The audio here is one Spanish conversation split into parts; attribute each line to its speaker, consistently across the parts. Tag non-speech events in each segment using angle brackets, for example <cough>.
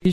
Speaker 1: y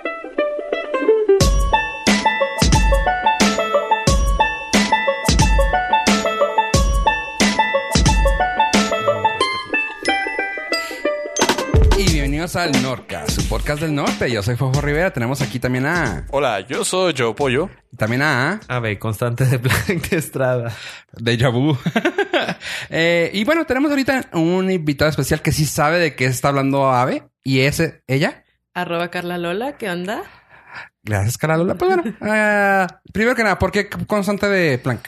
Speaker 2: Y bienvenidos al Norca, su podcast del norte. Yo soy Fofo Rivera. Tenemos aquí también a...
Speaker 3: Hola, yo soy Joe Pollo.
Speaker 2: También a...
Speaker 4: A ver, constante de <laughs> Planck Estrada.
Speaker 2: Deja vu. <laughs> Eh, y bueno, tenemos ahorita un invitado especial que sí sabe de qué está hablando Ave. Y es eh, ella.
Speaker 5: Arroba Carla Lola, ¿qué onda?
Speaker 2: Gracias, Carla Lola. Pues
Speaker 5: <laughs>
Speaker 2: bueno, ah, primero que nada, ¿por qué constante de Planck?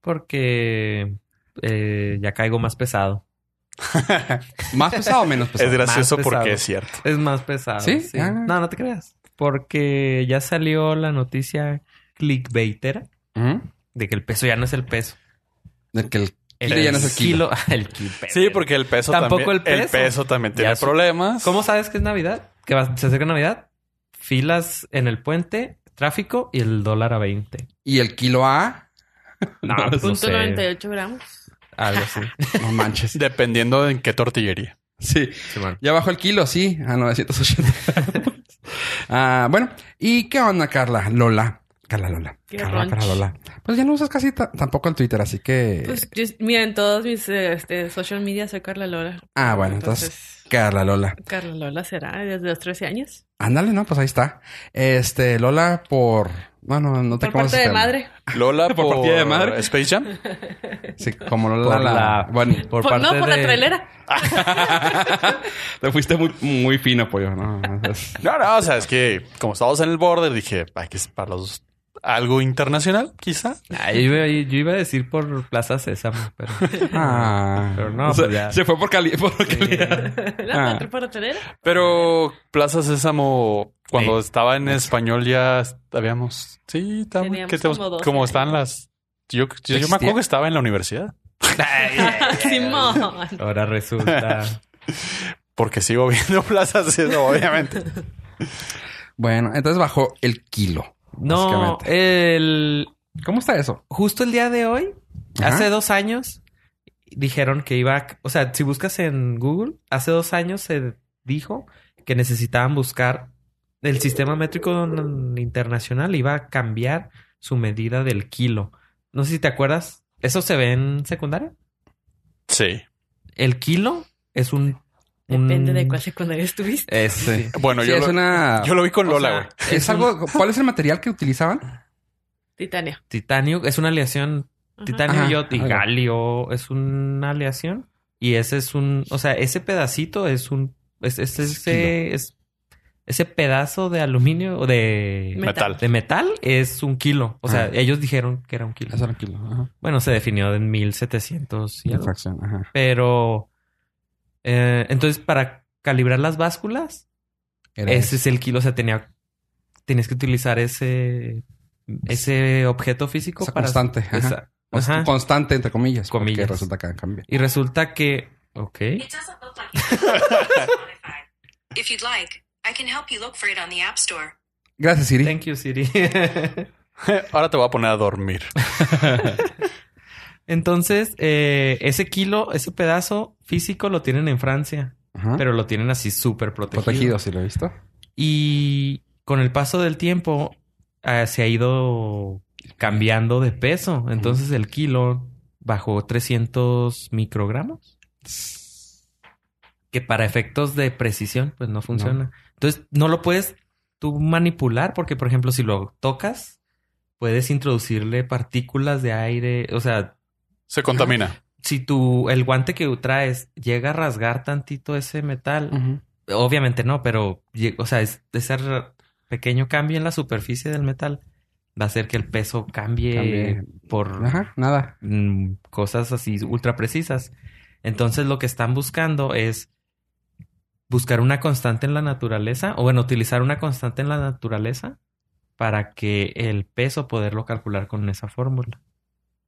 Speaker 4: Porque eh, ya caigo más pesado.
Speaker 2: ¿Más pesado o menos
Speaker 3: Es
Speaker 2: pesado?
Speaker 3: gracioso
Speaker 4: más pesado.
Speaker 3: porque es cierto.
Speaker 4: Es más pesado.
Speaker 2: ¿Sí? Ah.
Speaker 4: No, no te creas. Porque ya salió la noticia clickbaitera
Speaker 2: Ujú.
Speaker 4: de que el peso ya no es el peso.
Speaker 2: De que el kilo ya no es el kilo.
Speaker 4: el kilo. <laughs>
Speaker 3: Sí, porque el peso
Speaker 4: Tampoco
Speaker 3: también.
Speaker 4: el peso.
Speaker 3: también
Speaker 4: Ya
Speaker 3: tiene
Speaker 4: es-
Speaker 3: problemas.
Speaker 4: ¿Cómo sabes que es Navidad? Que va- se acerca Navidad, filas en el puente, tráfico y el dólar a 20.
Speaker 2: Y el kilo A,
Speaker 4: No,
Speaker 3: No,
Speaker 4: pues no
Speaker 5: Punto
Speaker 4: sé.
Speaker 5: 98 gramos.
Speaker 4: Algo así. <laughs>
Speaker 2: no
Speaker 3: <laughs>
Speaker 2: manches.
Speaker 3: Dependiendo de en qué tortillería.
Speaker 2: Sí.
Speaker 4: Simón.
Speaker 2: Ya bajó el kilo, sí, a <laughs> 980. ah, bueno, ¿y qué onda, Carla? Lola. Carla Lola.
Speaker 5: Qué
Speaker 2: Carla,
Speaker 5: ronch.
Speaker 2: Carla Lola. Pues ya no usas casi ta- tampoco el Twitter, así que.
Speaker 5: Pues yo, mira, en todos mis eh, este, social media soy Carla Lola.
Speaker 2: ah, bueno, entonces, Carla Lola.
Speaker 5: entonces, Carla Lola será desde los 13 años.
Speaker 2: Ándale, no, pues ahí está. Este, Lola por. Bueno, no te
Speaker 5: Por parte de
Speaker 2: esperar.
Speaker 5: madre.
Speaker 4: <laughs>
Speaker 3: Lola por,
Speaker 2: partida de madre.
Speaker 3: Space Jam.
Speaker 2: Sí, como Lola
Speaker 4: Por
Speaker 2: la.
Speaker 4: la-
Speaker 2: Bueno, <laughs>
Speaker 4: Por
Speaker 5: Por- no,
Speaker 4: parte
Speaker 5: por la
Speaker 4: de-
Speaker 5: trailera. <laughs>
Speaker 2: te fuiste muy, muy fino, pollo. No, Es-
Speaker 3: No, no, o sea, es que como estábamos en el border, dije, hay que para los algo internacional, quizá.
Speaker 4: Ah, yo, iba, yo iba a decir por Plaza Sésamo, pero...
Speaker 2: Ah.
Speaker 4: Pero no,
Speaker 2: se,
Speaker 4: pues ya.
Speaker 2: se fue por Cali. Por Cali.
Speaker 5: La
Speaker 2: Ah.
Speaker 5: encontré por la trailera. <laughs>
Speaker 3: Pero Plaza Sésamo, cuando estaba en español, ya habíamos. Sí, tam-
Speaker 5: Teníamos
Speaker 3: que estamos-
Speaker 5: como
Speaker 3: como,
Speaker 5: doce
Speaker 3: están las. Yo, yo, yo me
Speaker 2: Existía.
Speaker 3: acuerdo que estaba en la universidad.
Speaker 2: Eh,
Speaker 5: Simón.
Speaker 4: <laughs> Ahora resulta...
Speaker 2: <laughs>
Speaker 3: Porque sigo <laughs> viendo Plaza Sésamo, obviamente.
Speaker 2: Bueno, entonces bajó el kilo.
Speaker 4: No,
Speaker 2: básicamente.
Speaker 4: el...
Speaker 2: ¿Cómo está eso?
Speaker 4: Justo el día de hoy,
Speaker 2: Ajá.
Speaker 4: hace dos años, dijeron que iba... a- O sea, si buscas en Google, hace dos años se dijo que necesitaban buscar... El sistema métrico n- internacional iba a cambiar su medida del kilo. No sé si te acuerdas. ¿Eso se ve en secundaria?
Speaker 3: Sí.
Speaker 4: El kilo es un... un-
Speaker 5: Depende de cuál secundaria estuviste.
Speaker 2: Este.
Speaker 3: Bueno,
Speaker 2: Sí,
Speaker 3: yo,
Speaker 2: es
Speaker 3: lo,
Speaker 2: una.
Speaker 3: yo lo vi con
Speaker 4: O
Speaker 3: Lola,
Speaker 4: sea,
Speaker 2: <laughs>
Speaker 3: güey.
Speaker 2: Es algo. ¿Cuál es el material que utilizaban?
Speaker 5: Titania.
Speaker 4: Titanio es una aleación.
Speaker 5: Ajá.
Speaker 4: Titanio
Speaker 2: Ajá,
Speaker 4: y yo- y
Speaker 2: algo.
Speaker 4: galio es una aleación. Y ese es un. O sea, ese pedacito es un. Es, es- ese, es- ese pedazo de aluminio o de.
Speaker 3: Metal.
Speaker 4: De metal es un kilo. O sea,
Speaker 2: Ah.
Speaker 4: ellos dijeron que era un kilo.
Speaker 2: Eso era kilo. Ajá.
Speaker 4: Bueno, se definió en 1700 y
Speaker 2: Una
Speaker 4: algo.
Speaker 2: fracción. Ajá.
Speaker 4: Pero. eh, entonces, para calibrar las básculas,
Speaker 2: Era
Speaker 4: ese es el kilo. O sea, tenía. Tenías que utilizar ese. Ese objeto físico
Speaker 2: Esa
Speaker 4: para.
Speaker 2: constante, ajá.
Speaker 4: esa-
Speaker 2: const-
Speaker 4: ajá.
Speaker 2: Constante, entre comillas. Porque
Speaker 4: Comillas.
Speaker 2: resulta que cambia.
Speaker 4: Y resulta que. Ok.
Speaker 6: It doesn't look like it's on Spotify. <laughs> If you'd like, I can help you look for it on the App Store.
Speaker 2: Gracias, Siri.
Speaker 4: Thank you, Siri. <laughs>
Speaker 3: <laughs> Ahora te voy a poner a dormir.
Speaker 4: Entonces, eh, ese kilo, ese pedazo físico lo tienen en Francia,
Speaker 2: Ajá.
Speaker 4: pero lo tienen así súper protegido.
Speaker 2: Ah. Protegido, si lo he visto.
Speaker 4: Y con el paso del tiempo eh, se ha ido cambiando de peso. Entonces, el kilo bajó 300 microgramos. que para efectos de precisión, pues no funciona. Entonces, no lo puedes tú manipular porque, por ejemplo, si lo tocas, puedes introducirle partículas de aire. O sea,
Speaker 3: Se contamina.
Speaker 4: si tú, el guante que traes llega a rasgar tantito ese metal,
Speaker 2: Ujú.
Speaker 4: obviamente no, pero, lle- o sea, es, ese r- pequeño cambio en la superficie del metal va a hacer que el peso cambie,
Speaker 2: Cambie.
Speaker 4: por
Speaker 2: Ajá, nada.
Speaker 4: mm, cosas así ultra precisas. Entonces lo que están buscando es buscar una constante en la naturaleza, o bueno, utilizar una constante en la naturaleza para que el peso poderlo calcular con esa fórmula.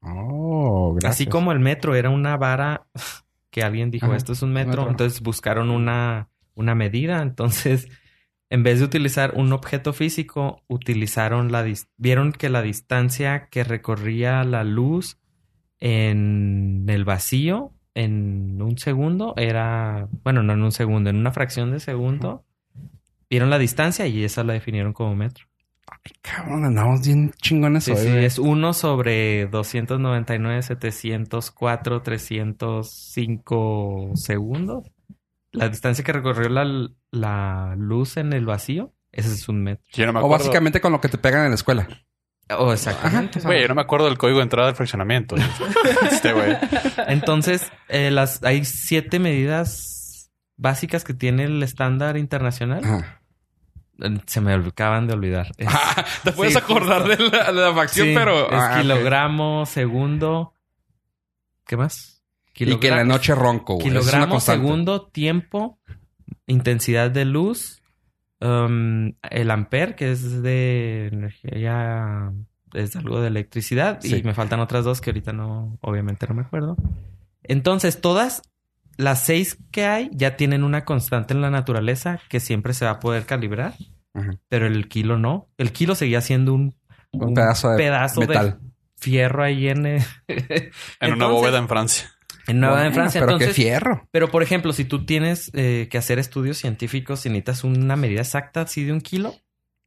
Speaker 2: Oh, gracias.
Speaker 4: Así como el metro era una vara <laughs> que alguien dijo,
Speaker 2: Ajá,
Speaker 4: esto es un metro,
Speaker 2: metro.
Speaker 4: entonces buscaron una, una medida, entonces <laughs> en vez de utilizar un objeto físico, utilizaron la dis- vieron que la distancia que recorría la luz en el vacío en un segundo era, bueno, no en un segundo, en una fracción de segundo, vieron la distancia y esa la definieron como metro.
Speaker 2: Ay, cabrón, andamos bien chingones
Speaker 4: Sí,
Speaker 2: hoy,
Speaker 4: sí,
Speaker 2: güey.
Speaker 4: es 1 sobre 299, 704, 305 segundos. La distancia que recorrió la, la luz en el vacío, ese es un metro.
Speaker 3: <laughs> Yo no me
Speaker 2: O
Speaker 3: acuerdo.
Speaker 2: básicamente con lo que te pegan en la escuela.
Speaker 4: Oh, exactamente.
Speaker 3: Güey, yo no me acuerdo del código de entrada del fraccionamiento. <laughs> este güey.
Speaker 4: <laughs> Entonces, eh, las, hay siete medidas básicas que tiene el estándar internacional.
Speaker 2: Ajá.
Speaker 4: Eh, Se me ol- acaban de olvidar. Es,
Speaker 2: Te puedes
Speaker 4: Sí,
Speaker 2: acordar de la, de la facción,
Speaker 4: sí,
Speaker 2: pero.
Speaker 4: es
Speaker 2: Ah, ok.
Speaker 4: kilogramo, segundo. ¿Qué más?
Speaker 2: Y que en la
Speaker 4: Kilogramos-
Speaker 2: noche ronco, güey. Eso Pues, es una
Speaker 4: Kilogramo,
Speaker 2: constante.
Speaker 4: segundo, tiempo, intensidad de luz, um, el amper, que es de energía, es algo de electricidad,
Speaker 2: Sí.
Speaker 4: y me faltan otras dos que ahorita no, obviamente no me acuerdo. Entonces, todas las seis que hay ya tienen una constante en la naturaleza que siempre se va a poder calibrar,
Speaker 2: Ajá.
Speaker 4: pero el kilo no. El kilo seguía siendo un,
Speaker 2: Un pedazo de
Speaker 4: pedazo de
Speaker 2: metal.
Speaker 4: fierro ahí en, <laughs> eh,
Speaker 3: En una
Speaker 4: Entonces-
Speaker 3: bóveda en Francia.
Speaker 4: en Nueva
Speaker 2: Bueno,
Speaker 4: en Francia.
Speaker 2: Pero qué
Speaker 4: Entonces,
Speaker 2: fierro.
Speaker 4: Pero, por ejemplo, si tú tienes eh, que hacer estudios científicos y necesitas una medida exacta así de un kilo,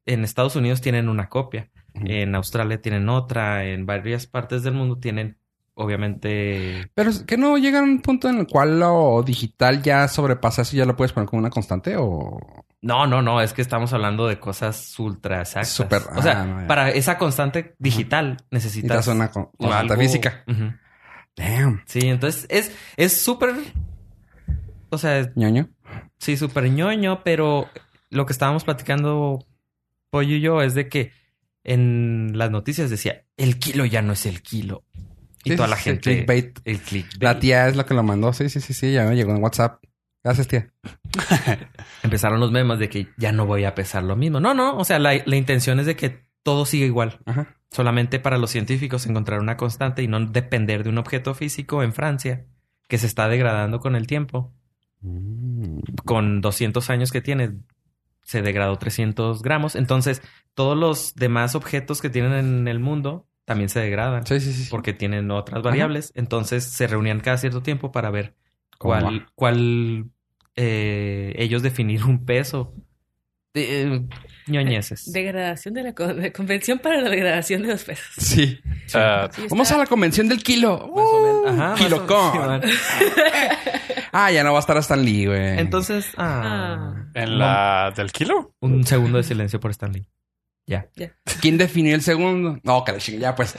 Speaker 4: en Estados Unidos tienen una copia,
Speaker 2: Ujú.
Speaker 4: en Australia tienen otra, en varias partes del mundo tienen, obviamente,
Speaker 2: Pero es que no llega a un punto en el cual lo digital ya sobrepasa eso y ya lo puedes poner como una constante o.
Speaker 4: no, no, no, es que estamos hablando de cosas ultra exactas.
Speaker 2: Súper-
Speaker 4: o sea,
Speaker 2: ah, no, ya.
Speaker 4: para esa constante digital necesitas
Speaker 2: Necesitas una con- constante
Speaker 4: algo-
Speaker 2: física.
Speaker 4: Ujú.
Speaker 2: Damn.
Speaker 4: Sí, entonces es es súper, o sea,
Speaker 2: Ñoño.
Speaker 4: Sí, súper ñoño, pero lo que estábamos platicando Pollo y yo es de que en las noticias decía, el kilo ya no es el kilo. Y
Speaker 2: Sí,
Speaker 4: toda
Speaker 2: sí,
Speaker 4: la
Speaker 2: sí,
Speaker 4: gente...
Speaker 2: clickbait.
Speaker 4: El clickbait.
Speaker 2: La tía es la que lo mandó. Sí, sí, sí, sí. Ya me llegó en WhatsApp. Gracias, tía.
Speaker 4: Empezaron los memes de que ya no voy a pesar lo mismo. No, no, o sea, la, la intención es de que todo siga igual.
Speaker 2: Ajá.
Speaker 4: Solamente para los científicos encontrar una constante y no depender de un objeto físico en Francia que se está degradando con el tiempo.
Speaker 2: Mm.
Speaker 4: con 200 años que tiene, se degradó 300 gramos. Entonces, todos los demás objetos que tienen en el mundo también se degradan
Speaker 2: Sí, sí, sí. sí.
Speaker 4: porque tienen otras variables. Entonces, se reunían cada cierto tiempo para ver
Speaker 2: ¿Cómo
Speaker 4: cuál, cuál eh, ellos definir un peso. De, eh, ñoñeces.
Speaker 5: Degradación de la con- de convención para la degradación de los pesos.
Speaker 2: Sí.
Speaker 3: Ah,
Speaker 5: Sí, está-
Speaker 2: Vamos a la convención del kilo.
Speaker 4: Más o menos.
Speaker 2: Uh,
Speaker 4: Ajá, más o-
Speaker 2: Kilocon. Ah, ya no va a estar hasta Lee, güey.
Speaker 4: Entonces, ah,
Speaker 3: en la del kilo.
Speaker 4: un segundo de silencio por Stanley.
Speaker 2: ¿Quién definió el segundo? No, que la chingada, ya pues.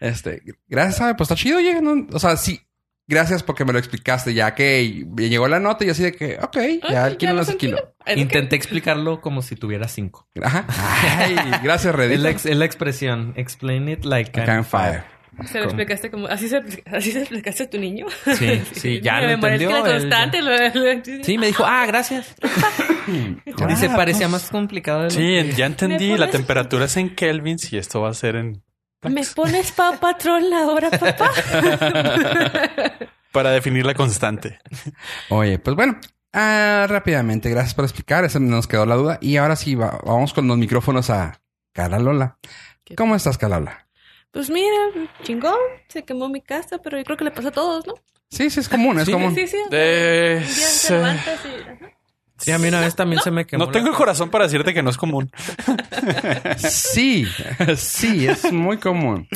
Speaker 2: Este, gracias, ¿sabe? pues está chido, oye. ¿no? O sea, sí, gracias porque me lo explicaste, ya que llegó la nota y así de que, ok, ya
Speaker 5: Ay,
Speaker 2: el kilo
Speaker 5: Ah, ya
Speaker 2: no
Speaker 5: no
Speaker 2: es el
Speaker 5: son
Speaker 2: kilo.
Speaker 5: Ay, ¿no?
Speaker 4: Intenté explicarlo como si tuviera cinco.
Speaker 2: Ajá. Ay, gracias,
Speaker 4: Es la,
Speaker 2: Reddit.
Speaker 4: ex- es la expresión. Explain it like
Speaker 2: I
Speaker 4: I'm
Speaker 2: can fire.
Speaker 5: Se lo explicaste como... ¿Así se, <laughs> así se explicaste a tu niño? <laughs>
Speaker 4: Sí, sí, ya
Speaker 5: Me
Speaker 4: lo
Speaker 5: memoré, es que
Speaker 4: entendió.
Speaker 5: la
Speaker 4: él-
Speaker 5: constante... lo-
Speaker 4: Sí, me dijo, ah, gracias. Dice,
Speaker 2: Ah,
Speaker 4: parecía
Speaker 2: pues,
Speaker 4: más complicado. de lo
Speaker 3: Sí,
Speaker 4: que-
Speaker 3: ya entendí. La
Speaker 5: pones-
Speaker 3: temperatura es en Kelvins y esto va a ser en.
Speaker 5: ¿Me pones pa patrón ahora,
Speaker 4: <laughs>
Speaker 5: papá?
Speaker 3: Para definir la constante.
Speaker 2: Oye, pues bueno. Ah, rápidamente, gracias por explicar. Esa nos quedó la duda. Y ahora sí, va- vamos con los micrófonos a Cara Lola.
Speaker 5: ¿Qué?
Speaker 2: ¿Cómo estás, Cara Lola?
Speaker 5: Pues mira, chingón, se quemó mi casa, pero yo creo que le pasó a todos, ¿no?
Speaker 2: Sí, sí, es común, es común.
Speaker 5: Sí, sí. o sea,
Speaker 3: Eh,
Speaker 5: Un día
Speaker 3: sí.
Speaker 5: te levantas y... ajá.
Speaker 4: Sí, a mí una vez también se me quemó.
Speaker 3: No
Speaker 4: la-
Speaker 3: tengo el corazón para decirte que no es común.
Speaker 2: Sí, <laughs> sí, es muy común.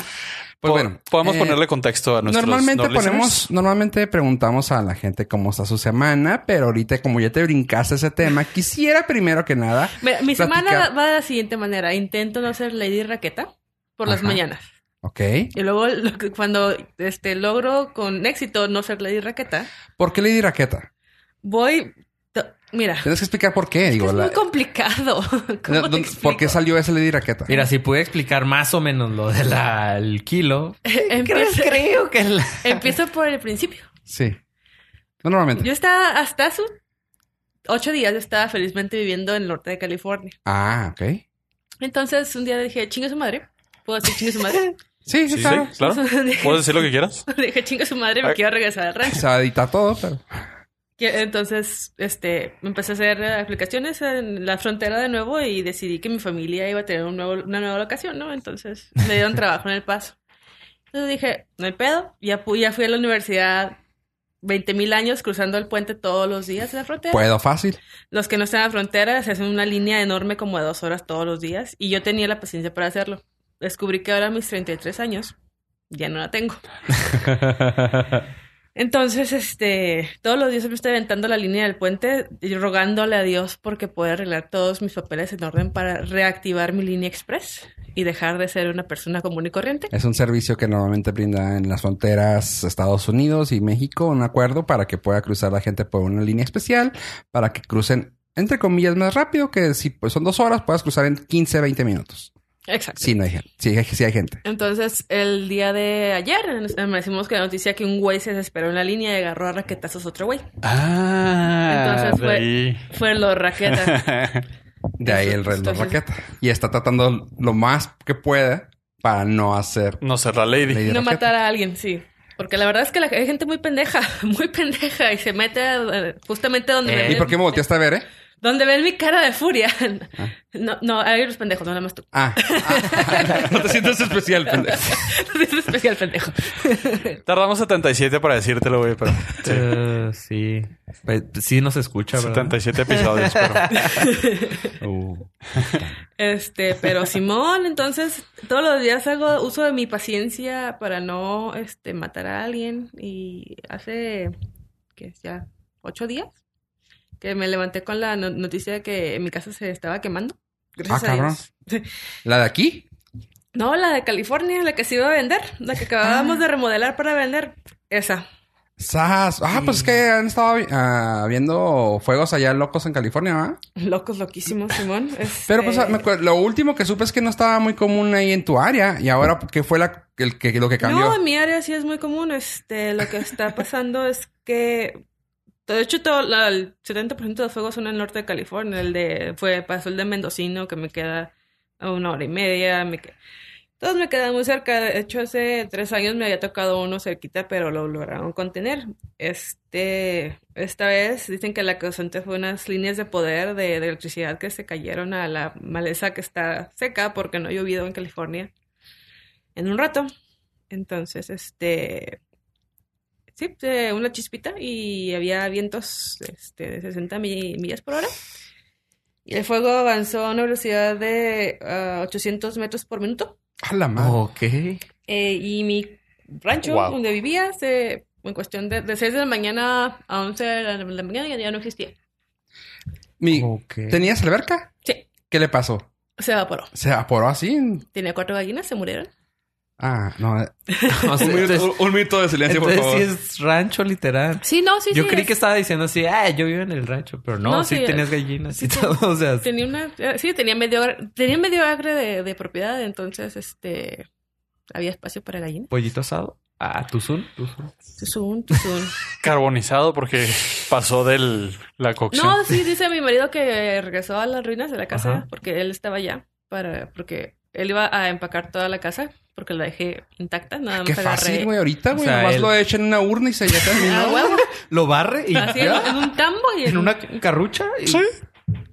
Speaker 2: Pues
Speaker 3: Po-
Speaker 2: bueno,
Speaker 3: podemos
Speaker 2: eh,
Speaker 3: ponerle contexto a nuestros
Speaker 2: Normalmente
Speaker 3: no listeners.
Speaker 2: ponemos, normalmente preguntamos a la gente cómo está su semana, pero ahorita como ya te brincaste ese tema, quisiera primero que nada,
Speaker 5: Mira, mi
Speaker 2: Platicar.
Speaker 5: semana va de la siguiente manera. Intento no ser Lady Raqueta por las
Speaker 2: Ajá.
Speaker 5: mañanas.
Speaker 2: ¿ok?
Speaker 5: Y luego lo que- cuando este logro con éxito no ser Lady Raqueta,
Speaker 2: ¿Por qué Lady Raqueta?
Speaker 5: voy... to- Mira, es,
Speaker 2: Tienes que explicar por qué,
Speaker 5: que
Speaker 2: digo,
Speaker 5: es
Speaker 2: la-
Speaker 5: muy complicado. <laughs> ¿Cómo te
Speaker 2: ¿dónde- ¿por qué
Speaker 5: explico?
Speaker 2: salió ese Lady Raqueta?
Speaker 4: Mira, si pude explicar más o menos lo del kilo.
Speaker 5: <laughs> Empiezo-
Speaker 4: Creo que la-
Speaker 5: empiezo por el principio.
Speaker 2: Sí. No, normalmente.
Speaker 5: Yo estaba hasta hace ocho días yo estaba felizmente viviendo en el norte de California.
Speaker 2: Ah, ok.
Speaker 5: Entonces un día dije, chingue su madre. ¿Puedo decir chingue su madre?
Speaker 2: Sí, sí,
Speaker 3: Sí, sí,
Speaker 2: claro.
Speaker 3: <laughs> claro. Puedes decir lo que quieras.
Speaker 5: <laughs> dije, chingue su madre, me quiero regresar al rancho.
Speaker 2: Se va a editar todo, pero...
Speaker 5: Que- Entonces, este, empecé a hacer eh, aplicaciones en la frontera de nuevo
Speaker 3: <laughs>
Speaker 5: y decidí que mi familia iba a tener un nuevo- una nueva locación, ¿no? Entonces, me dieron trabajo en El Paso. Entonces dije, no hay pedo. Ya, pu- ya fui a la universidad 20 mil años cruzando el puente todos los días de la frontera.
Speaker 2: Puedo fácil.
Speaker 5: Los que no están en la frontera se hacen una línea enorme como de dos horas todos los días. Y yo tenía la paciencia para hacerlo. Descubrí que ahora a mis 33 años ya no la tengo. Entonces, este, todos los días me estoy aventando la línea del puente, y rogándole a Dios porque pueda arreglar todos mis papeles en orden para reactivar mi línea express y dejar de ser una persona común y corriente.
Speaker 2: Es un servicio que normalmente brinda en las fronteras Estados Unidos y México un acuerdo para que pueda cruzar la gente por una línea especial para que crucen, entre comillas, más rápido que si pues, son dos horas, puedas cruzar en 15, 20 minutos.
Speaker 5: Exacto.
Speaker 2: Sí, no hay gente. Sí, hay- sí hay gente.
Speaker 5: Entonces, el día de ayer nos- amanecimos con la noticia que un güey se desesperó en la línea y agarró a raquetazos a otro güey.
Speaker 3: Ah,
Speaker 5: Entonces fue-
Speaker 3: de
Speaker 5: Fueron los raquetas.
Speaker 2: <laughs>
Speaker 3: ahí.
Speaker 2: De ahí el reloj
Speaker 5: Entonces-
Speaker 2: raqueta. Y está tratando lo más que pueda para no hacer...
Speaker 3: no ser la
Speaker 2: ley
Speaker 3: lady.
Speaker 2: de
Speaker 5: <laughs> no
Speaker 2: raqueta.
Speaker 5: matar a alguien, sí. Porque la verdad es que la, hay gente muy pendeja, <laughs> muy pendeja y se mete eh, justamente donde...
Speaker 4: Eh,
Speaker 5: me
Speaker 2: ¿Y por qué me volteaste a ver, eh?
Speaker 5: Donde ven mi cara de furia. <laughs>
Speaker 2: Ah.
Speaker 5: No, no, hay unos pendejos, no nada más tú. <laughs>
Speaker 2: Ah. <laughs> Ah. no te sientes especial, pendejo.
Speaker 5: es un especial pendejo.
Speaker 3: Tardamos 77 para decírtelo, güey, pero sí.
Speaker 4: Eh, sí. Pues, Sí nos escucha, ¿verdad? Uh.
Speaker 3: 77 episodios, pero
Speaker 5: Este,
Speaker 2: <laughs>
Speaker 5: pero Simón, entonces todos los días hago uso de mi paciencia para no este, matar a alguien. Y hace, ¿qué es ya? ¿Ocho días? Que me levanté con la no- noticia de que mi casa se estaba quemando. Gracias a
Speaker 2: Ah, cabrón.
Speaker 5: Dios.
Speaker 2: ¿La de aquí?
Speaker 5: No, la de California, la que se iba a vender, la que acabábamos
Speaker 2: Ah.
Speaker 5: de remodelar para vender. Esa.
Speaker 2: Sas. Ah, pues es que han estado ah, viendo fuegos allá locos en California, ¿verdad?
Speaker 5: Locos, loquísimos, Simón.
Speaker 2: Pero pues
Speaker 5: Este,
Speaker 2: me acuer- lo último que supe es que no estaba muy común ahí en tu área. Y ahora, ¿qué fue la, el, que, lo que cambió?
Speaker 5: No, en mi área sí es muy común. Este, lo
Speaker 2: <laughs>
Speaker 5: que está pasando es que, de hecho, todo la- el 70% de los fuegos son en el norte de California. El de fue pasó el de Mendocino, que me queda a una hora y media. Me que- todos me quedan muy cerca. De hecho, hace tres años me había tocado uno cerquita, pero lo lograron contener. Este, esta vez dicen que la causante fue unas líneas de poder de, de electricidad que se cayeron a la maleza que está seca porque no ha llovido en California en un rato. Entonces, este. Sí, eh, una chispita y había vientos este, de 60 mi- millas por hora. Y el fuego avanzó a una velocidad de ah, 800 metros por minuto.
Speaker 2: A la madre.
Speaker 4: Ok.
Speaker 5: Eh, y mi rancho
Speaker 3: Wow.
Speaker 5: donde vivía, se, en cuestión de, de 6 de la mañana a 11 de la, de la mañana, ya, ya no existía.
Speaker 2: Mi-
Speaker 4: oh, Ok.
Speaker 2: ¿Tenías alberca?
Speaker 5: Sí,
Speaker 2: ¿Qué le pasó?
Speaker 5: se evaporó.
Speaker 2: ¿Se evaporó así?
Speaker 5: Tenía cuatro gallinas, se murieron.
Speaker 2: Ah,
Speaker 4: <laughs>
Speaker 2: no.
Speaker 4: No sé, entonces-
Speaker 2: minuto de silencio,
Speaker 4: entonces sí es rancho literal.
Speaker 5: Sí, no, sí,
Speaker 4: yo
Speaker 5: sí.
Speaker 4: creí
Speaker 5: es-
Speaker 4: que estaba diciendo así, ah, yo vivo en el rancho, pero no,
Speaker 5: No,
Speaker 4: sí,
Speaker 5: sí,
Speaker 4: tenías
Speaker 5: es-
Speaker 4: gallinas
Speaker 5: sí,
Speaker 4: y
Speaker 5: sí.
Speaker 4: todo, o sea,
Speaker 5: Tenía una, eh, sí, tenía medio, agra- tenía medio acre de, de propiedad, entonces, este, había espacio para gallinas.
Speaker 4: pollito asado. Ah, tuzún, tuzún.
Speaker 5: Tuzún, tuzún.
Speaker 3: carbonizado porque pasó del la cocción.
Speaker 5: No, sí, dice mi marido que regresó a las ruinas de la casa
Speaker 4: Ajá.
Speaker 5: porque él estaba allá para, porque él iba a empacar toda la casa porque la dejé intacta, nada más
Speaker 2: Ah, Qué
Speaker 5: agarré.
Speaker 2: fácil, güey. Ahorita,
Speaker 4: O
Speaker 2: güey.
Speaker 4: sea,
Speaker 2: nomás
Speaker 4: él-
Speaker 2: lo echan en una urna y se ya
Speaker 4: <laughs>
Speaker 5: Ah,
Speaker 2: terminó.
Speaker 5: huevo,
Speaker 4: Lo barre y
Speaker 5: así en, en un tambo y
Speaker 4: <laughs> en una carrucha. y-
Speaker 3: Sí.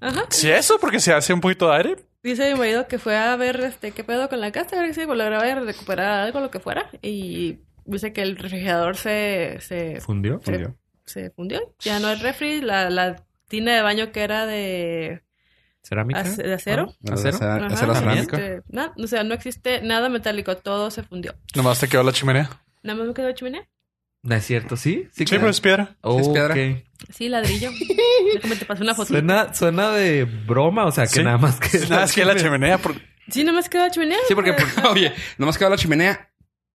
Speaker 5: Ajá.
Speaker 3: Sí, eso, porque se hace un poquito de aire.
Speaker 5: Dice mi marido que fue a ver este qué pedo con la casa, a ver si lograba recuperar algo, lo que fuera. Y dice que el refrigerador se, se
Speaker 4: ¿Fundió?
Speaker 5: se, se fundió. Ya no es refri, la, la tina de baño que era de,
Speaker 4: ¿Cerámica?
Speaker 5: ace- de acero.
Speaker 4: Ah, ¿Acero?
Speaker 2: Acero-
Speaker 5: Ajá,
Speaker 2: acero
Speaker 5: también,
Speaker 2: cerámico.
Speaker 5: este, no, o sea, no existe nada metálico, todo se fundió.
Speaker 3: Nomás te quedó la chimenea.
Speaker 5: Nada más me quedó chimenea.
Speaker 4: No es cierto, sí.
Speaker 3: Sí,
Speaker 4: claro.
Speaker 3: pero es piedra.
Speaker 4: Oh,
Speaker 2: Es piedra.
Speaker 4: ok.
Speaker 5: Sí, <laughs> ladrillo. Déjame te paso una foto.
Speaker 4: Suena, suena de broma, o sea, que
Speaker 3: Sí.
Speaker 4: nada más que...
Speaker 3: Nada más que la chimenea. por-
Speaker 5: Sí, nada más quedó chimenea.
Speaker 4: Sí,
Speaker 5: <laughs>
Speaker 4: porque-
Speaker 5: pues,
Speaker 2: <laughs> Oye, nomás quedó la chimenea,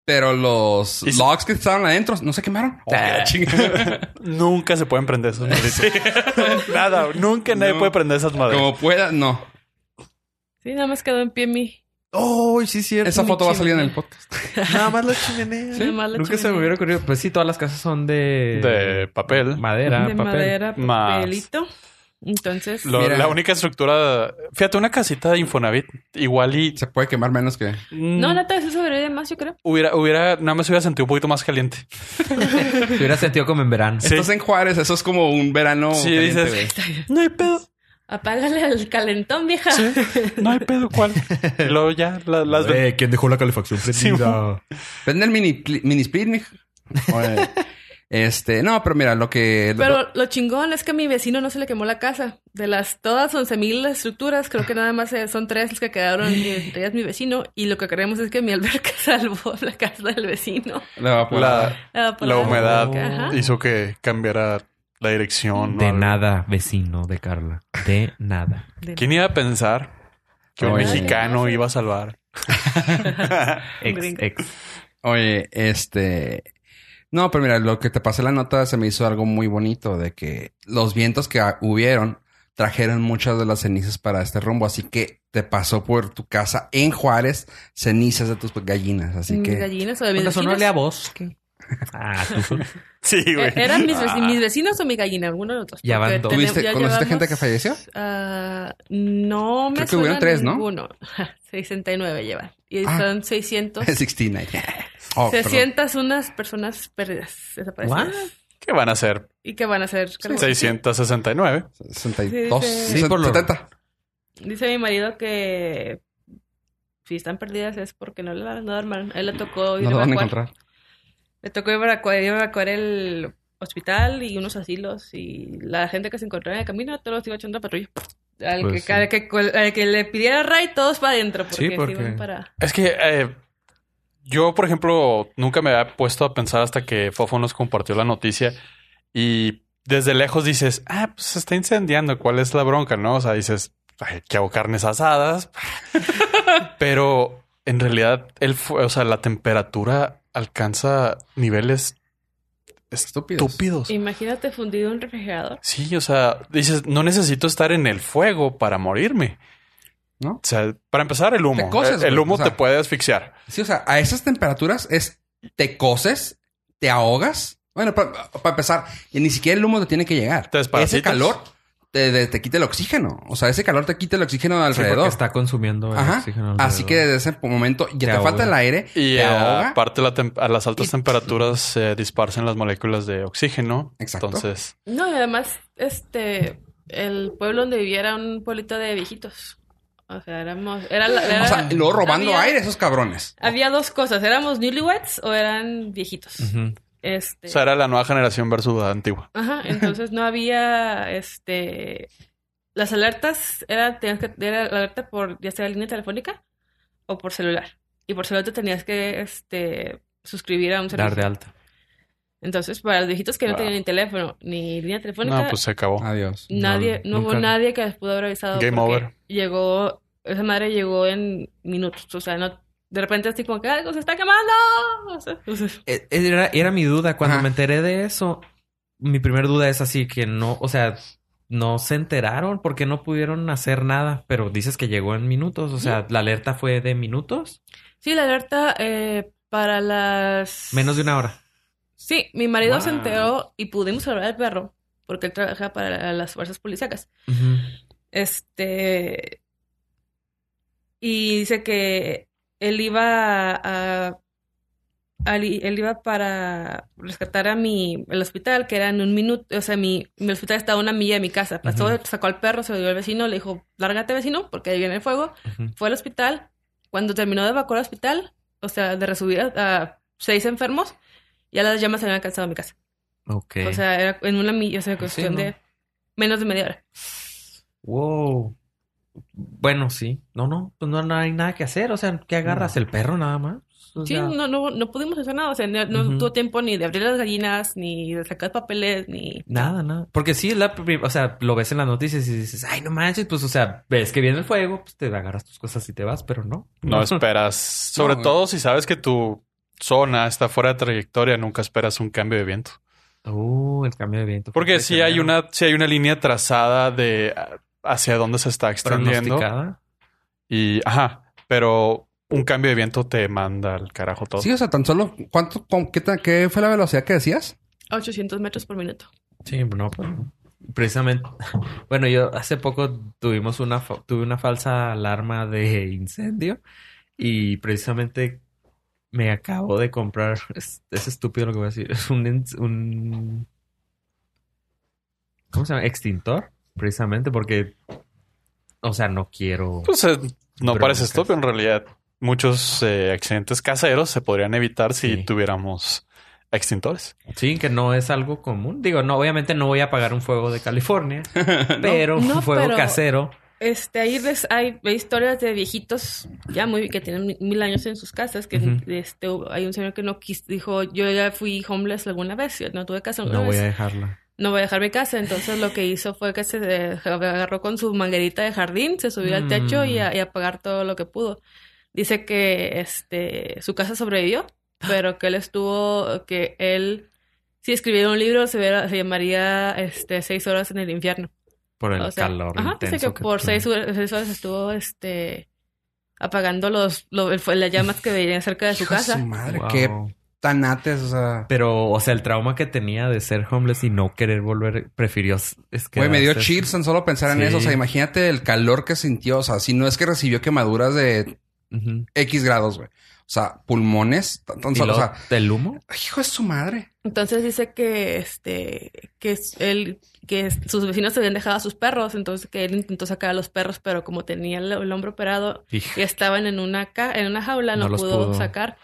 Speaker 2: pero los
Speaker 3: Y si-
Speaker 2: logs que estaban adentro no se quemaron. Oh, la
Speaker 3: <laughs>
Speaker 2: chinga.
Speaker 3: Nunca se pueden prender esos madres. <laughs> Nada, nunca nadie
Speaker 2: No.
Speaker 3: puede prender esas madres.
Speaker 2: Como pueda, no.
Speaker 5: Sí, nada más quedó en pie mi.
Speaker 4: Oh, sí es cierto.
Speaker 2: Esa
Speaker 4: mi
Speaker 2: foto va a salir en el
Speaker 4: chimenea.
Speaker 2: podcast.
Speaker 4: Nada más la chimenea.
Speaker 5: Nada más la
Speaker 4: Nunca se me
Speaker 5: chimenea.
Speaker 4: hubiera ocurrido. Pues sí, todas las casas son de...
Speaker 3: De papel.
Speaker 4: Madera,
Speaker 5: de
Speaker 4: Ah, papel.
Speaker 5: madera,
Speaker 3: Más.
Speaker 5: papelito. Entonces,
Speaker 3: Lo-
Speaker 2: Mira.
Speaker 3: la única estructura. Fíjate, una casita de Infonavit. Igual y.
Speaker 2: Se puede quemar menos que.
Speaker 5: no, neta, eso sobrevive más, yo creo.
Speaker 3: Hubiera, hubiera, nada más hubiera sentido un poquito más caliente.
Speaker 4: Te hubiera sentido como en verano.
Speaker 3: Sí.
Speaker 2: Estás en Juárez, eso es como un verano.
Speaker 3: Sí,
Speaker 2: caliente,
Speaker 3: dices-
Speaker 2: güey.
Speaker 3: No hay pedo.
Speaker 5: Apágale al calentón, vieja.
Speaker 3: Sí, no hay pedo
Speaker 5: <laughs>
Speaker 3: cuál. Y luego ya la- las ve-
Speaker 7: Eh, ¿Quién dejó la calefacción
Speaker 3: Sí,
Speaker 7: prendida?
Speaker 2: Vende el mini, pli- mini split, mija. Oye, <laughs> Este, no, pero mira, lo que. lo-
Speaker 5: Pero lo chingón es que a mi vecino no se le quemó la casa. De las todas 11.000 estructuras, creo que nada más eh, son tres las que quedaron y entre ellas mi vecino. Y lo que queremos es que mi alberca <laughs> salvó la casa del vecino.
Speaker 2: lo-
Speaker 3: la,
Speaker 5: Ah, por
Speaker 3: la humedad
Speaker 5: Ajá.
Speaker 3: hizo que cambiara la dirección.
Speaker 4: De
Speaker 3: o algo.
Speaker 4: nada, vecino de Carla. De nada.
Speaker 5: De-
Speaker 3: ¿Quién iba a pensar que un
Speaker 2: Oye.
Speaker 3: mexicano iba a salvar?
Speaker 4: Ex,
Speaker 5: Gringo.
Speaker 4: ex.
Speaker 2: Oye, este. No, pero mira, lo que te pasé la nota se me hizo algo muy bonito de que los vientos que ah, hubieron trajeron muchas de las cenizas para este rumbo, así que te pasó por tu casa en Juárez cenizas de tus gallinas, así
Speaker 5: Mis
Speaker 2: que
Speaker 5: gallinas o de mis
Speaker 4: Bueno,
Speaker 5: vecinos.
Speaker 4: sonóle a bosque. Ah, tú.
Speaker 3: Sí, güey.
Speaker 5: Eh, ¿Eran mis, veci-
Speaker 3: Ah.
Speaker 5: mis vecinos o mi gallina? Alguno de los dos.
Speaker 4: Ya
Speaker 5: Porque
Speaker 4: van dos.
Speaker 5: tenemos-
Speaker 2: ¿Tuviste-
Speaker 5: ya
Speaker 2: conociste
Speaker 5: llevamos,
Speaker 2: gente que falleció? <laughs>
Speaker 5: ah, no me
Speaker 2: Creo que hubieron tres, ¿no?
Speaker 5: <laughs> Uno. 69 lleva. Y
Speaker 2: Ah.
Speaker 5: son 600.
Speaker 2: 69. Oh, perdón.
Speaker 5: 600 unas personas perdidas, desaparecidas.
Speaker 4: What?
Speaker 3: ¿Qué van a hacer?
Speaker 5: ¿Y qué van a hacer? Carlos?
Speaker 3: 669.
Speaker 2: 62.
Speaker 5: Sí,
Speaker 4: sí. por lo-
Speaker 2: 70.
Speaker 5: Dice mi marido que si están perdidas es porque no la no armaron. A Él le tocó ir
Speaker 2: No lo van a
Speaker 5: evacuar.
Speaker 2: encontrar.
Speaker 5: Le tocó evacuar, evacuar el hospital y unos asilos y la gente que se encontraba en el camino, todos los iba echando a patrulla. Al,
Speaker 7: Pues
Speaker 5: que,
Speaker 7: sí.
Speaker 5: al, que, al que le pidiera Ray, todos para adentro. Porque
Speaker 7: Sí,
Speaker 5: sí
Speaker 7: porque-
Speaker 5: van para...
Speaker 3: Es que eh, yo, por ejemplo, nunca me había puesto a pensar hasta que Fofo nos compartió la noticia y desde lejos dices, ah, pues se está incendiando, ¿cuál es la bronca? No, o sea, dices, "Ay, que hago carnes asadas, <laughs> pero en realidad, el, fu- o sea, la temperatura alcanza niveles
Speaker 2: Estúpidos.
Speaker 3: estúpidos.
Speaker 5: Imagínate fundido un refrigerador.
Speaker 3: Sí, o sea, dices, no necesito estar en el fuego para morirme.
Speaker 2: ¿No?
Speaker 3: O sea, para empezar, el humo.
Speaker 2: Te coces,
Speaker 3: el, el
Speaker 2: güey,
Speaker 3: humo
Speaker 2: o sea.
Speaker 3: te puede asfixiar.
Speaker 2: Sí, o sea, a esas temperaturas es te coces, te ahogas. Bueno, para empezar, y ni siquiera el humo te tiene que llegar.
Speaker 3: Te desparasitas.
Speaker 2: ese calor te, te- te quita el oxígeno. O sea, ese calor te quita el oxígeno
Speaker 4: Sí, porque
Speaker 2: alrededor.
Speaker 4: está consumiendo el
Speaker 2: Ajá.
Speaker 4: oxígeno
Speaker 2: Así
Speaker 4: alrededor.
Speaker 2: que desde ese momento ya te,
Speaker 4: ahoga.
Speaker 2: falta el aire,
Speaker 3: Y
Speaker 2: te
Speaker 3: eh,
Speaker 2: ahoga.
Speaker 3: aparte, la tem- a las altas temperaturas se disparcen las moléculas de oxígeno.
Speaker 2: Exacto.
Speaker 3: Entonces,
Speaker 5: No, y además, este, el pueblo donde vivía era un pueblito de viejitos. O sea, éramos, era, la- era-
Speaker 2: O sea, y luego robando
Speaker 5: había-
Speaker 2: aire esos cabrones.
Speaker 5: Había dos cosas, éramos newlyweds o eran viejitos.
Speaker 4: Ujú.
Speaker 5: Este,
Speaker 3: o sea, era la nueva generación versus la antigua.
Speaker 4: <laughs>
Speaker 5: ajá, entonces no había, este, las alertas era, tenías que, era la alerta por ya sea línea telefónica o por celular. Y por celular te tenías que, este, suscribir a un
Speaker 4: Dar de
Speaker 5: servicio.
Speaker 4: alta.
Speaker 5: Entonces, para los viejitos que no
Speaker 3: Wow.
Speaker 5: tenían ni teléfono ni línea telefónica,
Speaker 3: No, pues se acabó.
Speaker 2: Adiós.
Speaker 5: Nadie, no,
Speaker 4: No,
Speaker 5: hubo
Speaker 4: nunca.
Speaker 5: nadie que les pudo haber avisado.
Speaker 3: Game
Speaker 5: porque
Speaker 3: over.
Speaker 5: Llegó, esa madre llegó en minutos. O sea, no, de repente así como que algo se está quemando. O sea, o sea,
Speaker 4: Eh, Era, era mi duda. Cuando
Speaker 2: Ajá.
Speaker 4: me enteré de eso, mi primer duda es así que no, o sea, no se enteraron porque no pudieron hacer nada. Pero dices que llegó en minutos. O sea, la alerta fue de minutos,
Speaker 5: sí, la alerta eh, para las...
Speaker 4: menos de una hora.
Speaker 5: Sí, mi marido se
Speaker 4: Wow.
Speaker 5: enteró y pudimos hablar al perro porque él trabaja para las fuerzas policíacas.
Speaker 4: Ujú.
Speaker 5: Este. Y dice que él iba a. al- él iba para rescatar a mi. El hospital, que era en un minuto. O sea, mi, mi hospital estaba a una milla de mi casa. Pasó,
Speaker 4: Ujú.
Speaker 5: sacó al perro, se lo dio al vecino, le dijo: Lárgate, vecino, porque ahí viene el fuego.
Speaker 4: Ujú.
Speaker 5: Fue al hospital. Cuando terminó de evacuar al hospital, o sea, de resubir a, a seis enfermos, ya las llamas se habían alcanzado a mi casa.
Speaker 4: Ok.
Speaker 5: O sea, era en una milla, o sea, cuestión
Speaker 4: ¿no?
Speaker 5: de menos de media hora.
Speaker 4: Wow. Bueno, sí. No, no, pues no, no hay nada que hacer. O sea, que agarras el perro nada más. O
Speaker 5: Sí,
Speaker 4: sea,
Speaker 5: no, no, no pudimos hacer nada. O sea, no, no
Speaker 4: Ujú.
Speaker 5: tuvo tiempo ni de abrir las gallinas, ni de sacar papeles, ni
Speaker 4: Nada, nada. Porque sí, la, pri- o sea, lo ves en las noticias y dices, ay, no manches, pues, o sea, ves que viene el fuego, pues te agarras tus cosas y te vas, pero no. <laughs>
Speaker 2: <laughs>
Speaker 3: No esperas. Sobre
Speaker 2: Ah. No.
Speaker 3: todo si sabes que tu zona está fuera de trayectoria, nunca esperas un cambio de viento.
Speaker 4: Uh, el cambio de viento.
Speaker 3: Porque si hay una, si hay una línea trazada de ah, hacia dónde se está extendiendo.
Speaker 4: pronosticada.
Speaker 3: Y, ajá, pero un cambio de viento te manda al carajo todo.
Speaker 2: Sí, o sea, tan solo cuánto, con- qué, tan- qué fue la velocidad que decías?
Speaker 5: a 800 metros por minuto.
Speaker 4: Sí, no, pues, precisamente. <laughs> Bueno, yo hace poco tuvimos una, fa- tuve una falsa alarma de incendio y precisamente me acabo de comprar, es, es estúpido lo que voy a decir, es un, ins- un, ¿cómo se llama? Extintor, precisamente porque O sea, no quiero.
Speaker 3: Pues eh, no parece
Speaker 4: Broncas.
Speaker 3: estúpido. En realidad, muchos eh, accidentes caseros se podrían evitar si
Speaker 4: Sí.
Speaker 3: tuviéramos extintores.
Speaker 4: Sí, que no es algo común. Digo, no, obviamente no voy a apagar un fuego de California, pero
Speaker 5: No,
Speaker 4: un fuego
Speaker 5: pero-
Speaker 4: casero.
Speaker 5: Este, ahí les- hay, hay historias de viejitos ya muy que tienen mi- mil años en sus casas, que
Speaker 4: Ujú.
Speaker 5: este, hay un señor que no quiso, dijo, yo ya fui homeless alguna vez, yo no tuve casa alguna
Speaker 4: No voy
Speaker 5: vez,
Speaker 4: a dejarla.
Speaker 5: no voy a dejar mi casa, entonces lo que hizo fue que se eh, agarró con su manguerita de jardín, se subió al techo y,
Speaker 4: Mm.
Speaker 5: a- y apagar todo lo que pudo. Dice que este, su casa sobrevivió, pero que él estuvo, que él, si escribiera un libro, se, hubiera- se llamaría este, Seis horas en el infierno.
Speaker 4: Por el
Speaker 5: O sea,
Speaker 4: calor.
Speaker 5: Ajá, dice
Speaker 4: intenso
Speaker 5: que, por
Speaker 4: tiene.
Speaker 5: seis, horas- seis horas estuvo este apagando los, lo- el fue- las llamas que venían
Speaker 4: <laughs>
Speaker 5: cerca de su
Speaker 2: Hijo
Speaker 5: casa.
Speaker 2: Su madre,
Speaker 4: Wow.
Speaker 2: qué tanates, o sea.
Speaker 4: Pero, o sea, el trauma que tenía de ser homeless y no querer volver, prefirió. s- Es que
Speaker 2: Güey, me dio chills en solo pensar en
Speaker 4: Sí.
Speaker 2: eso. O sea, imagínate el calor que sintió. O sea, si no es que recibió quemaduras de X grados, güey. O sea, pulmones. tan- tan solo, o sea,
Speaker 4: ¿Del humo?
Speaker 2: hijo de su madre.
Speaker 5: Entonces dice que este que es- él que es- sus vecinos se habían dejado a sus perros, entonces que él intentó sacar a los perros, pero como tenía el, el hombro operado
Speaker 4: Hijo.
Speaker 5: y estaban en una ca- en una jaula no,
Speaker 4: No los
Speaker 5: pudo,
Speaker 4: pudo.
Speaker 5: sacar.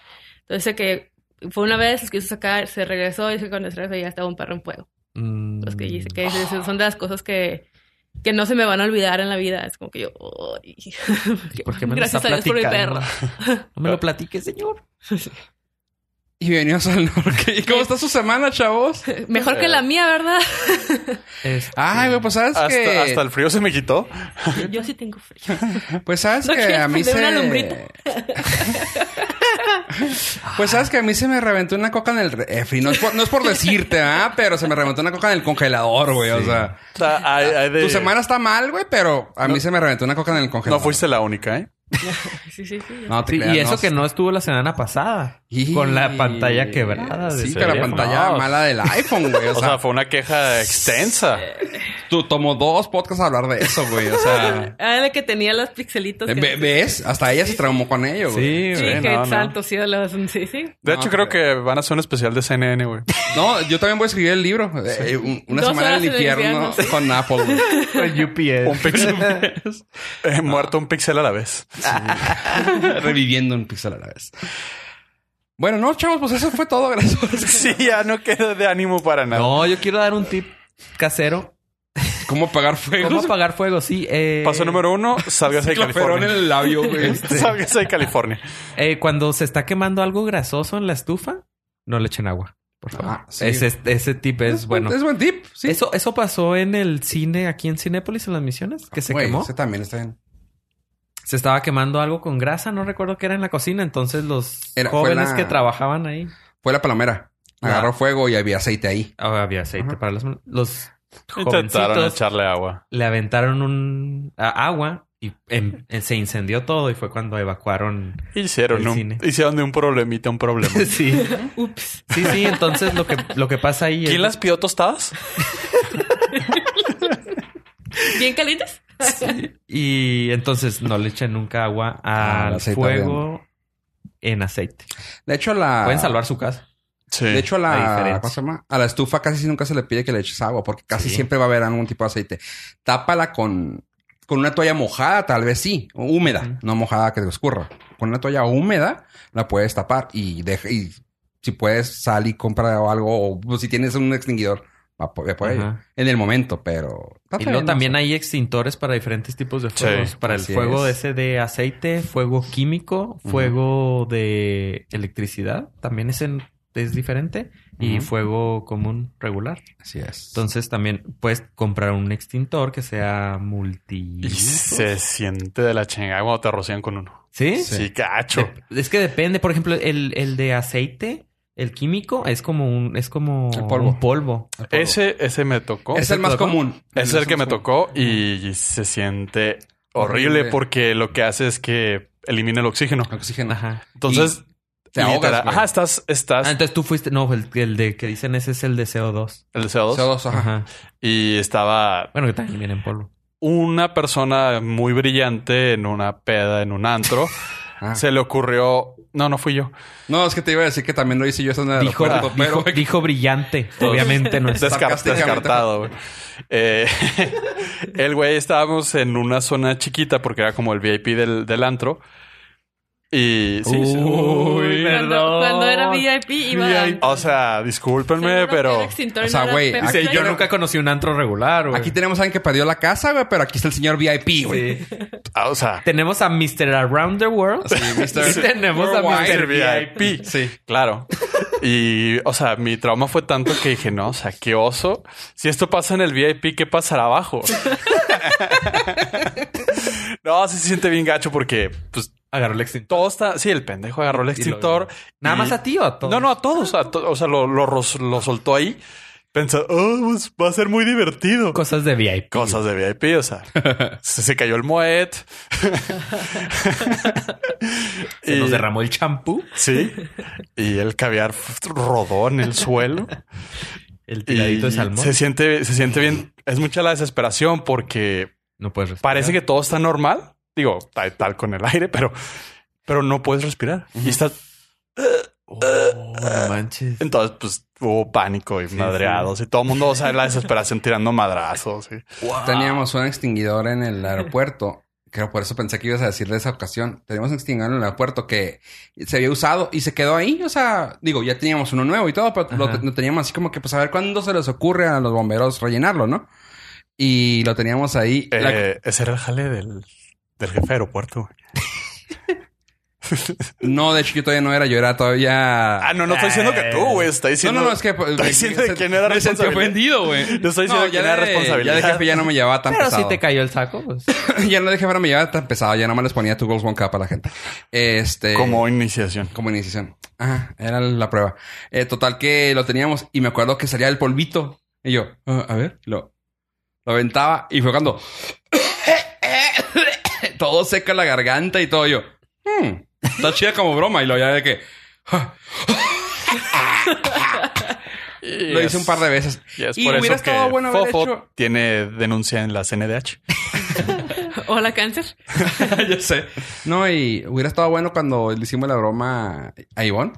Speaker 5: Entonces dice que fue una vez los quiso sacar, se regresó y dice que cuando se regresó ya estaba un perro en fuego.
Speaker 4: Mm.
Speaker 5: Los Pues que dice que dice, son de las cosas que, que no se me van a olvidar en la vida. Es como que yo. "Ay, <laughs> que-
Speaker 4: Mm, ¿Por qué me lo
Speaker 5: gracias
Speaker 4: está
Speaker 5: a Dios por mi perro.
Speaker 4: platicando? <laughs> No me lo platique, señor.
Speaker 2: Y venimos al norte. ¿Y cómo está su semana,
Speaker 3: <laughs>
Speaker 2: chavos?
Speaker 5: Mejor que la mía, ¿verdad? <laughs>
Speaker 4: Este,
Speaker 2: Ay, güey, pues sabes
Speaker 3: Hasta,
Speaker 2: que.
Speaker 3: hasta el frío se me quitó.
Speaker 5: Yo sí tengo frío.
Speaker 4: <laughs>
Speaker 2: Pues sabes
Speaker 5: ¿No
Speaker 2: que
Speaker 5: quieres
Speaker 2: a mí
Speaker 5: prender
Speaker 2: se.
Speaker 5: una lumbrita?
Speaker 2: <laughs> pues sabes que a mí se me reventó una coca en el refri. No es por, no es por decirte, ¿ah? Pero se me reventó una coca en el congelador, güey. O
Speaker 4: Sí.
Speaker 2: sea,
Speaker 3: O sea, hay- hay de-
Speaker 2: tu semana está mal, güey, pero a mí
Speaker 3: No.
Speaker 2: se me reventó una coca en el
Speaker 3: No
Speaker 2: congelador.
Speaker 3: fuiste la única, ¿eh?
Speaker 5: Sí, sí, sí.
Speaker 2: No, te
Speaker 4: sí,
Speaker 2: creas,
Speaker 4: y eso
Speaker 2: no.
Speaker 4: que no estuvo la semana pasada.
Speaker 2: Y-
Speaker 4: Con la pantalla quebrada. de
Speaker 2: Sí,
Speaker 4: su
Speaker 2: con la
Speaker 4: teléfono.
Speaker 2: pantalla
Speaker 3: No.
Speaker 2: mala del iPhone, güey. <laughs> O,
Speaker 3: O
Speaker 2: sea,
Speaker 3: sea, fue una queja extensa.
Speaker 2: tú tomó dos podcasts a hablar de eso, güey. O
Speaker 4: <laughs>
Speaker 2: sea,
Speaker 5: Ah, la que tenía los
Speaker 4: Eh,
Speaker 5: pixelitos. que-
Speaker 2: ve- ¿ves? Hasta ella se traumó con ello, güey.
Speaker 4: Sí,
Speaker 5: Sí,
Speaker 4: güey.
Speaker 3: Sí,
Speaker 5: que
Speaker 3: no, no.
Speaker 5: salto, sí, los- sí, sí.
Speaker 2: No,
Speaker 3: De hecho,
Speaker 2: pero-
Speaker 3: creo que van a hacer un especial de CNN, <laughs> güey.
Speaker 2: No, yo también voy a escribir el libro. eh, un- una
Speaker 5: Dos
Speaker 2: semana en
Speaker 5: horas
Speaker 2: el
Speaker 5: en el
Speaker 2: infierno
Speaker 5: infierno.
Speaker 2: con Apple, güey.
Speaker 4: <laughs> Con
Speaker 3: Un
Speaker 4: UPS.
Speaker 3: pixel. <laughs> Eh, Muerto un pixel a la vez.
Speaker 4: <laughs>
Speaker 2: reviviendo un pixel a la vez. Bueno, no, chavos, pues eso fue todo. Gracias por
Speaker 3: <laughs> Sí, ya no queda de ánimo para nada.
Speaker 4: No, yo quiero dar un tip casero.
Speaker 2: cómo apagar fuegos.
Speaker 4: <laughs> <laughs> ¿Cómo apagar fuego? Sí. Eh,
Speaker 3: Paso número uno, <laughs> sálgase de
Speaker 2: Cloferón en
Speaker 3: California.
Speaker 2: el labio, güey.
Speaker 3: <laughs> Sálgase de California.
Speaker 4: eh, cuando se está quemando algo grasoso en la estufa, no le echen agua. Por favor.
Speaker 2: Ah, sí.
Speaker 4: ese, ese tip es, bueno.
Speaker 2: Es buen tip. Sí.
Speaker 4: Eso, eso pasó en el cine, aquí en Cinépolis, en las misiones, que se
Speaker 2: Güey,
Speaker 4: quemó.
Speaker 2: Ese también está bien.
Speaker 4: Se estaba quemando algo con grasa, no recuerdo qué era en la cocina. Entonces los
Speaker 2: Era- fue
Speaker 4: jóvenes
Speaker 2: la-
Speaker 4: que trabajaban ahí...
Speaker 2: Fue la palomera. Agarró fuego y había aceite ahí.
Speaker 4: Ah, había aceite para las manos. Los
Speaker 3: Intentaron
Speaker 4: jovencitos
Speaker 3: echarle agua.
Speaker 4: le aventaron un a- agua y em- em- se incendió todo y fue
Speaker 2: <laughs>
Speaker 4: cuando evacuaron.
Speaker 3: Hicieron,
Speaker 4: El
Speaker 3: un-
Speaker 4: cine.
Speaker 3: hicieron de un problemita un problema.
Speaker 4: <laughs> Sí. Ups. Sí, sí. Entonces lo que, lo que pasa ahí es...
Speaker 3: ¿Quién las pidió tostadas?
Speaker 5: ¿Bien calientes? <laughs>
Speaker 4: Y entonces no le echen nunca agua
Speaker 2: <laughs> Ah, el
Speaker 4: al
Speaker 2: aceite
Speaker 4: fuego en aceite.
Speaker 2: De hecho, la.
Speaker 4: Pueden salvar su casa.
Speaker 3: Sí.
Speaker 2: De hecho,
Speaker 4: La
Speaker 2: la,
Speaker 4: diferencia.
Speaker 2: ¿cómo se llama? a la estufa casi nunca se le pide que le eches agua porque casi
Speaker 4: Sí.
Speaker 2: siempre va a haber algún tipo de aceite. Tápala con, con una toalla mojada, tal vez sí, o húmeda,
Speaker 4: Ujú.
Speaker 2: no mojada que te escurra. Con una toalla húmeda la puedes tapar y deja, y si puedes sal y compra o algo o pues, si tienes un extinguidor, va por, va por ello.
Speaker 4: Ajá.
Speaker 2: En el momento, pero...
Speaker 4: Y luego también hay extintores para diferentes tipos de fuegos. para el
Speaker 2: así
Speaker 4: fuego
Speaker 2: es.
Speaker 4: ese de aceite, fuego químico, fuego de electricidad. También es, en- es diferente. Y
Speaker 2: Ujú.
Speaker 4: fuego común regular.
Speaker 2: Así es.
Speaker 4: Entonces también puedes comprar un extintor que sea multi.
Speaker 3: Y se siente de la chingada cuando te rocían con uno.
Speaker 4: ¿Sí?
Speaker 3: Sí, cacho.
Speaker 4: Dep- es que depende, por ejemplo, el, el de aceite, el químico, es como un, es como
Speaker 2: El polvo.
Speaker 4: un polvo.
Speaker 3: Ese, ese me tocó.
Speaker 2: Oh, es el más
Speaker 4: ¿Tocó?
Speaker 2: común.
Speaker 3: Es el que me
Speaker 2: más común.
Speaker 3: tocó y se siente horrible
Speaker 2: Horrible.
Speaker 3: porque lo que hace es que elimina el oxígeno.
Speaker 2: Oxígeno.
Speaker 4: Ajá.
Speaker 3: Entonces,
Speaker 2: Te ahogas,
Speaker 3: literal-
Speaker 2: güey.
Speaker 3: Ajá, estás, estás
Speaker 4: Ah, entonces tú fuiste, no, el, el de que dicen ese es el de CO2.
Speaker 3: el CO2
Speaker 2: CO2, ajá.
Speaker 4: Ajá.
Speaker 3: y estaba
Speaker 4: Bueno, que también viene en polvo.
Speaker 3: una persona muy brillante en una peda, en un antro.
Speaker 2: Ah.
Speaker 3: Se le ocurrió No, no fui yo.
Speaker 2: No, es que te iba a decir que también lo hice yo estando en el
Speaker 4: Dijo, ah,
Speaker 2: aeropuerto, pero
Speaker 4: dijo, dijo brillante. Obviamente
Speaker 3: <laughs>
Speaker 4: no es.
Speaker 3: Descar-
Speaker 2: Sarcásticamente.
Speaker 3: descartado, güey. Eh, <laughs> el güey estábamos en una zona chiquita porque era como el VIP del, del antro. Y sí, sí.
Speaker 4: Uy,
Speaker 5: Cuando,
Speaker 4: perdón.
Speaker 5: cuando era VIP iba a-
Speaker 3: O sea, discúlpenme,
Speaker 5: Seguro que el
Speaker 3: pero
Speaker 5: extintor
Speaker 2: O sea,
Speaker 5: no era
Speaker 2: güey,
Speaker 5: Pepsi
Speaker 2: aquí
Speaker 4: Dice,
Speaker 5: Light.
Speaker 4: yo nunca conocí un antro regular, güey.
Speaker 2: aquí tenemos a alguien que perdió la casa, güey, pero aquí está el señor VIP, güey.
Speaker 4: Sí.
Speaker 3: ah, o sea,
Speaker 4: <laughs>
Speaker 3: <laughs>
Speaker 4: Tenemos a Mr. Around
Speaker 2: <laughs>
Speaker 4: the <laughs> World.
Speaker 2: Sí, Mr.
Speaker 4: Sí, tenemos a
Speaker 2: Worldwide.
Speaker 4: Mr. VIP.
Speaker 2: Sí.
Speaker 3: claro. Y, o sea, mi trauma fue tanto que dije, no, o sea, qué oso. Si esto pasa en el VIP, ¿qué pasará abajo? <laughs> no, sí se siente bien gacho porque, pues,
Speaker 4: Agarró el extintor.
Speaker 3: todo está... Sí, el pendejo agarró el
Speaker 4: lo-
Speaker 3: extintor.
Speaker 4: Nada
Speaker 3: y-
Speaker 4: más a ti o a todos.
Speaker 3: No, no, a todos. a to- o sea, lo, lo ros- lo soltó ahí. Pensó, oh, pues, va a ser muy divertido.
Speaker 4: Cosas de VIP.
Speaker 3: Cosas de VIP, o
Speaker 4: <laughs>
Speaker 3: sea, se, se cayó el moet.
Speaker 4: Se
Speaker 3: Eh,
Speaker 4: nos derramó el champú.
Speaker 3: Sí. Y el caviar f- rodó en el suelo.
Speaker 4: <laughs> El
Speaker 3: Y
Speaker 4: tiradito de salmón.
Speaker 3: Se siente, se siente bien. Es mucha la desesperación porque
Speaker 4: No puedes respirar.
Speaker 3: parece que todo está normal. Digo, tal, tal con el aire, pero, pero no puedes respirar. Y estás.
Speaker 4: Oh, no manches.
Speaker 3: Entonces, pues hubo pánico y madreados y todo el mundo, o sea, la desesperación tirando madrazos. y-
Speaker 2: Teníamos un extinguidor en el aeropuerto. Creo por eso pensé que ibas a decir de esa ocasión. Teníamos un extinguidor en el aeropuerto que se había usado y se quedó ahí. O sea, digo, ya teníamos uno nuevo y todo, pero lo,
Speaker 4: Ajá.
Speaker 2: lo teníamos así como que, pues a ver cuándo se les ocurre a los bomberos rellenarlo, ¿no? Y lo teníamos ahí. La-
Speaker 3: Eh, Ese era el jale del, del jefe de aeropuerto. güey.
Speaker 2: No, de hecho, yo todavía no era, yo era todavía.
Speaker 3: Ah, no, no estoy diciendo que tú, güey. Estoy
Speaker 2: no,
Speaker 3: diciendo.
Speaker 2: no, no, es que. pues,
Speaker 3: Estoy diciendo de quién era
Speaker 2: me sentí
Speaker 3: responsabilidad.
Speaker 2: ofendido, güey.
Speaker 3: <laughs> Yo estoy diciendo quién
Speaker 2: ya
Speaker 3: era
Speaker 2: de-
Speaker 3: responsabilidad.
Speaker 2: Ya de jefe ya no me llevaba tan
Speaker 4: Pero
Speaker 2: pesado.
Speaker 4: si te cayó el saco, pues.
Speaker 2: <laughs> ya no de jefe no me llevaba tan pesado. Ya nada más les ponía tu Goals One Cup a la gente. Este.
Speaker 3: Como iniciación.
Speaker 2: Como iniciación. Ajá, era la prueba. Eh, total que lo teníamos y me acuerdo que salía el polvito. Y yo, ah, a ver, lo, lo aventaba y fue cuando... <coughs> todo seca la garganta y todo. Yo, "Hmm, está chida como broma. Y lo ya de que... ah, Lo hice un par de veces.
Speaker 3: Y es
Speaker 2: Y
Speaker 3: por
Speaker 2: hubiera
Speaker 3: eso
Speaker 2: estado
Speaker 3: que
Speaker 2: bueno haber
Speaker 3: Fofo
Speaker 2: hecho-
Speaker 3: tiene denuncia en la <laughs> CNDH.
Speaker 5: Hola, cáncer.
Speaker 2: ya sé. No, y hubiera estado bueno cuando le hicimos la broma a Ivonne.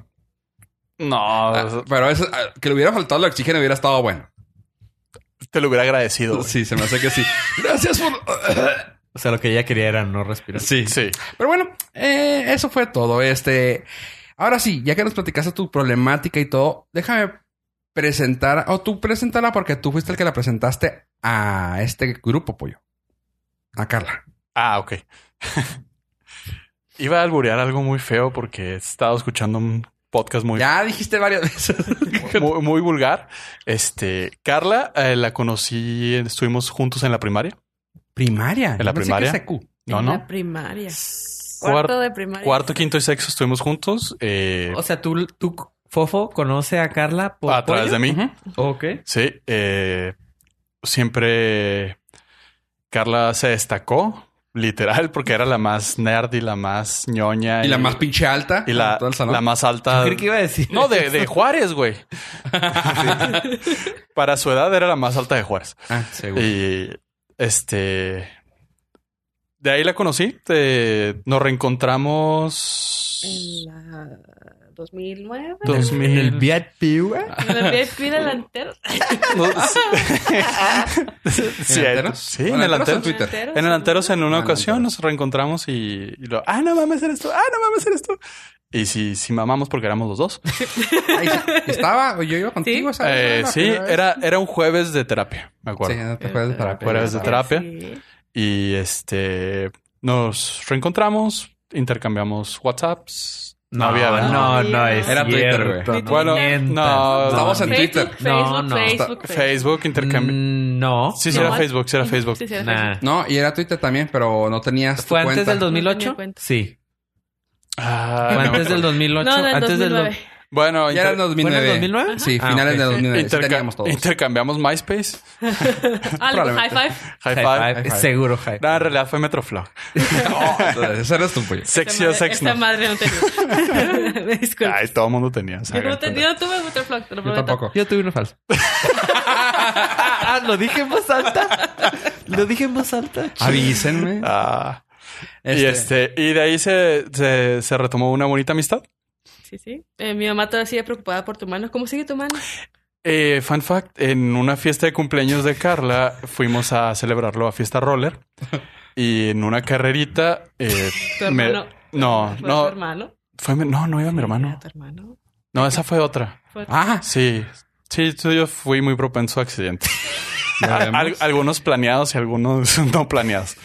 Speaker 3: No,
Speaker 2: Ah, pero eso, ah, que le hubiera faltado el oxígeno hubiera estado bueno.
Speaker 3: te lo hubiera agradecido. güey.
Speaker 2: Sí, se me hace que sí. Gracias por...
Speaker 4: O sea, lo que ella quería era no respirar.
Speaker 3: Sí, sí.
Speaker 2: Pero bueno, eh, eso fue todo. Este, ahora sí, ya que nos platicaste tu problemática y todo, déjame presentar, o tú preséntala porque tú fuiste el que la presentaste a este grupo, pollo. A Carla.
Speaker 3: Ah, ok. <laughs> Iba a alburear algo muy feo porque he estado escuchando un podcast muy,
Speaker 2: Ya dijiste varias veces. <laughs>
Speaker 3: <laughs> muy, muy vulgar. Este, Carla, eh, la conocí, estuvimos juntos en la primaria.
Speaker 2: primaria.
Speaker 3: ¿En la
Speaker 2: Yo pensé
Speaker 3: primaria?
Speaker 2: que secu.
Speaker 3: No,
Speaker 5: en
Speaker 3: no.
Speaker 5: la primaria.
Speaker 3: Cuar-
Speaker 5: Cuarto de primaria.
Speaker 3: cuarto, quinto y sexto estuvimos juntos eh,
Speaker 4: O sea, tú, tú, Fofo, conoce a Carla por.
Speaker 3: a través de mí.
Speaker 2: Ujú.
Speaker 4: Ok.
Speaker 3: Sí, eh, siempre Carla se destacó, literal, porque era la más nerd y la más ñoña.
Speaker 2: Y la más pinche alta.
Speaker 3: y la,
Speaker 2: de todo el salón.
Speaker 3: la más alta.
Speaker 4: Creí que iba a decir.
Speaker 3: Ah, No, de, de Juárez,
Speaker 4: <laughs>
Speaker 3: güey. Para su edad era la más alta de Juárez.
Speaker 2: Ah, seguro.
Speaker 3: Y este. De ahí la conocí. te- nos reencontramos.
Speaker 5: En la
Speaker 3: <laughs>
Speaker 5: 2009.
Speaker 4: En el-
Speaker 3: 2000.
Speaker 4: En el
Speaker 5: <laughs>
Speaker 4: VIP, güey.
Speaker 5: En el VIP delantero.
Speaker 3: No, sí, sí,
Speaker 2: ¿Delantero?
Speaker 3: sí, en el
Speaker 2: ¿Delanteros o
Speaker 3: antero.
Speaker 2: Twitter.
Speaker 5: Delanteros,
Speaker 3: En delanteros en una
Speaker 2: Ah,
Speaker 3: ocasión
Speaker 2: delanteros.
Speaker 3: nos reencontramos y, y lo, ah, no mames, eres tú, ah, no mames, eres tú. Y si, si mamamos porque éramos los
Speaker 5: <laughs>
Speaker 3: dos.
Speaker 2: Ahí estaba, o yo iba contigo, ¿sabes?
Speaker 3: Eh,
Speaker 2: La
Speaker 3: sí,
Speaker 2: primera vez.
Speaker 3: era, era un jueves de terapia, me
Speaker 2: Sí,
Speaker 3: acuerdo.
Speaker 2: no
Speaker 4: Eh,
Speaker 2: te acuerdas de terapia.
Speaker 3: Jueves de terapia.
Speaker 5: Sí.
Speaker 3: Y este, nos reencontramos, intercambiamos WhatsApps. No, había, ¿verdad?
Speaker 4: no, no es.
Speaker 2: Era Twitter,
Speaker 4: cierto,
Speaker 2: güey.
Speaker 4: no
Speaker 3: Bueno,
Speaker 4: mientas.
Speaker 3: no,
Speaker 2: Estamos en- Twitter.
Speaker 5: Facebook,
Speaker 4: No,
Speaker 5: Facebook,
Speaker 4: no.
Speaker 5: Facebook, Facebook.
Speaker 3: Facebook, intercambio.
Speaker 4: Mm, No.
Speaker 3: Sí, sí, era
Speaker 5: No.
Speaker 3: Facebook, sí, era Facebook.
Speaker 5: Sí, sí, era
Speaker 4: Nah.
Speaker 5: Facebook.
Speaker 2: No, y era Twitter también, pero no tenías. tu
Speaker 4: ¿Fue antes
Speaker 2: cuenta.
Speaker 4: del 2008?
Speaker 5: tenía cuenta.
Speaker 4: Sí.
Speaker 3: Ah,
Speaker 4: ¿Fue
Speaker 3: no me
Speaker 4: antes del
Speaker 3: acuerdo.
Speaker 4: 2008?
Speaker 5: No, del
Speaker 4: antes
Speaker 3: <laughs>
Speaker 4: del
Speaker 5: 2009.
Speaker 4: do-
Speaker 3: Bueno,
Speaker 2: Ya era el
Speaker 3: inter-
Speaker 2: 2009.
Speaker 4: ¿Fue en el 2009?
Speaker 2: Sí,
Speaker 4: Ajá.
Speaker 2: finales
Speaker 4: Ah,
Speaker 2: de 2009. Sí,
Speaker 3: interca-
Speaker 2: teníamos todos.
Speaker 3: intercambiamos MySpace,
Speaker 5: Ah, le- high
Speaker 2: Probablemente.
Speaker 3: High,
Speaker 5: five.
Speaker 3: Five.
Speaker 4: High five,
Speaker 2: High five.
Speaker 4: Seguro, high.
Speaker 3: No, en realidad fue Metroflow.
Speaker 2: No, ese eres tú, pollo.
Speaker 3: Sexy
Speaker 5: Esta
Speaker 3: o
Speaker 5: madre-
Speaker 3: sex
Speaker 5: Esta
Speaker 3: no.
Speaker 5: madre no tenía.
Speaker 3: <laughs>
Speaker 5: Me disculpo.
Speaker 3: Ay, todo el mundo tenía. o sea,
Speaker 5: Yo no, te, yo no tuve Butterfly, te lo
Speaker 2: Yo
Speaker 5: prometo.
Speaker 2: tampoco.
Speaker 4: Yo tuve
Speaker 3: <laughs>
Speaker 4: uno falso. <laughs> ah, lo dije en voz alta. Lo dije en voz alta.
Speaker 2: Avísenme.
Speaker 3: Ah, Y, este, y de ahí se, se, se retomó una bonita amistad.
Speaker 5: Sí, sí. Eh, mi mamá todavía sigue preocupada por tu mano. ¿Cómo sigue tu mano?
Speaker 3: Eh, fun fact, en una fiesta de cumpleaños de Carla fuimos a celebrarlo a fiesta roller y en una carrerita... eh,
Speaker 5: ¿Tu
Speaker 3: me-
Speaker 5: hermano?
Speaker 3: No,
Speaker 5: ¿Fue
Speaker 3: no,
Speaker 5: tu hermano?
Speaker 3: fue mi- no, no iba mi
Speaker 5: Era
Speaker 3: hermano.
Speaker 5: tu hermano?
Speaker 3: No, esa fue otra.
Speaker 5: Fue-
Speaker 2: Ah,
Speaker 3: Sí, sí, tú- yo fui muy propenso a accidentes.
Speaker 2: ¿ya
Speaker 3: Al-
Speaker 2: vemos?
Speaker 3: al- algunos planeados y algunos <laughs> no planeados.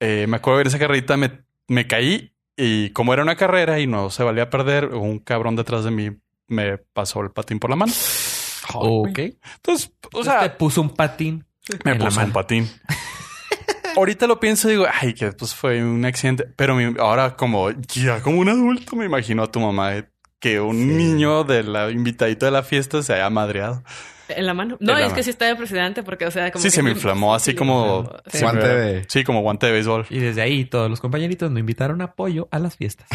Speaker 3: Eh, me acuerdo que en esa carrerita me, me caí y como era una carrera y no se valía perder, un cabrón detrás de mí me pasó el patín por la mano.
Speaker 2: Ok.
Speaker 3: Entonces, o
Speaker 4: O sea, te
Speaker 3: sea,
Speaker 4: Este puso un patín.
Speaker 3: me
Speaker 4: en la
Speaker 3: puso
Speaker 4: mano.
Speaker 3: un patín. Ahorita lo pienso y digo, ay, que pues fue un accidente. Pero mi- ahora como ya como un adulto me imagino a tu mamá eh, que un niño de la invitadito de la fiesta se haya madreado.
Speaker 5: ¿En la mano? No,
Speaker 3: En la
Speaker 5: es que
Speaker 3: mano.
Speaker 5: sí está impresionante porque, o sea, como
Speaker 3: sí,
Speaker 5: que
Speaker 3: se me
Speaker 5: sí-
Speaker 3: inflamó así
Speaker 5: sí,
Speaker 3: como...
Speaker 5: inflamó.
Speaker 3: se
Speaker 2: Guante
Speaker 3: me-
Speaker 2: de-
Speaker 3: Sí, como guante de béisbol.
Speaker 4: Y desde ahí todos los compañeritos no invitaron apoyo a las fiestas.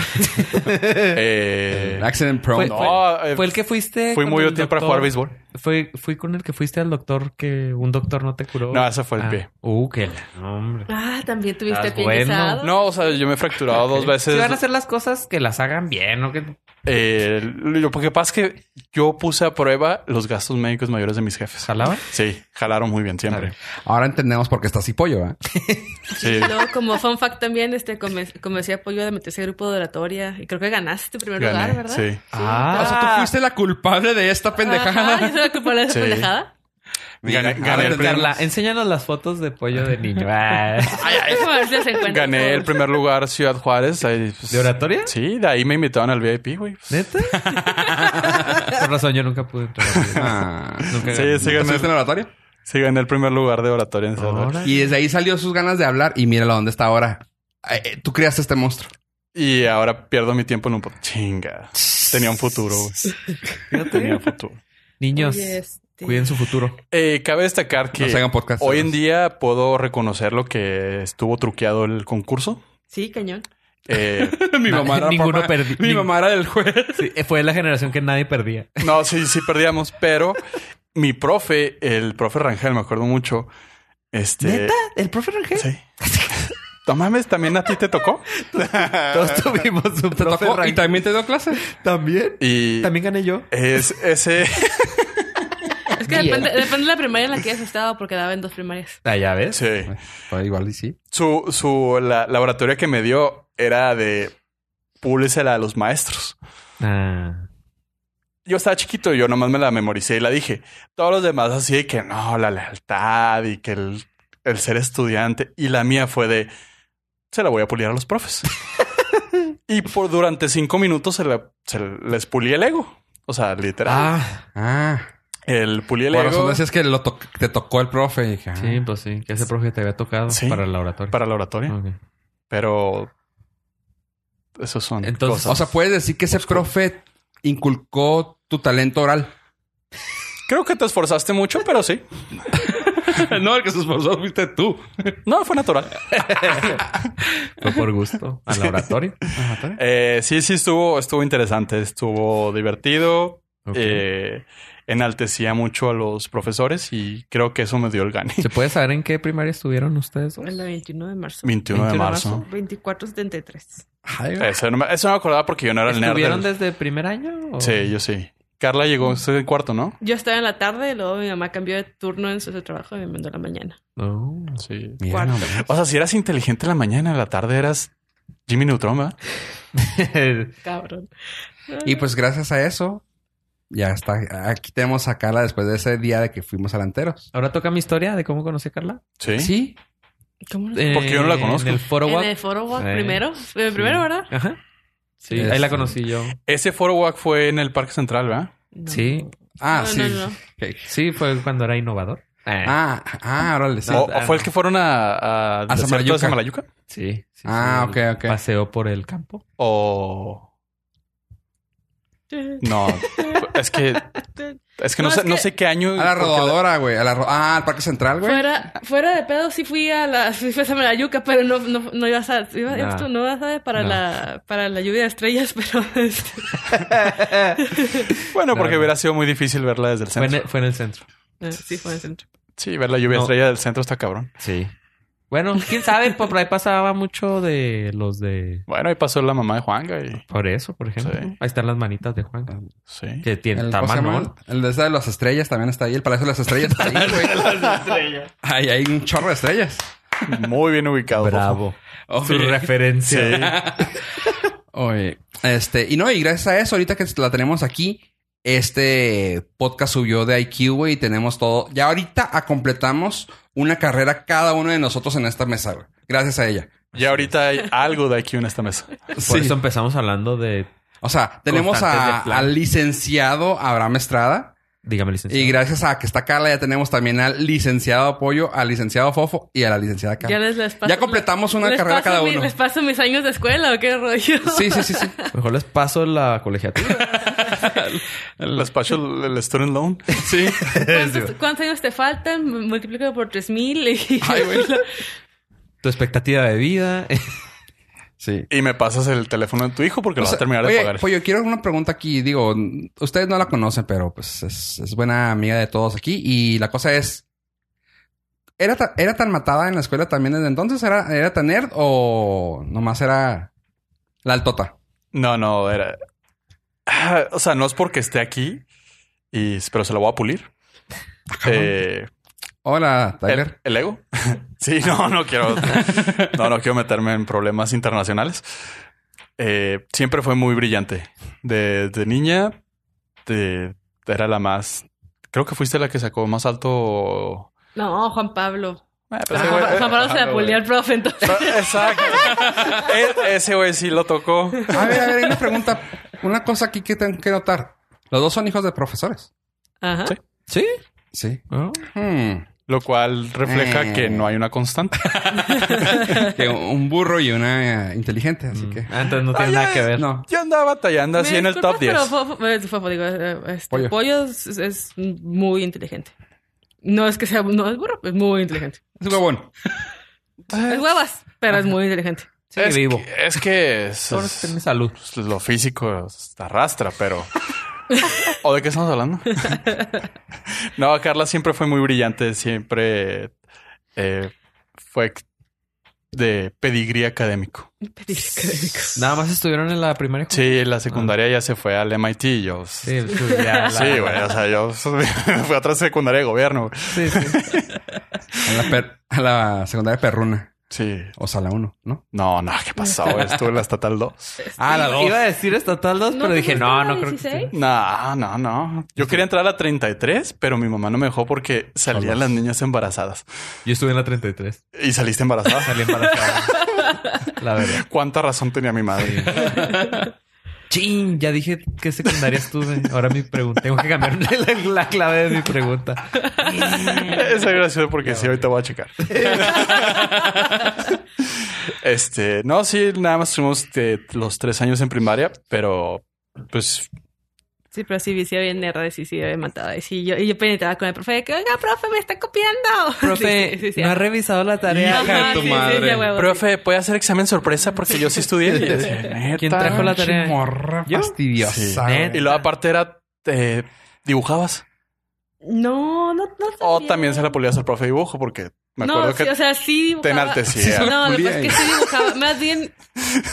Speaker 3: Eh,
Speaker 2: Accident prone.
Speaker 4: Fue-
Speaker 3: no, eh,
Speaker 4: Fue el que fuiste.
Speaker 3: fui
Speaker 4: con
Speaker 3: muy
Speaker 4: el
Speaker 3: útil para
Speaker 4: doctor-
Speaker 3: jugar béisbol.
Speaker 4: Fue, fui con el que fuiste al doctor que un doctor no te curó.
Speaker 3: No, ese fue el
Speaker 4: Ah.
Speaker 3: pie.
Speaker 4: Uh, qué la- hombre.
Speaker 5: Ah, también tuviste
Speaker 4: Estás
Speaker 5: pie
Speaker 4: bueno.
Speaker 5: guisado?
Speaker 3: No, o sea, yo me he fracturado dos
Speaker 4: Si van a
Speaker 3: veces.
Speaker 4: hacer las cosas, que las hagan bien, ¿no? Que...
Speaker 3: Eh, lo que pasa es que yo puse a prueba los gastos médicos mayores de mis jefes.
Speaker 4: ¿Jalaban?
Speaker 3: Sí, jalaron muy bien siempre.
Speaker 2: Ahora entendemos por qué está así pollo, ¿eh?
Speaker 3: Sí.
Speaker 5: Y luego, como fun fact también, este, conven- convencí a apoyo de meterse al grupo de oratoria y creo que ganaste primer lugar,
Speaker 3: Gané,
Speaker 5: ¿verdad? Ah,
Speaker 3: sí.
Speaker 2: O
Speaker 4: Ah,
Speaker 2: sea, tú fuiste la culpable de esta pendejada.
Speaker 5: Ajá, ¿yo soy la culpable de esa
Speaker 3: Sí.
Speaker 5: pendejada?
Speaker 2: Mira,
Speaker 3: Gané-
Speaker 2: ahora
Speaker 3: gané el
Speaker 2: entendemos.
Speaker 4: Carla, enséñanos las fotos de pollo de <laughs> niño. Ah.
Speaker 5: Déjame ver si las encuentro.
Speaker 3: Gané el primer lugar Ciudad Juárez. ahí, pues,
Speaker 4: ¿De oratoria?
Speaker 3: Sí, de ahí me invitaron al VIP, güey.
Speaker 4: <laughs> ¿Neta? Por razón, yo nunca pude entrar.
Speaker 2: Ah.
Speaker 4: Nunca
Speaker 3: Sí,
Speaker 4: gané.
Speaker 3: sí gané,
Speaker 2: ¿Estuviste en el oratorio?
Speaker 3: sí gané el primer lugar de oratoria en Ciudad Juárez.
Speaker 4: <laughs> Ahora-
Speaker 2: Y desde ahí salió sus ganas de hablar y míralo dónde está ahora. Eh, eh, Tú creaste este monstruo.
Speaker 3: Y ahora pierdo mi tiempo en un... po- Chinga. Tenía un futuro, güey. Tenía
Speaker 4: Fíjate.
Speaker 3: un futuro.
Speaker 4: Niños,
Speaker 5: Oye, este,
Speaker 4: cuiden su futuro.
Speaker 3: Eh, cabe destacar que...
Speaker 2: No se hagan podcast.
Speaker 3: Hoy en día puedo reconocer lo que estuvo truqueado el concurso.
Speaker 5: Sí, cañón.
Speaker 3: Eh,
Speaker 2: <laughs>
Speaker 3: <laughs>
Speaker 2: mi mamá era
Speaker 4: Ninguno
Speaker 2: papá-
Speaker 4: perdi-
Speaker 2: Mi
Speaker 4: ning-
Speaker 2: mamá era del juez.
Speaker 4: Sí, eh, fue la generación que nadie perdía.
Speaker 3: no, sí, sí perdíamos, pero mi profe, el profe Rangel, me acuerdo mucho. Este,
Speaker 4: ¿El profe Rangel?
Speaker 3: Sí. No mames, también a ti te tocó.
Speaker 4: Todos tuvimos un
Speaker 2: Te
Speaker 4: profe
Speaker 2: tocó y
Speaker 4: Rangel.
Speaker 2: también te dio clase.
Speaker 4: ¿También?
Speaker 3: Y
Speaker 4: ¿También gané yo?
Speaker 3: es ese.
Speaker 5: Es que depende, depende de la primaria en la que hayas estado porque daba en dos primarias.
Speaker 4: Ah, ya ves.
Speaker 3: Sí.
Speaker 2: Pues igual y sí.
Speaker 3: Su, su la, la oratoria que me dio era de púlesela a los maestros.
Speaker 4: Ah.
Speaker 3: yo estaba chiquito y yo nomás me la memoricé y la dije. Todos los demás así de que no, la lealtad y que el, el ser estudiante. Y la mía fue de, se la voy a pulir a los
Speaker 4: <laughs>
Speaker 3: profes. y por durante cinco minutos se, la- se les pulí el ego. O sea, literal.
Speaker 4: Ah,
Speaker 2: Ah.
Speaker 3: el pulí el
Speaker 2: Por razón
Speaker 3: ego
Speaker 2: decías que lo to- te tocó el profe. Y dije, ah.
Speaker 4: sí, pues sí. Que ese profe te había tocado
Speaker 3: Sí.
Speaker 4: para la oratoria.
Speaker 3: para la oratoria.
Speaker 4: Ok.
Speaker 3: Pero esos son
Speaker 4: Entonces-
Speaker 2: "Ah". O
Speaker 3: cosas.
Speaker 2: sea, puedes decir que ese profe inculcó tu talento oral.
Speaker 3: Creo que te esforzaste mucho, pero sí.
Speaker 2: no, el que se esforzó fuiste tú.
Speaker 3: No, fue natural.
Speaker 4: Fue por gusto. A la oratoria.
Speaker 3: Eh, sí, sí, estuvo, estuvo interesante, estuvo divertido.
Speaker 4: Ok.
Speaker 3: eh, enaltecía mucho a los profesores y creo que eso me dio el gane. <laughs>
Speaker 4: ¿Se puede saber en qué primaria estuvieron ustedes?
Speaker 5: En la 21 de marzo.
Speaker 3: 21 de
Speaker 5: 21
Speaker 3: marzo.
Speaker 5: 2473.
Speaker 3: Eso no, me, eso no me acordaba porque yo no era el nerd.
Speaker 4: ¿Estuvieron
Speaker 3: del-
Speaker 4: desde primer año? o-
Speaker 3: Sí, yo sí. Carla llegó usted en cuarto, ¿no?
Speaker 5: Yo estaba en la tarde y luego mi mamá cambió de turno en su su trabajo y me mandó a la mañana.
Speaker 4: <laughs> No.
Speaker 3: Sí.
Speaker 2: Mira, no,
Speaker 3: O sea, si eras inteligente en la mañana, en la tarde eras Jimmy Neutron, ¿verdad?
Speaker 5: Cabrón.
Speaker 2: Y pues gracias a eso, ya está. Aquí tenemos a Carla después de ese día de que fuimos adelanteros.
Speaker 4: Ahora toca mi historia de cómo conocí a Carla.
Speaker 3: Sí.
Speaker 2: Sí.
Speaker 5: ¿Cómo no?
Speaker 3: Porque yo no la conozco.
Speaker 4: En el foro
Speaker 5: en
Speaker 4: Walk.
Speaker 5: el foro walk
Speaker 4: Eh,
Speaker 5: primero. Eh, Primero, ¿verdad?
Speaker 4: Ajá. Sí,
Speaker 2: Este-
Speaker 4: ahí la conocí yo.
Speaker 3: Ese foro walk fue en el Parque Central, ¿verdad?
Speaker 5: No.
Speaker 4: Sí.
Speaker 2: Ah,
Speaker 5: No,
Speaker 2: sí.
Speaker 5: no, no.
Speaker 2: Ok.
Speaker 4: Sí, fue cuando era innovador. Ah,
Speaker 2: Ah, ah, órale. sí.
Speaker 3: o,
Speaker 4: ah,
Speaker 3: o fue el
Speaker 4: no.
Speaker 3: que fueron a, a, desierto de
Speaker 2: Samalayuca.
Speaker 3: Samalayuca?
Speaker 4: sí. sí, sí,
Speaker 2: Ah,
Speaker 4: el
Speaker 2: ok, ok.
Speaker 4: Paseo por el campo.
Speaker 3: O no, es que es que no,
Speaker 5: No,
Speaker 3: sé,
Speaker 5: es
Speaker 3: no
Speaker 5: que-
Speaker 3: sé qué año.
Speaker 2: A la
Speaker 3: porque
Speaker 2: rodadora, güey. A la ro- ah, al Parque Central, güey.
Speaker 5: Fuera, fuera de pedo sí fui a la <laughs> sí fui a Semana Yuca, pero no, no, no ibas a, iba-
Speaker 4: Nah.
Speaker 5: tú no vas a para
Speaker 4: Nah.
Speaker 5: la para la lluvia de estrellas, <laughs> pero este,
Speaker 3: Bueno, porque
Speaker 4: Claro.
Speaker 3: hubiera sido muy difícil verla desde el
Speaker 4: Fue en,
Speaker 3: centro.
Speaker 4: el, fue en el centro.
Speaker 5: eh, sí fue en el centro.
Speaker 3: Sí, ver la lluvia
Speaker 4: No.
Speaker 3: estrella del centro está cabrón.
Speaker 4: Sí. Bueno, quién sabe, por ahí pasaba mucho de los de.
Speaker 3: Bueno, ahí pasó la mamá de Juanga y
Speaker 4: Por eso, por ejemplo.
Speaker 3: Sí.
Speaker 4: Ahí están las manitas de Juan.
Speaker 3: sí.
Speaker 4: Que tiene
Speaker 2: El,
Speaker 4: está
Speaker 2: ¿cómo se llama?
Speaker 4: manón.
Speaker 2: el de esa de las estrellas también está ahí. El Palacio de las Estrellas está ahí, güey. Ahí hay un chorro de estrellas.
Speaker 3: Muy bien ubicado. Fofo.
Speaker 4: Bravo. Su
Speaker 2: Oye.
Speaker 4: referencia.
Speaker 2: Oye, este, y no, y gracias a eso, ahorita que la tenemos aquí, este podcast subió de IQ, güey, y tenemos todo. Ya ahorita ah, completamos una carrera cada uno de nosotros en esta mesa, güey. Gracias a ella.
Speaker 3: Y ahorita hay algo de aquí en esta mesa.
Speaker 4: Por eso empezamos hablando de.
Speaker 2: O sea, tenemos
Speaker 4: Constantes
Speaker 2: a-
Speaker 4: de plan.
Speaker 2: al licenciado Abraham Estrada.
Speaker 4: Dígame, licenciado.
Speaker 2: Y gracias a que está Carla, ya tenemos también al licenciado Apoyo, al licenciado Fofo y a la licenciada
Speaker 5: Ya
Speaker 2: Carla.
Speaker 5: les, les paso.
Speaker 2: Ya completamos una
Speaker 5: les
Speaker 2: carrera
Speaker 5: paso
Speaker 2: cada
Speaker 5: mi-
Speaker 2: uno.
Speaker 5: ¿Les paso mis años de escuela o qué rollo?
Speaker 2: <laughs>
Speaker 3: <laughs>
Speaker 2: Sí, sí, sí, sí.
Speaker 4: Mejor les paso la colegiatura.
Speaker 2: <laughs>
Speaker 3: El despacho, el, el student loan.
Speaker 2: Sí.
Speaker 5: ¿Cuántos, cuántos años te faltan? M- Multiplícalo por 3000 <laughs> y...
Speaker 2: Ay, güey.
Speaker 4: tu expectativa de vida.
Speaker 2: Sí.
Speaker 3: Y me pasas el teléfono de tu hijo
Speaker 2: O
Speaker 3: porque lo va
Speaker 2: sea,
Speaker 3: a terminar
Speaker 2: oye,
Speaker 3: de pagar.
Speaker 2: Pollo, quiero una pregunta aquí. Digo, n- ustedes no la conocen, pero pues es, es buena amiga de todos aquí. Y la cosa es, ¿era, ta- ¿era tan matada en la escuela también desde entonces? ¿Era, ¿Era tan nerd o nomás era la altota?
Speaker 3: No, no, era. Ah, o sea, no es porque esté aquí, y... pero se lo voy a pulir. Eh,
Speaker 2: Hola,
Speaker 3: el,
Speaker 2: Tyler.
Speaker 3: el ego. <laughs> sí, no, no <laughs> quiero. No, no quiero meterme en problemas internacionales. Eh, siempre fue muy brillante. De, de niña, de- era la más. Creo que fuiste la que sacó más alto.
Speaker 5: No, Juan Pablo.
Speaker 3: Ah, pero
Speaker 5: Juan,
Speaker 3: ese güey-
Speaker 5: Pa- Juan Pablo
Speaker 2: eh,
Speaker 5: se
Speaker 3: Ah,
Speaker 5: la pulió al profe, entonces.
Speaker 3: <laughs> Exacto. E- ese güey sí lo tocó.
Speaker 2: A ver, a ver, hay una pregunta. Una cosa aquí que tengo que notar. Los dos son hijos de profesores.
Speaker 5: Ajá.
Speaker 3: Sí.
Speaker 4: ¿Sí?
Speaker 2: Sí.
Speaker 4: <laughs> ¿No?
Speaker 2: Hmm.
Speaker 3: Lo cual refleja
Speaker 2: Eh.
Speaker 3: que no hay una constante.
Speaker 2: Que un burro y una eh, inteligente, así que...
Speaker 4: Ah, entonces no tiene
Speaker 3: Oye,
Speaker 4: nada que ver.
Speaker 2: No.
Speaker 3: Yo andaba batallando así
Speaker 5: Me
Speaker 3: en el top
Speaker 5: disculpas,
Speaker 3: 10.
Speaker 5: Pero Fofo- eh, Fofo, digo, eh, este,
Speaker 2: Pollo.
Speaker 5: Pollo, es, es muy inteligente. No es que sea, no es burro, es muy inteligente.
Speaker 2: Es huevón.
Speaker 5: Es huevas, pero es muy inteligente.
Speaker 4: Sigue
Speaker 3: Eh, es
Speaker 4: vivo.
Speaker 3: Que, es que es-
Speaker 4: Ahora
Speaker 3: es-
Speaker 4: tiene salud.
Speaker 3: pues, lo físico te arrastra, pero. ¿O de qué estamos hablando? no, Carla siempre fue muy brillante, siempre eh, fue de pedigrí académico.
Speaker 4: Nada más estuvieron en la primaria. juntos.
Speaker 3: Sí, en la secundaria ya se fue al MIT. y Yo, sí,
Speaker 4: Sí, tú ya la-
Speaker 3: güey. O sea, yo <laughs> fui a otra secundaria de gobierno.
Speaker 4: Sí, <laughs> sí.
Speaker 2: A la, per- a la secundaria perruna.
Speaker 3: Sí.
Speaker 2: O sea, la uno, ¿no?
Speaker 3: No, no, ¿qué pasó? güey? Estuve en la estatal 2.
Speaker 2: Ah, la dos.
Speaker 4: Iba a decir estatal 2, pero dije, no, no creo que sea.
Speaker 3: No, no, no. Yo quería entrar a la 33, pero mi mamá no me dejó porque salían las niñas embarazadas.
Speaker 4: Yo estuve en la 33.
Speaker 3: Y saliste embarazada.
Speaker 4: Salí
Speaker 5: <laughs>
Speaker 4: embarazada. la verdad.
Speaker 3: ¿Cuánta razón tenía mi madre?
Speaker 4: Chin, ya dije que secundaria estuve. Ahora mi pregunta. Tengo que cambiar la, la clave de mi pregunta.
Speaker 3: Eso es gracioso porque sí, ahorita voy a checar. este, no, sí, nada más tuvimos este, los tres años en primaria, pero pues
Speaker 5: Sí, pero sí, sí, bien nerd, sí, sí, bien matada. Y, sí, yo, y yo penetraba con el profe de que, oiga, profe, me está copiando. <laughs>
Speaker 4: Profe,
Speaker 5: Sí, sí, sí, sí.
Speaker 4: no ha revisado la tarea.
Speaker 5: Ajá,
Speaker 2: Hija de tu
Speaker 5: sí, sí,
Speaker 2: madre.
Speaker 5: sí, a huevo,
Speaker 3: profe, ¿puede hacer examen sorpresa? Porque yo sí estudié. Y yo decía, "Neta".
Speaker 4: ¿Quién trajo la tarea?
Speaker 2: Morra
Speaker 4: ¿Yo?
Speaker 2: fastidiosa.
Speaker 3: Sí.
Speaker 2: güey.
Speaker 3: Y luego aparte era, eh, dibujabas.
Speaker 5: sí. No, no, no.
Speaker 3: O
Speaker 5: sabía.
Speaker 3: también se la pulías al profe de dibujo porque me acuerdo
Speaker 5: no,
Speaker 3: que
Speaker 5: sí, o sea, sí
Speaker 3: te
Speaker 5: dibujaba.
Speaker 3: enaltecía.
Speaker 2: Sí, solo-
Speaker 5: No, lo que
Speaker 2: Pulía
Speaker 5: pasa es que
Speaker 2: y-
Speaker 5: sí dibujaba. Más bien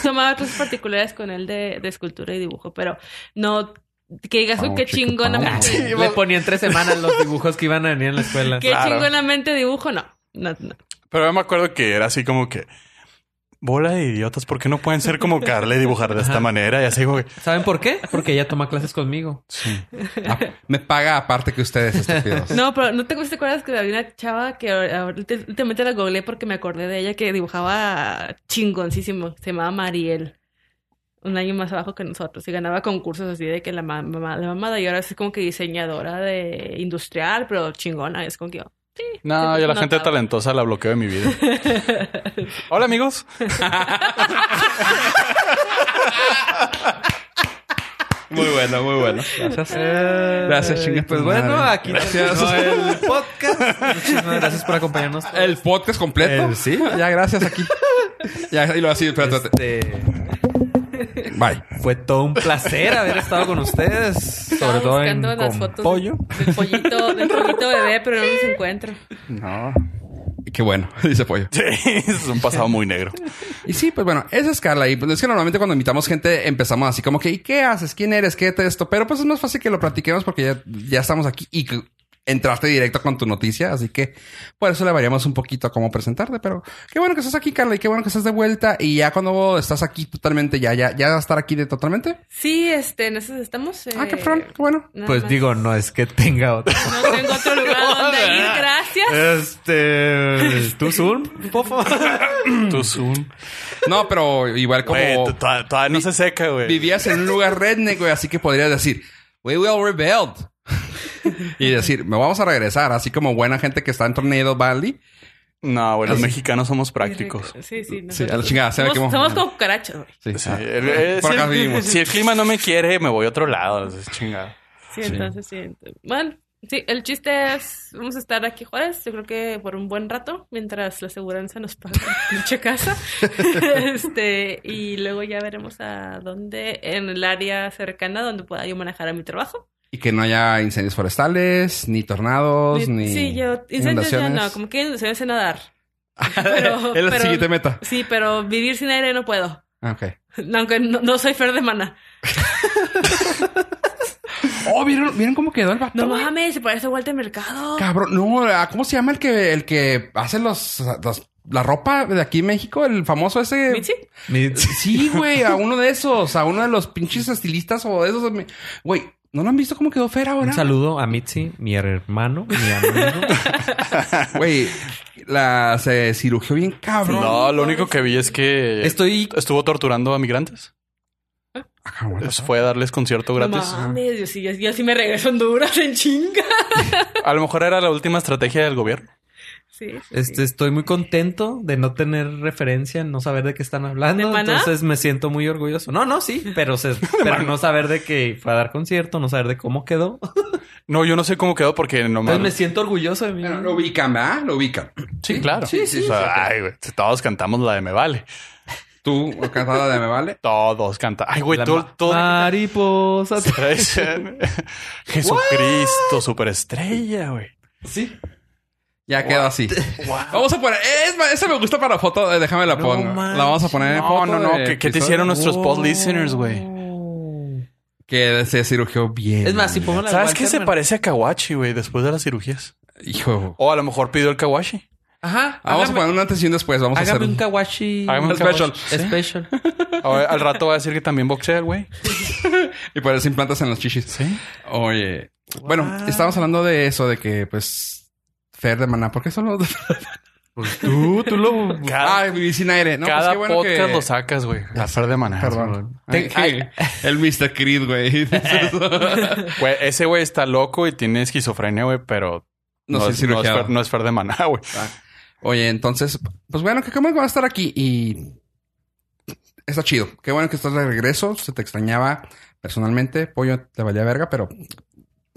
Speaker 5: tomaba otras particulares con él de, de escultura y dibujo, pero no que digas,
Speaker 2: Pau,
Speaker 5: "Uy, qué
Speaker 2: chiqui,
Speaker 5: chingonamente.
Speaker 2: pau. <laughs>
Speaker 3: Sí,
Speaker 4: Le ponía en tres semanas los dibujos que iban a venir en la escuela.
Speaker 5: Qué
Speaker 3: Claro.
Speaker 5: chingonamente dibujo, no. No, no.
Speaker 3: Pero yo me acuerdo que era así como que bola de idiotas, ¿por qué no pueden ser como Carla y dibujar de esta manera? Y así como que
Speaker 4: ¿Saben por qué? Porque ella toma clases conmigo.
Speaker 2: Ah, me paga aparte que ustedes,
Speaker 3: <laughs>
Speaker 2: estúpidos.
Speaker 5: No, pero ¿no te, te acuerdas que había una chava que ahor- ahor- te- últimamente la googleé porque me acordé de ella que dibujaba chingoncísimo? Se llamaba Mariel. Un año más abajo que nosotros. Y ganaba concursos así de que la ma- mamá, la mamada. Y ahora es como que diseñadora de industrial, pero chingona. Es como que yo,
Speaker 3: no, yo a la
Speaker 5: No,
Speaker 3: gente
Speaker 5: no.
Speaker 3: talentosa la bloqueo de mi vida. Hola amigos.
Speaker 2: Muy bueno, muy bueno. Gracias. Gracias, chinga tu
Speaker 4: Pues
Speaker 2: madre.
Speaker 4: bueno, aquí
Speaker 2: Gracias.
Speaker 4: gracias. el podcast. Muchísimas gracias por acompañarnos.
Speaker 2: El podcast completo.
Speaker 4: El-
Speaker 2: Eh, sí. Ya, gracias
Speaker 3: <laughs>
Speaker 2: aquí. Ya, y lo así, espérate, espérate.
Speaker 4: Este,
Speaker 2: Bye.
Speaker 4: fue todo un placer haber estado con ustedes. Sobre
Speaker 5: Estaba
Speaker 4: todo en
Speaker 5: buscando las
Speaker 4: con
Speaker 5: fotos
Speaker 4: pollo.
Speaker 2: <laughs>
Speaker 5: del pollito, del pollito bebé, pero no los encuentro.
Speaker 2: No. Qué bueno, <laughs> dice Pollo.
Speaker 3: Sí, es un pasado muy negro.
Speaker 2: Y sí, pues bueno, esa es Carla. Y pues es que normalmente cuando invitamos gente empezamos así como que, ¿y qué haces? ¿Quién eres? ¿Qué te esto? Pero pues es más fácil que lo platiquemos porque ya, ya estamos aquí y que entraste directo con tu noticia. Así que por eso le variamos un poquito a cómo presentarte. Pero qué bueno que estás aquí, Carla, y qué bueno que estás de vuelta. Y ya cuando estás aquí totalmente, ya, ya, ya vas a estar aquí de totalmente.
Speaker 5: Sí, este, nosotros estamos.
Speaker 2: Ah,
Speaker 5: eh,
Speaker 2: qué fron, qué bueno.
Speaker 5: nada
Speaker 7: Pues
Speaker 5: más.
Speaker 7: digo, no es que tenga otro.
Speaker 5: No tengo otro lugar donde
Speaker 2: <laughs>
Speaker 5: ir, gracias.
Speaker 7: Este. ¿Tú Zoom, por favor?
Speaker 3: Tu Zoom.
Speaker 2: No, pero igual como.
Speaker 3: Güey, t- todavía todavía no se seca, güey.
Speaker 2: vivías en un lugar redneck, güey, así que podrías decir, we will rebuild. y decir, me vamos a regresar, así como buena gente que está en Tornado Valley.
Speaker 3: No, güey, los mexicanos somos prácticos.
Speaker 5: Sí, sí.
Speaker 2: Sí,
Speaker 5: nosotros-
Speaker 2: a la chingada, se me
Speaker 5: somos,
Speaker 2: quemó.
Speaker 5: somos como cucarachas, güey.
Speaker 2: Sí,
Speaker 3: Sí,
Speaker 2: ah,
Speaker 3: el- eh,
Speaker 2: por
Speaker 3: si,
Speaker 2: acá
Speaker 3: el,
Speaker 2: vivimos.
Speaker 3: si el clima no me quiere, me voy a otro lado. Es chingado.
Speaker 5: Sí, entonces sí. ent- Bueno, sí, el chiste es, vamos a estar aquí Juárez, yo creo que por un buen rato, mientras la aseguranza nos paga la <laughs>
Speaker 2: <laughs>
Speaker 5: pinche casa. este, y luego ya veremos a dónde, en el área cercana donde pueda yo manejar a mi trabajo.
Speaker 2: Y que no haya incendios forestales, ni tornados, Pues ni.
Speaker 5: sí, yo incendios ya no,
Speaker 2: inundaciones. Ah,
Speaker 5: como que incendios
Speaker 2: <laughs>
Speaker 5: sé nadar. Pero,
Speaker 2: es la
Speaker 5: pero-
Speaker 2: siguiente meta.
Speaker 5: Sí, pero vivir sin aire no puedo.
Speaker 2: Ah, ok.
Speaker 5: Aunque no, no soy Fer de Mana.
Speaker 2: Oh, ¿vieron, ¿vieron cómo quedó el vato?
Speaker 5: No
Speaker 2: güey?
Speaker 5: mames, se parece a Walter Mercado.
Speaker 2: Cabrón, no, ah, ¿cómo se llama el que, el que hace los, los- la ropa de aquí en México? El famoso ese.
Speaker 5: ¿Mitzi?
Speaker 2: Sí, güey, a uno de esos, a uno de los pinches estilistas o de esos. me- Güey, ¿no lo han visto cómo quedó Fer ahora?
Speaker 4: Un saludo a Mitzi, mi hermano, mi amigo.
Speaker 2: Güey, la se cirugió bien cabrón.
Speaker 3: No, lo único que vi es que
Speaker 4: Estoy
Speaker 3: estuvo torturando a migrantes.
Speaker 2: Ah, cabrón.
Speaker 3: Les Fue a darles concierto gratis.
Speaker 5: No mames, yo sí, yo, yo sí me regreso a Honduras en chinga.
Speaker 3: A lo mejor era la última estrategia del gobierno.
Speaker 5: Sí. sí,
Speaker 4: Este, estoy muy contento de no tener referencia, no saber de qué están
Speaker 5: ¿De
Speaker 4: hablando.
Speaker 5: maná?
Speaker 4: Entonces me siento muy orgulloso. No, no, sí, pero, se- pero no saber de que fue a dar concierto, no saber de cómo quedó.
Speaker 3: No, yo no sé cómo quedó porque no
Speaker 4: Entonces me
Speaker 3: mames.
Speaker 4: siento orgulloso de mí.
Speaker 2: Pero lo ubican, ¿verdad? Lo ubican.
Speaker 3: Sí, claro.
Speaker 2: Sí, sí,
Speaker 3: O
Speaker 2: sí.
Speaker 3: sea, ay, güey, todos cantamos la de Me Vale.
Speaker 2: Tú, cantada de me vale.
Speaker 3: Todos cantamos. Ay, güey,
Speaker 4: La
Speaker 3: todo,
Speaker 4: ma-
Speaker 3: todo-
Speaker 4: Mariposa.
Speaker 3: <laughs> Jesucristo, superestrella, güey.
Speaker 4: Sí.
Speaker 2: Ya quedó así. Vamos a poner. Es, esa me gusta para foto. eh, Déjame la
Speaker 4: No
Speaker 2: pongo.
Speaker 4: manches.
Speaker 2: la vamos a poner en
Speaker 3: No,
Speaker 2: foto.
Speaker 3: no, no.
Speaker 2: de
Speaker 3: ¿Qué, qué te
Speaker 2: episodio.
Speaker 3: hicieron nuestros pod listeners, güey?
Speaker 2: Que se cirugió bien.
Speaker 4: Es más, si pongo la de
Speaker 3: ¿Sabes
Speaker 4: Walter
Speaker 3: qué se
Speaker 4: Mer-
Speaker 3: parece a Kawachi, güey, después de las cirugías?
Speaker 2: Hijo. Ah,
Speaker 3: O a lo mejor pidió el Kawachi.
Speaker 4: Ajá.
Speaker 2: Vamos a
Speaker 4: hágame,
Speaker 2: poner un antes y un después. Vamos a
Speaker 4: hágame
Speaker 2: hacer.
Speaker 4: un kawashi.
Speaker 3: Hágame un
Speaker 2: Special.
Speaker 3: kawachi.
Speaker 4: Special.
Speaker 3: A ver, al rato va a decir que también boxea el güey.
Speaker 2: Y poner sin plantas en los chichis.
Speaker 3: Sí.
Speaker 2: Oye. Bueno, estábamos hablando de eso, de que, pues. Fer de Maná, ¿por qué solo?
Speaker 4: tú, tú lo...
Speaker 2: <laughs>
Speaker 3: Cada,
Speaker 2: Ay, vivir sin aire. No, pues
Speaker 3: Ah, cada
Speaker 2: qué bueno
Speaker 3: podcast
Speaker 2: que-
Speaker 3: lo sacas, güey. La fer de maná.
Speaker 2: Perdón.
Speaker 4: Ten-
Speaker 2: Ay, <laughs> el Mr. Creed,
Speaker 3: <laughs>
Speaker 2: güey.
Speaker 3: Güey, ese güey está loco y tiene esquizofrenia, güey, pero
Speaker 2: no,
Speaker 3: no,
Speaker 2: soy
Speaker 3: es, no, es
Speaker 2: cirugiado.
Speaker 3: fer, no es fer de maná, <laughs> güey.
Speaker 2: Oye, entonces, pues bueno, que qué bueno que va a estar aquí y está chido. Qué bueno que estás de regreso. Se te extrañaba personalmente. Pollo te valía verga, pero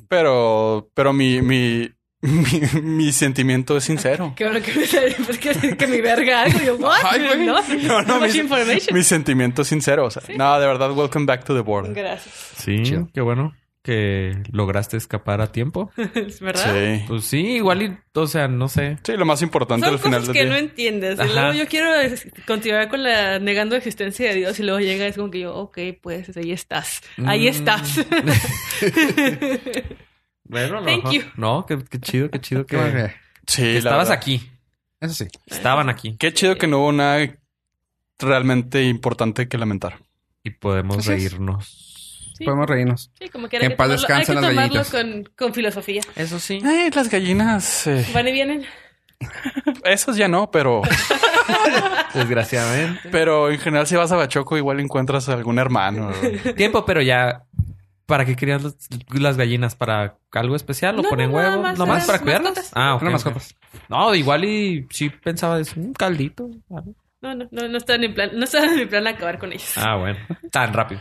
Speaker 3: Pero, pero mi, mi, mi, mi sentimiento es sincero.
Speaker 5: Qué bueno que me sale, pues que, que mi verga algo. Yo, what?
Speaker 2: Ay, güey.
Speaker 5: No,
Speaker 3: No, no,
Speaker 5: much
Speaker 3: mi-
Speaker 5: information.
Speaker 3: Mi sentimiento es sincero. O sea, no, de verdad, welcome back to the border.
Speaker 5: Gracias.
Speaker 4: Sí,
Speaker 2: Chido.
Speaker 4: qué bueno que lograste escapar a
Speaker 3: <laughs>
Speaker 4: tiempo.
Speaker 5: ¿Es verdad?
Speaker 3: Sí.
Speaker 4: Pues sí, igual y... O sea, no sé.
Speaker 3: Sí, lo más importante
Speaker 5: Son
Speaker 3: al final
Speaker 5: cosas
Speaker 3: del
Speaker 5: que no
Speaker 3: día.
Speaker 5: entiendes. Y
Speaker 4: Ajá.
Speaker 5: luego yo quiero es- continuar con la negando existencia de Dios y luego llega es como que yo, ok, pues ahí estás. Ahí
Speaker 4: Mm.
Speaker 5: estás.
Speaker 4: Bueno, no.
Speaker 5: Thank you.
Speaker 4: No, qué, qué chido, qué
Speaker 2: <laughs>
Speaker 4: chido
Speaker 2: qué
Speaker 4: que,
Speaker 2: bueno
Speaker 4: que
Speaker 2: que-
Speaker 3: Sí, la
Speaker 4: estabas
Speaker 3: verdad.
Speaker 4: aquí.
Speaker 2: eso sí.
Speaker 4: Estaban aquí.
Speaker 3: Qué chido que no hubo nada realmente importante que lamentar.
Speaker 4: Y podemos
Speaker 2: Así es.
Speaker 4: reírnos.
Speaker 5: Sí.
Speaker 2: Podemos reírnos.
Speaker 5: Sí, como que era
Speaker 2: Que en
Speaker 5: que
Speaker 2: paz
Speaker 5: tomarlo, hay que
Speaker 2: descansen las
Speaker 5: tomarlo
Speaker 2: gallitas.
Speaker 5: con, con filosofía.
Speaker 4: Eso sí.
Speaker 3: Eh, las gallinas. eh,
Speaker 5: Van y vienen.
Speaker 3: esas ya no, pero,
Speaker 4: Desgraciadamente.
Speaker 3: pero en general, si vas a Bachoco, igual encuentras algún hermano.
Speaker 4: Tiempo, pero ya. ¿Para qué querían las, las gallinas? ¿Para algo especial? ¿O
Speaker 5: No,
Speaker 4: ponen
Speaker 5: no, nada
Speaker 4: huevos?
Speaker 5: más,
Speaker 4: ¿No más
Speaker 5: eran
Speaker 4: para cuidarlas?
Speaker 5: mascotas.
Speaker 4: Ah, ok.
Speaker 2: Una
Speaker 4: ok.
Speaker 2: mascota.
Speaker 4: No, igual y sí pensaba es un caldito.
Speaker 5: No, no, no, no está en mi plan, no está en mi plan acabar con ellos.
Speaker 4: Ah, bueno. Tan rápido.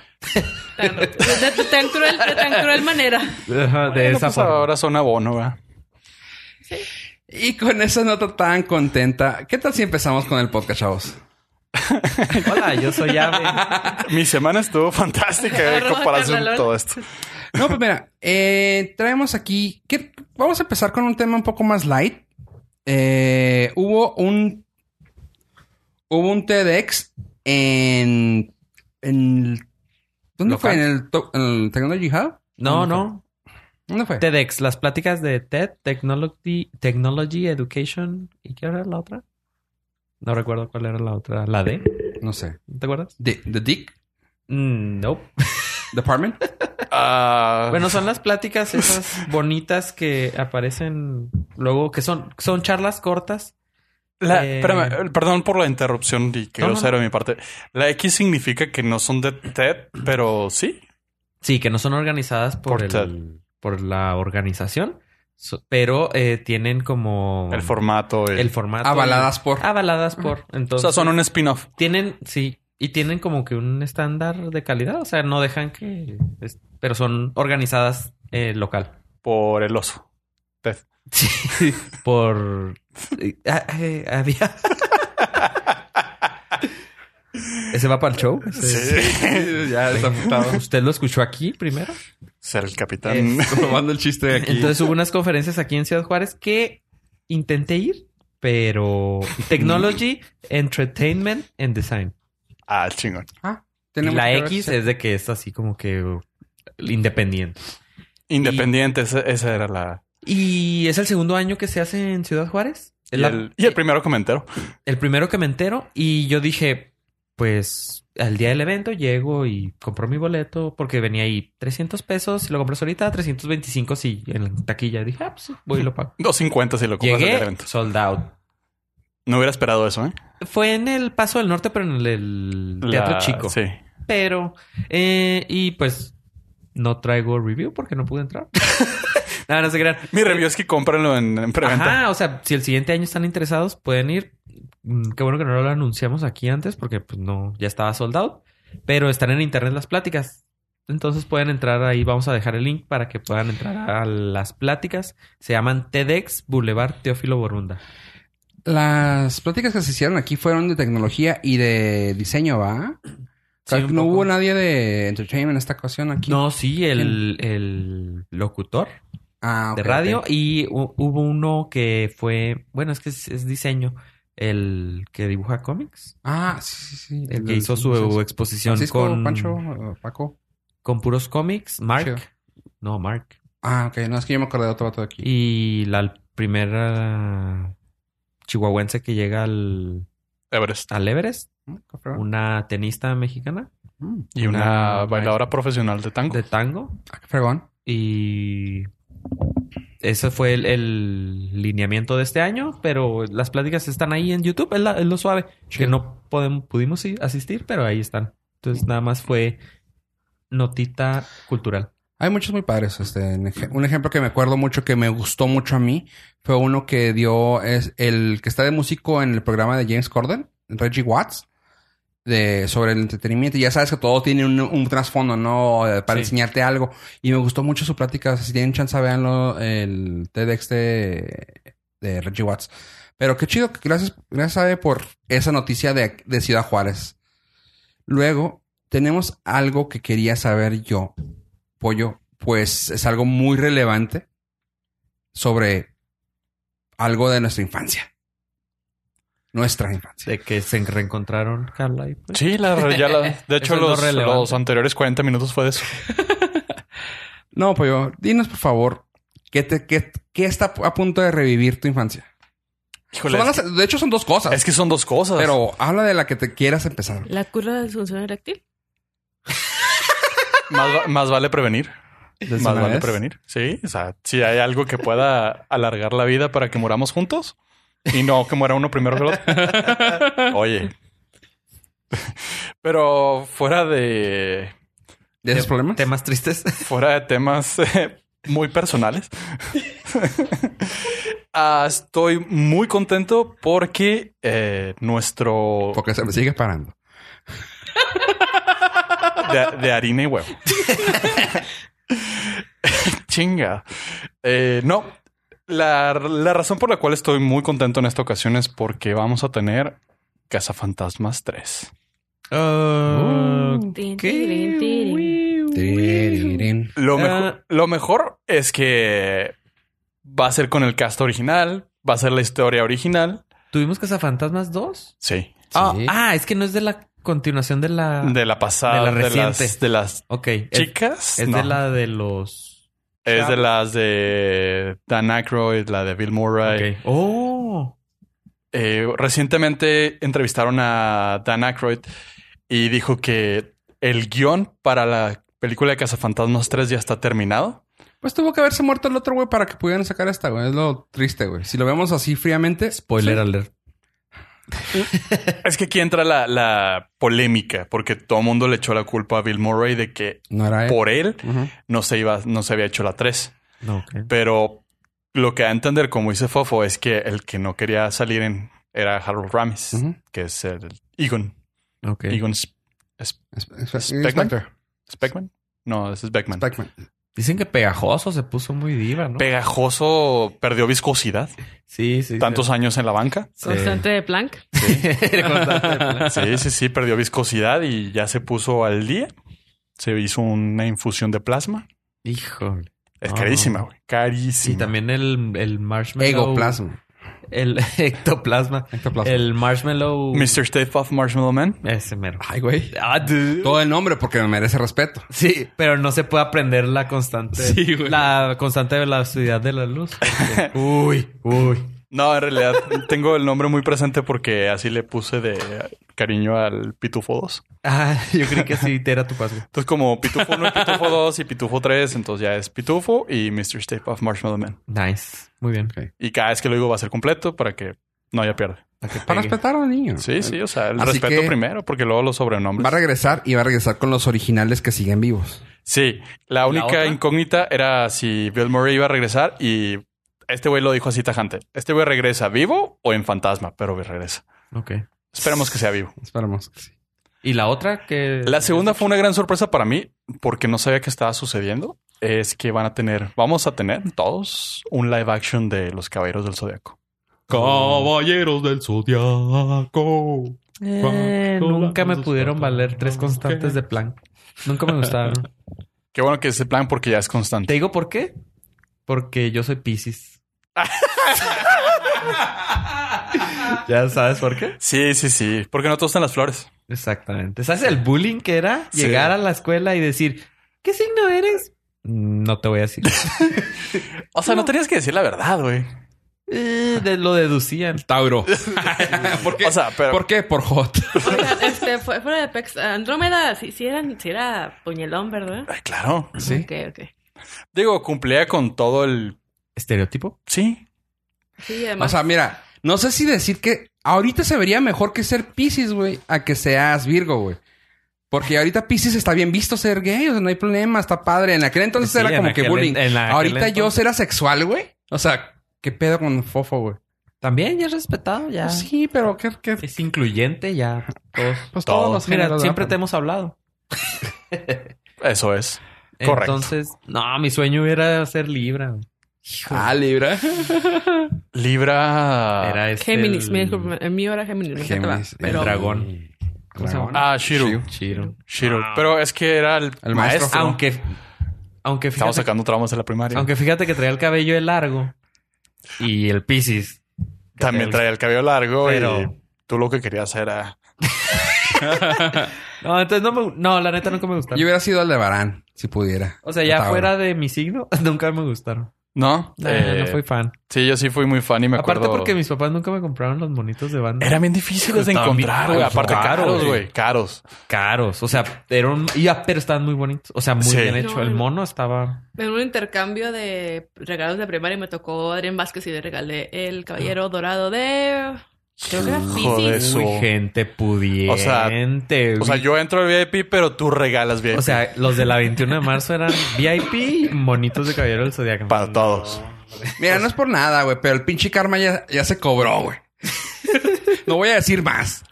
Speaker 5: Tan, de, de tan cruel, de tan cruel manera.
Speaker 4: de esa
Speaker 3: Pues
Speaker 4: forma.
Speaker 3: ahora son abono, ¿verdad?
Speaker 2: Y con esa nota tan contenta, ¿qué tal si empezamos con el podcast, chavos?
Speaker 4: Hola, yo soy
Speaker 3: <laughs>
Speaker 4: Ave.
Speaker 3: Mi semana estuvo fantástica en
Speaker 5: Arroba
Speaker 3: comparación
Speaker 5: carnalón.
Speaker 3: con todo esto.
Speaker 2: No, pues mira, eh, traemos aquí. ¿qué? Vamos a empezar con un tema un poco más light. eh, hubo un hubo un TEDx en en ¿dónde
Speaker 4: Local.
Speaker 2: fue? ¿En el, to- en el Technology Hub?
Speaker 4: No,
Speaker 2: ¿Dónde
Speaker 4: no.
Speaker 2: fue? ¿Dónde fue?
Speaker 4: TEDx, las pláticas de TED, Technology, Technology Education. ¿Y qué era la otra? No recuerdo cuál era la otra. ¿La D?
Speaker 2: no sé.
Speaker 4: ¿Te acuerdas?
Speaker 2: The, the Dick
Speaker 4: Mm, nope.
Speaker 2: Department.
Speaker 3: Ah,
Speaker 4: <laughs> Bueno, son las pláticas esas
Speaker 3: <laughs>
Speaker 4: bonitas que aparecen luego, que son, son charlas cortas.
Speaker 3: La-
Speaker 4: Eh,
Speaker 3: espérame, perdón por la interrupción y que
Speaker 4: No, no,
Speaker 3: grosero de mi parte. La X significa que no son de TED, pero sí.
Speaker 4: Sí, que no son organizadas por,
Speaker 3: Por
Speaker 4: el-
Speaker 3: TED.
Speaker 4: por la organización, so- pero eh, tienen como
Speaker 3: El formato. el-
Speaker 4: Ah. el formato.
Speaker 2: Avaladas por.
Speaker 4: Avaladas por.
Speaker 3: o
Speaker 4: Entonces,
Speaker 3: sea, son un spin-off.
Speaker 4: tienen, sí, y tienen como que un estándar de calidad. O sea, no dejan que. es- pero son organizadas eh,
Speaker 2: <laughs>
Speaker 4: local.
Speaker 3: por el oso.
Speaker 4: Sí, por. eh, ah, eh,
Speaker 2: <laughs>
Speaker 4: había. Ese va para el show.
Speaker 3: <laughs>
Speaker 4: Ese-
Speaker 2: ya está <laughs> apuntado.
Speaker 4: Usted lo escuchó aquí primero.
Speaker 3: Ser el capitán.
Speaker 2: Robando el chiste de aquí.
Speaker 4: Entonces hubo unas conferencias aquí en Ciudad Juárez que intenté ir,
Speaker 2: <laughs>
Speaker 4: pero Technology, Entertainment and Design.
Speaker 3: ah, chingón.
Speaker 2: Ah,
Speaker 4: Y
Speaker 2: tenemos
Speaker 4: la
Speaker 2: que ver
Speaker 4: X
Speaker 2: si-
Speaker 4: es de que es así como que uh, independiente.
Speaker 3: Independiente, esa, esa era la.
Speaker 4: Y es el segundo año que se hace en Ciudad Juárez. Es
Speaker 3: Y
Speaker 4: la-
Speaker 3: el, y el primero comentario.
Speaker 4: el primero que me entero y yo dije, pues al día del evento llego y compro mi boleto porque venía ahí 300 pesos, si lo compras ahorita 325 si en la taquilla dije, ah, pues voy y lo
Speaker 3: <laughs>
Speaker 4: pago.
Speaker 3: 250 si lo compras en el
Speaker 4: Llegué
Speaker 3: evento.
Speaker 4: sold out.
Speaker 3: No hubiera esperado eso, ¿eh?
Speaker 4: Fue en el Paso del Norte, pero en el, el Teatro
Speaker 3: La-
Speaker 4: Chico.
Speaker 3: Sí.
Speaker 4: Pero, eh, y pues no traigo review porque no pude
Speaker 3: <laughs>
Speaker 4: entrar. <laughs> no, no se crean.
Speaker 3: Mi review es que cómprenlo en, en preventa.
Speaker 4: Ajá, o sea, si el siguiente año están interesados, pueden ir. Mm, Qué bueno que no lo anunciamos aquí antes porque pues no, ya estaba sold out. Pero están en internet las pláticas. Entonces pueden entrar ahí. Vamos a dejar el link para que puedan entrar a las pláticas. Se llaman TEDx Boulevard Teófilo Borunda.
Speaker 2: Las pláticas que se hicieron aquí fueron de tecnología y de diseño, ¿va? O sea,
Speaker 4: Sí, un
Speaker 2: no
Speaker 4: poco.
Speaker 2: hubo nadie de entertainment en esta ocasión aquí.
Speaker 4: No, sí, el, el locutor
Speaker 2: Ah,
Speaker 4: de
Speaker 2: ok,
Speaker 4: radio
Speaker 2: ok.
Speaker 4: y hu- hubo uno que fue, bueno, es que es, es diseño, el que dibuja cómics,
Speaker 2: Ah, sí, sí, sí.
Speaker 4: el que
Speaker 2: del-
Speaker 4: hizo su
Speaker 2: sí, sí.
Speaker 4: exposición
Speaker 2: Francisco,
Speaker 4: con,
Speaker 2: Pancho, eh, Paco.
Speaker 4: con puros cómics, Mark,
Speaker 2: Chido.
Speaker 4: no, Mark,
Speaker 2: Ah, ok. No, es que yo me acordé de otro vato de aquí.
Speaker 4: y la primera chihuahuense que llega al,
Speaker 3: Everest.
Speaker 4: al Everest,
Speaker 2: Mm, qué fregón.
Speaker 4: una tenista mexicana
Speaker 2: Mm,
Speaker 3: Y una bailadora profesional de tango.
Speaker 4: de tango
Speaker 2: ah, qué fregón.
Speaker 4: y... Ese fue el, el lineamiento de este año, pero las pláticas están ahí en YouTube, es, la- es lo suave. que no podemos, pudimos i- asistir, pero ahí están. Entonces nada más fue notita cultural.
Speaker 2: Hay muchos muy padres. Este, en ej- un ejemplo que me acuerdo mucho, que me gustó mucho a mí, fue uno que dio, es el que está de músico en el programa de James Corden, Reggie Watts, de, sobre el entretenimiento. Y Ya sabes que todo tiene un, un trasfondo, ¿no? Eh, Para
Speaker 4: Sí.
Speaker 2: enseñarte algo. Y me gustó mucho su plática. Si tienen chance, véanlo, el TEDx de, de Reggie Watts. Pero qué chido, gracias, gracias Abe, por esa noticia de, de Ciudad Juárez. Luego, tenemos algo que quería saber yo, Pollo, pues es algo muy relevante sobre algo de nuestra infancia. Nuestra infancia.
Speaker 4: De que se reencontraron Carla y pues.
Speaker 3: Sí, la, ya
Speaker 4: <laughs>
Speaker 3: la- de hecho,
Speaker 4: Eso es lo
Speaker 3: los,
Speaker 4: relevante.
Speaker 3: los anteriores 40 minutos fue de eso.
Speaker 2: No, Pollo, dinos por favor, ¿qué, te, qué, qué está a punto de revivir tu infancia?
Speaker 3: Híjole,
Speaker 2: Son
Speaker 3: Pues es,
Speaker 2: las- de hecho, son dos cosas.
Speaker 3: que, es que son dos cosas.
Speaker 2: Pero habla de la que te quieras empezar.
Speaker 5: ¿La curva de función eréctil?
Speaker 3: Más, va- más vale prevenir.
Speaker 2: ¿Desde
Speaker 3: Más
Speaker 2: una
Speaker 3: vale
Speaker 2: vez?
Speaker 3: prevenir. Sí, o sea, si hay algo que pueda alargar la vida para que muramos juntos y no que muera uno primero que el otro.
Speaker 4: <laughs>
Speaker 3: Oye. <laughs> Pero fuera de
Speaker 2: ¿De esos problemas?
Speaker 4: Temas tristes.
Speaker 3: fuera de temas <laughs> eh, muy personales. <laughs> Ah, estoy muy contento porque eh, nuestro
Speaker 2: Porque se me sigue parando.
Speaker 3: de, de harina y huevo. <laughs> Chinga. Eh, no, la, la razón por la cual estoy muy contento en esta ocasión es porque vamos a tener Cazafantasmas 3.
Speaker 4: Ah,
Speaker 5: Tin,
Speaker 4: ¿Qué?
Speaker 5: tirin, tirin.
Speaker 2: Tiririrín.
Speaker 3: Lo, mejo-
Speaker 4: Ah.
Speaker 3: lo mejor es que va a ser con el cast original. va a ser la historia original.
Speaker 4: ¿Tuvimos Cazafantasmas 2?
Speaker 3: Sí.
Speaker 4: Ah,
Speaker 2: Sí.
Speaker 4: ah, es que no es de la continuación de la...
Speaker 3: De la pasada.
Speaker 4: de la
Speaker 3: las-
Speaker 4: reciente.
Speaker 3: de las
Speaker 4: Ok. es-
Speaker 3: chicas.
Speaker 4: Es,
Speaker 3: No.
Speaker 4: de la de los...
Speaker 3: Es de las de Dan Aykroyd, la de Bill Murray.
Speaker 4: Ok. Oh.
Speaker 3: Eh, recientemente entrevistaron a Dan Aykroyd y dijo que el guión para la película de Cazafantasmas 3 ya está
Speaker 4: <laughs>
Speaker 3: terminado.
Speaker 2: Pues tuvo que haberse muerto el otro, güey, para que pudieran sacar esta, güey. Es lo triste, güey. Si lo vemos así fríamente.
Speaker 4: Spoiler
Speaker 2: sí.
Speaker 4: alert.
Speaker 3: Es que aquí entra la, la polémica, porque todo el mundo le echó la culpa a Bill Murray de que
Speaker 2: No era él.
Speaker 3: por él
Speaker 2: Ujú.
Speaker 3: no se iba, no se había hecho la 3.
Speaker 4: No, ok.
Speaker 3: Pero lo que da a entender, como dice Fofo, es que el que no quería salir en era Harold Ramis,
Speaker 2: Ujú.
Speaker 3: que es el Egon.
Speaker 4: Ok.
Speaker 3: Egon Sp- Sp-
Speaker 2: Es- es- es-
Speaker 3: Speckman.
Speaker 2: Spector.
Speaker 3: Speckman. No, ese es Beckman.
Speaker 2: Speckman.
Speaker 4: Dicen que pegajoso se puso muy diva, ¿no?
Speaker 3: Pegajoso, perdió viscosidad.
Speaker 4: sí, sí.
Speaker 3: Tantos años en la
Speaker 4: <laughs>
Speaker 3: banca.
Speaker 4: Sí.
Speaker 5: Constante de Planck.
Speaker 4: <laughs>
Speaker 3: Sí, sí, sí, perdió viscosidad y ya se puso al día. Se hizo una infusión de plasma.
Speaker 4: Híjole.
Speaker 3: Es
Speaker 4: Ah.
Speaker 3: carísima, güey. Carísima.
Speaker 4: Sí, también el, el marshmallow.
Speaker 2: Egoplasma.
Speaker 4: El <laughs> ectoplasma.
Speaker 2: Ectoplasma.
Speaker 4: El marshmallow.
Speaker 3: Mr. Stay Puft Marshmallow Man.
Speaker 4: Ese mero.
Speaker 2: Ay, güey.
Speaker 4: Ah, dude.
Speaker 2: Todo el nombre porque me merece respeto.
Speaker 4: Sí, pero no se puede aprender la constante.
Speaker 3: Sí, güey.
Speaker 4: La constante velocidad de la luz. Porque- <laughs> uy, uy.
Speaker 3: No, en realidad <laughs> tengo el nombre muy presente porque así le puse de cariño al Pitufo 2.
Speaker 4: Ah, yo creí que sí, te era tu paso.
Speaker 3: Entonces, como Pitufo 1, Pitufo 2 y Pitufo 3, entonces ya es Pitufo y Mr. Stay Puft Marshmallow Man.
Speaker 4: Nice. Muy bien.
Speaker 3: Y cada vez que lo digo va a ser completo para que no haya pierde.
Speaker 2: Para
Speaker 4: Pegue.
Speaker 2: respetar al niño.
Speaker 3: Sí, sí, o sea, el
Speaker 2: Así
Speaker 3: respeto
Speaker 2: que-
Speaker 3: primero porque luego los sobrenombres.
Speaker 2: Va a
Speaker 4: Pues-
Speaker 2: regresar y va a regresar con los originales que siguen vivos.
Speaker 3: Sí, la única
Speaker 4: otra?
Speaker 3: incógnita era si Bill Murray iba a regresar y este güey lo dijo así tajante. Este güey regresa vivo o en fantasma, pero regresa.
Speaker 4: Ok.
Speaker 3: Esperemos que sea vivo.
Speaker 2: Esperemos. que sí.
Speaker 4: Y la otra que.
Speaker 3: La segunda fue una gran sorpresa para mí porque no sabía que estaba sucediendo. Es que van a tener, vamos a tener todos un live action de Los Caballeros del Zodiaco.
Speaker 7: Caballeros del Zodiaco.
Speaker 4: Eh, nunca me pudieron valer tres constantes de Planck. Nunca me gustaron. <laughs>
Speaker 3: Qué bueno que ese plan porque ya es
Speaker 4: ¿Te
Speaker 3: constante.
Speaker 4: digo por qué? Porque yo soy Pisces. <laughs> ¿Ya sabes por qué?
Speaker 3: Sí, sí, sí. Porque no todos están las flores.
Speaker 4: Exactamente. ¿Sabes el bullying que era?
Speaker 3: Sí.
Speaker 4: Llegar a la escuela y decir, ¿qué signo eres? Mm, No te voy a decir.
Speaker 3: O sea, no, tenías que decir la verdad, güey.
Speaker 4: Eh, de- lo deducían.
Speaker 2: Tauro.
Speaker 3: ¿Por O sea,
Speaker 2: <laughs>
Speaker 3: pero
Speaker 2: ¿Por qué? Por Hot.
Speaker 5: Oigan, este, fu- fuera de Pex, Andrómeda, si, si, eran, si era puñalón, ¿verdad?
Speaker 3: Ay, claro.
Speaker 2: Sí.
Speaker 5: Ok, ok.
Speaker 3: Digo, cumplía con todo el
Speaker 4: ¿Estereotipo?
Speaker 3: Sí.
Speaker 5: Sí,
Speaker 2: O
Speaker 5: además.
Speaker 2: sea, mira, no sé si decir que ahorita se vería mejor que ser Pisces, güey, a que seas Virgo, güey. Porque ahorita Pisces está bien visto ser gay, o sea, no hay problema, está padre. En aquel entonces
Speaker 4: Sí,
Speaker 2: era
Speaker 4: en
Speaker 2: como que
Speaker 4: aquel-
Speaker 2: bullying.
Speaker 4: en aquel
Speaker 2: ahorita yo
Speaker 4: entonces.
Speaker 2: ser asexual, güey. O sea, ¿qué pedo con Fofo, güey? Pues
Speaker 4: También ya es respetado, ya.
Speaker 2: Sí, pero ¿qué? qué?
Speaker 4: Es incluyente, ya. Todos.
Speaker 2: Pues todos
Speaker 3: Todo.
Speaker 2: los
Speaker 4: Mira,
Speaker 2: géneros,
Speaker 4: siempre te
Speaker 2: ¿verdad?
Speaker 4: hemos hablado.
Speaker 3: Eso es. Correcto.
Speaker 4: Entonces, no, mi sueño era ser Libra.
Speaker 2: Ah, Libra.
Speaker 3: Libra.
Speaker 4: Era este
Speaker 5: Géminis,
Speaker 4: el-
Speaker 5: me disculpo, el mío era Géminis, me encantaba,
Speaker 2: Géminis,
Speaker 5: pero
Speaker 2: el
Speaker 4: dragón.
Speaker 2: ¿Cómo se llama?
Speaker 3: Ah, Shiru.
Speaker 2: Shiru.
Speaker 4: Chiro.
Speaker 3: Shiru. Pero es que era el,
Speaker 2: El
Speaker 3: maestro.
Speaker 2: maestro.
Speaker 4: Aunque, aunque
Speaker 3: Estamos
Speaker 4: fíjate,
Speaker 3: sacando traumas de la primaria.
Speaker 4: aunque fíjate que traía el cabello de largo y el Piscis.
Speaker 3: También traía el cabello largo
Speaker 4: Pero-
Speaker 3: y tú lo que querías era.
Speaker 4: No, entonces no me, no, la neta nunca me
Speaker 2: Yo
Speaker 4: gustaron.
Speaker 2: hubiera sido el de Barán, si pudiera.
Speaker 4: O sea, ya
Speaker 2: Tauro.
Speaker 4: fuera de mi signo, <laughs> nunca me gustaron.
Speaker 3: No.
Speaker 4: No,
Speaker 3: Eh,
Speaker 4: no fui fan.
Speaker 3: Sí, yo sí fui muy fan y me
Speaker 4: Aparte
Speaker 3: acuerdo.
Speaker 4: porque mis papás nunca me compraron los monitos de banda.
Speaker 3: Era bien difíciles de
Speaker 4: Estaban bien
Speaker 3: encontrar, güey.
Speaker 4: caros,
Speaker 3: Aparte,
Speaker 4: caros,
Speaker 3: caros,
Speaker 4: güey.
Speaker 3: güey. Caros.
Speaker 4: caros. O sea, eran... Ya, pero estaban muy bonitos. O sea, muy
Speaker 3: Sí.
Speaker 4: bien hecho.
Speaker 5: No,
Speaker 4: el
Speaker 5: no.
Speaker 4: mono estaba...
Speaker 5: en un intercambio de regalos de primaria me tocó Adrián Vázquez y le regalé el caballero dorado de. Creo que era
Speaker 3: Joder,
Speaker 5: Pisces.
Speaker 3: Eso.
Speaker 4: Uy, gente pudiente.
Speaker 3: O sea,
Speaker 4: güey.
Speaker 3: O sea, yo entro al VIP, pero tú regalas VIP.
Speaker 4: O sea, los de la 21 de marzo eran VIP y monitos de caballero del zodiaco.
Speaker 3: para todos.
Speaker 2: Mira,
Speaker 4: pues
Speaker 2: no es por nada, güey, pero el pinche karma ya, ya se cobró,
Speaker 4: <laughs>
Speaker 2: güey. no voy a decir más.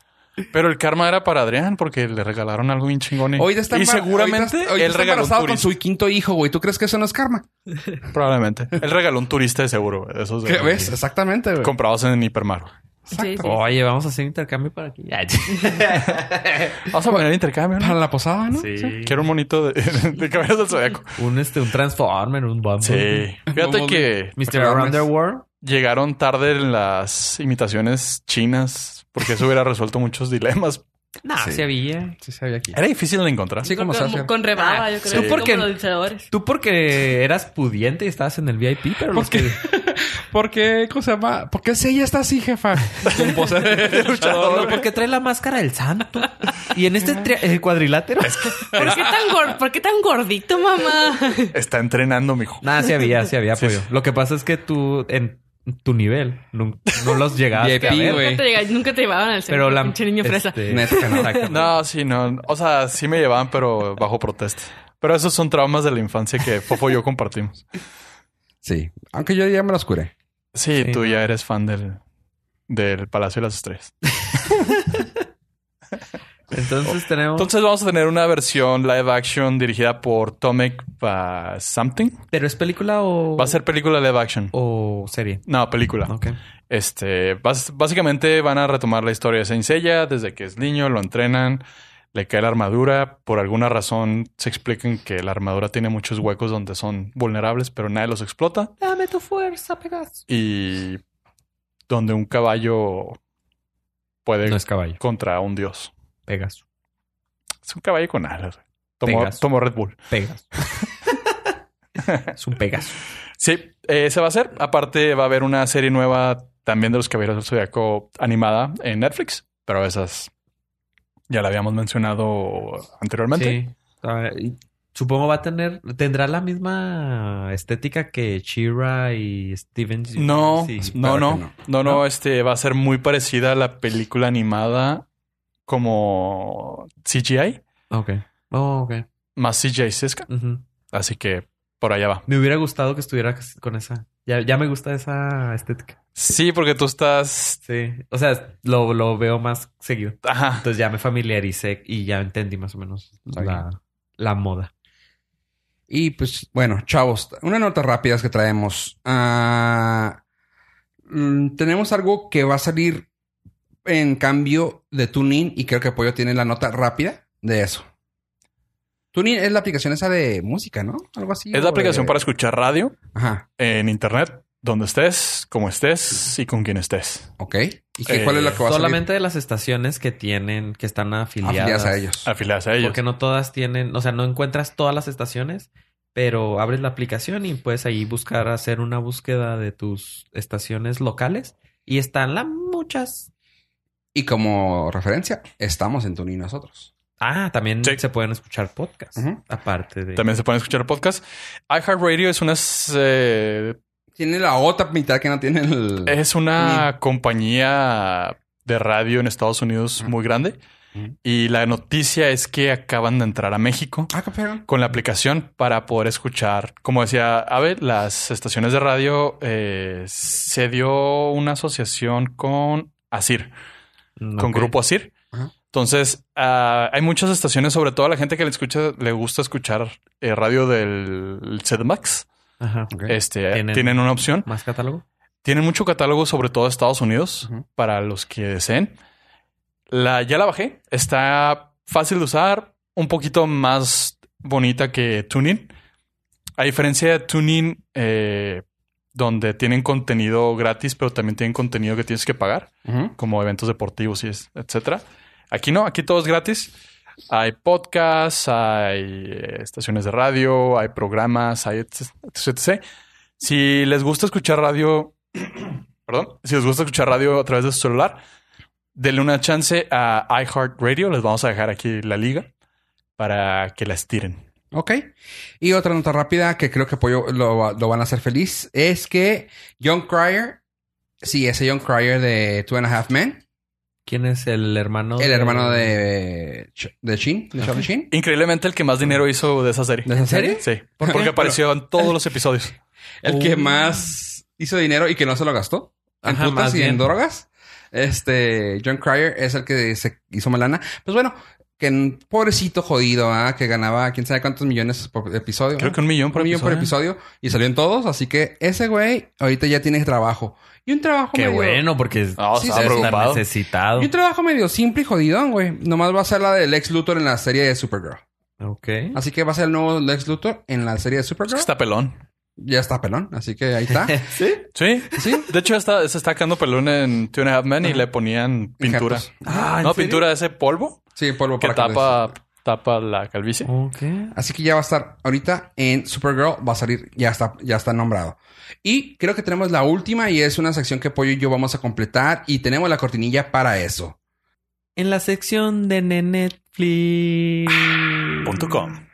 Speaker 3: Pero el karma era para Adrián porque le regalaron algo bien chingón. Y,
Speaker 2: Ahorita está
Speaker 3: y
Speaker 2: embar-
Speaker 3: seguramente
Speaker 2: ahorita está- ahorita
Speaker 3: él
Speaker 2: está
Speaker 3: regaló un
Speaker 2: embarazado con
Speaker 3: turista.
Speaker 2: su quinto hijo, güey. ¿Tú crees que eso no es karma? <laughs>
Speaker 3: Probablemente. Él regaló un turista de seguro. güey, de Esos de-
Speaker 2: ¿Qué ves? Exactamente, güey.
Speaker 3: Comprados en Hipermar. güey.
Speaker 5: Sí, sí.
Speaker 4: Oye, vamos a hacer intercambio para aquí.
Speaker 3: Vamos a poner intercambio,
Speaker 2: Para la posada, ¿no?
Speaker 4: sí.
Speaker 3: Quiero un monito de, <laughs> de cabellos del zodiaco.
Speaker 4: Un, este, un Transformer, un Bumblebee.
Speaker 3: Sí. Fíjate que
Speaker 4: Mr. Underworld.
Speaker 3: llegaron tarde las imitaciones chinas, porque eso hubiera resuelto muchos dilemas.
Speaker 4: No,
Speaker 2: Sí.
Speaker 4: se había.
Speaker 2: Sí, se había aquí.
Speaker 3: Era difícil de encontrar.
Speaker 2: Sí, como se hace.
Speaker 5: Con rebaba,
Speaker 4: Ah,
Speaker 5: yo creo.
Speaker 4: sí. ¿Tú por qué?
Speaker 5: Como los luchadores.
Speaker 4: Tú porque eras pudiente y estabas en el VIP, pero los que...
Speaker 2: ¿Por qué? ¿Cómo se llama? ¿Por qué si ella está así,
Speaker 3: <laughs>
Speaker 2: jefa? Con pose <laughs> de
Speaker 4: No,
Speaker 2: luchador.
Speaker 4: porque trae la máscara del santo. Y en este tri- eh, cuadrilátero...
Speaker 5: ¿Por qué, tan gor- ¿Por qué tan gordito, mamá?
Speaker 3: Está entrenando, mijo.
Speaker 4: Nada, sí había, sí había
Speaker 3: Sí,
Speaker 4: apoyo.
Speaker 3: sí.
Speaker 4: Lo que pasa es que tú, en tu nivel, nun- no, los llegabas
Speaker 2: VIP,
Speaker 4: a ver.
Speaker 2: güey.
Speaker 5: Nunca te, llega- nunca te llevaban al centro,
Speaker 4: Pero la...
Speaker 5: pinche niño fresa.
Speaker 4: este,
Speaker 2: Neta que no.
Speaker 4: exacto.
Speaker 3: <laughs> No, sí, no. O sea, sí me llevaban, pero bajo protesta. Pero esos son traumas de la infancia que Fofo y yo compartimos.
Speaker 2: Sí. Aunque yo ya me los curé.
Speaker 3: Sí,
Speaker 4: Sí.
Speaker 3: tú ya eres fan del, del Palacio de las Estrellas.
Speaker 4: Entonces tenemos...
Speaker 3: Oh. Entonces vamos a tener una versión live action dirigida por Tomek Pa- Something.
Speaker 4: ¿Pero es película o...?
Speaker 3: Va a ser Ah, película live action.
Speaker 4: O serie.
Speaker 3: No, película.
Speaker 4: Oh. Ok.
Speaker 3: Este, bas- básicamente van a retomar la historia de Saint Seiya desde que es niño, lo entrenan, le cae la armadura. Por alguna razón se explican que la armadura tiene muchos huecos donde son vulnerables, pero nadie los explota.
Speaker 4: Dame tu fuerza, Pegaso.
Speaker 3: Y donde un caballo puede
Speaker 4: No es caballo.
Speaker 3: contra un dios.
Speaker 4: Pegaso.
Speaker 3: Es un caballo con alas. Tomó,
Speaker 4: Pegaso.
Speaker 3: tomó Red Bull. <laughs>
Speaker 4: Pegaso. es un Pegaso.
Speaker 3: Sí, eh, se va a hacer. Aparte, va a haber una serie nueva también de los Caballeros del Zodiaco animada en Netflix, pero esas ya la habíamos mencionado anteriormente.
Speaker 4: Sí. Ah, y Supongo va a tener... ¿Tendrá la misma estética que She-Ra y Steven?
Speaker 3: No,
Speaker 4: Sí.
Speaker 3: no,
Speaker 2: claro
Speaker 3: no,
Speaker 2: que
Speaker 3: no,
Speaker 2: no.
Speaker 3: no,
Speaker 4: ¿No?
Speaker 3: este va a ser muy parecida a la película animada como CGI,
Speaker 4: Ok. Oh, ok.
Speaker 3: más CGI Sesca.
Speaker 4: Ujú.
Speaker 3: Así que por allá va.
Speaker 4: Me hubiera gustado que estuviera c- con esa. Ya, ya me gusta esa estética.
Speaker 3: Sí, porque tú estás.
Speaker 4: Sí. O sea, lo, lo veo más seguido.
Speaker 3: Ajá.
Speaker 4: Entonces ya me familiaricé y ya entendí más o menos
Speaker 2: Está
Speaker 4: la, la moda.
Speaker 2: Y pues, bueno, chavos, unas notas rápidas que traemos. Ah, mm, tenemos algo que va a salir en cambio de TuneIn y creo que Pollo tiene la nota rápida de eso. TuneIn es la aplicación esa de música, ¿no? Algo así.
Speaker 3: Es
Speaker 2: o
Speaker 3: la aplicación
Speaker 2: de-
Speaker 3: para escuchar radio
Speaker 2: Ajá,
Speaker 3: en internet, donde estés, como estés y con quien estés.
Speaker 2: ok. ¿Y qué- cuál es la que va a
Speaker 4: Eh, Solamente de las estaciones que tienen, que están
Speaker 2: salir?
Speaker 4: afiliadas,
Speaker 2: Afiliadas a ellos.
Speaker 3: Afiliadas a ellos.
Speaker 4: Porque no todas tienen, o sea, no encuentras todas las estaciones, pero abres la aplicación y puedes ahí buscar, hacer una búsqueda de tus estaciones locales y están las muchas.
Speaker 2: Y como referencia, estamos en TuneIn nosotros.
Speaker 4: Ah, también
Speaker 3: Sí.
Speaker 4: se pueden escuchar podcasts,
Speaker 2: Ujú.
Speaker 4: aparte de...
Speaker 3: También se pueden escuchar podcast. iHeartRadio es una, eh,
Speaker 2: Tiene la otra mitad que no tiene el...
Speaker 3: es una compañía de radio en Estados Unidos
Speaker 2: Ujú.
Speaker 3: muy grande.
Speaker 2: Ujú.
Speaker 3: Y la noticia es que acaban de entrar a México
Speaker 2: Ah, qué feo.
Speaker 3: con la aplicación para poder escuchar, como decía Abe, las estaciones de radio eh, se dio una asociación con ASIR.
Speaker 4: Mm,
Speaker 3: con
Speaker 4: ok.
Speaker 3: Grupo Asir.
Speaker 2: Ajá.
Speaker 3: Entonces, ah, hay muchas estaciones, sobre todo a la gente que le escucha, le gusta escuchar eh, radio del ZMAX.
Speaker 4: Ajá.
Speaker 2: Ok.
Speaker 3: Este,
Speaker 4: Tienen-
Speaker 3: tienen, una opción.
Speaker 4: ¿Más catálogo?
Speaker 3: Tienen mucho catálogo, sobre todo de Estados Unidos,
Speaker 2: Ujú.
Speaker 3: para los que deseen. La, ya la bajé. Está fácil de usar, un poquito más bonita que TuneIn. A diferencia de TuneIn, eh, donde tienen contenido gratis, pero también tienen contenido que tienes que pagar
Speaker 2: Ujú.
Speaker 3: como eventos deportivos y es- etcétera. Aquí no, aquí todo es gratis. Hay podcasts, hay eh, estaciones de radio, hay programas, hay etc, etc. Si les gusta escuchar radio, <clears throat> perdón, si les gusta escuchar radio a través de su celular, denle una chance a iHeartRadio. Les vamos a dejar aquí la liga para que la estiren.
Speaker 2: Ok. Y otra nota rápida que creo que Pollo lo, va- lo van a hacer feliz es que John Cryer, sí, ese John Cryer de Two and a Half Men,
Speaker 4: ¿Quién es el hermano?
Speaker 2: el hermano de, de Shin, de Charlie Sheen,
Speaker 3: Increíblemente el que más dinero hizo de esa serie.
Speaker 2: ¿De esa serie?
Speaker 3: Sí. Porque apareció en todos los episodios.
Speaker 2: el
Speaker 4: Oh.
Speaker 2: que más hizo dinero y que no se lo gastó en
Speaker 4: Ajá,
Speaker 2: putas
Speaker 4: más
Speaker 2: y
Speaker 4: bien.
Speaker 2: en drogas. Este John Cryer es el que se hizo malana. Pues bueno, que n- pobrecito jodido, ¿ah? que ganaba quién sabe cuántos millones por episodio.
Speaker 3: Creo
Speaker 2: ¿ah?
Speaker 3: que un millón por
Speaker 2: un millón por
Speaker 3: episodio.
Speaker 2: episodio y salió en todos. Así que ese güey ahorita ya tiene trabajo. Y un trabajo
Speaker 4: Qué
Speaker 2: medio-
Speaker 4: bueno, porque
Speaker 3: No,
Speaker 2: Sí,
Speaker 3: estaba
Speaker 2: sí, sí.
Speaker 3: preocupado.
Speaker 4: necesitado.
Speaker 2: Y un trabajo medio simple y jodidón, güey. Nomás va a ser la de Lex Luthor en la serie de Supergirl.
Speaker 4: Ok.
Speaker 2: Así que va a ser el nuevo Lex Luthor en la serie de
Speaker 3: Es que
Speaker 2: Supergirl.
Speaker 3: está pelón.
Speaker 2: ya está pelón, así que ahí
Speaker 3: <laughs>
Speaker 2: está.
Speaker 7: ¿Sí?
Speaker 3: Sí.
Speaker 2: Sí.
Speaker 3: De hecho, está, se está quedando pelón en Two and a Half Men y le ponían pintura.
Speaker 2: Injertos.
Speaker 4: Ah, ¿en
Speaker 3: no,
Speaker 4: serio?
Speaker 3: pintura de ese polvo
Speaker 2: Sí, polvo
Speaker 3: que
Speaker 2: para que-
Speaker 3: tapa, tapa la calvicie.
Speaker 4: Ok.
Speaker 2: Así que ya va a estar ahorita en Supergirl, va a salir, ya está, ya está nombrado. Y creo que tenemos la última y es una sección que Pollo y yo vamos a completar y tenemos la cortinilla para eso.
Speaker 4: En la sección de Netflix.
Speaker 3: Punto com.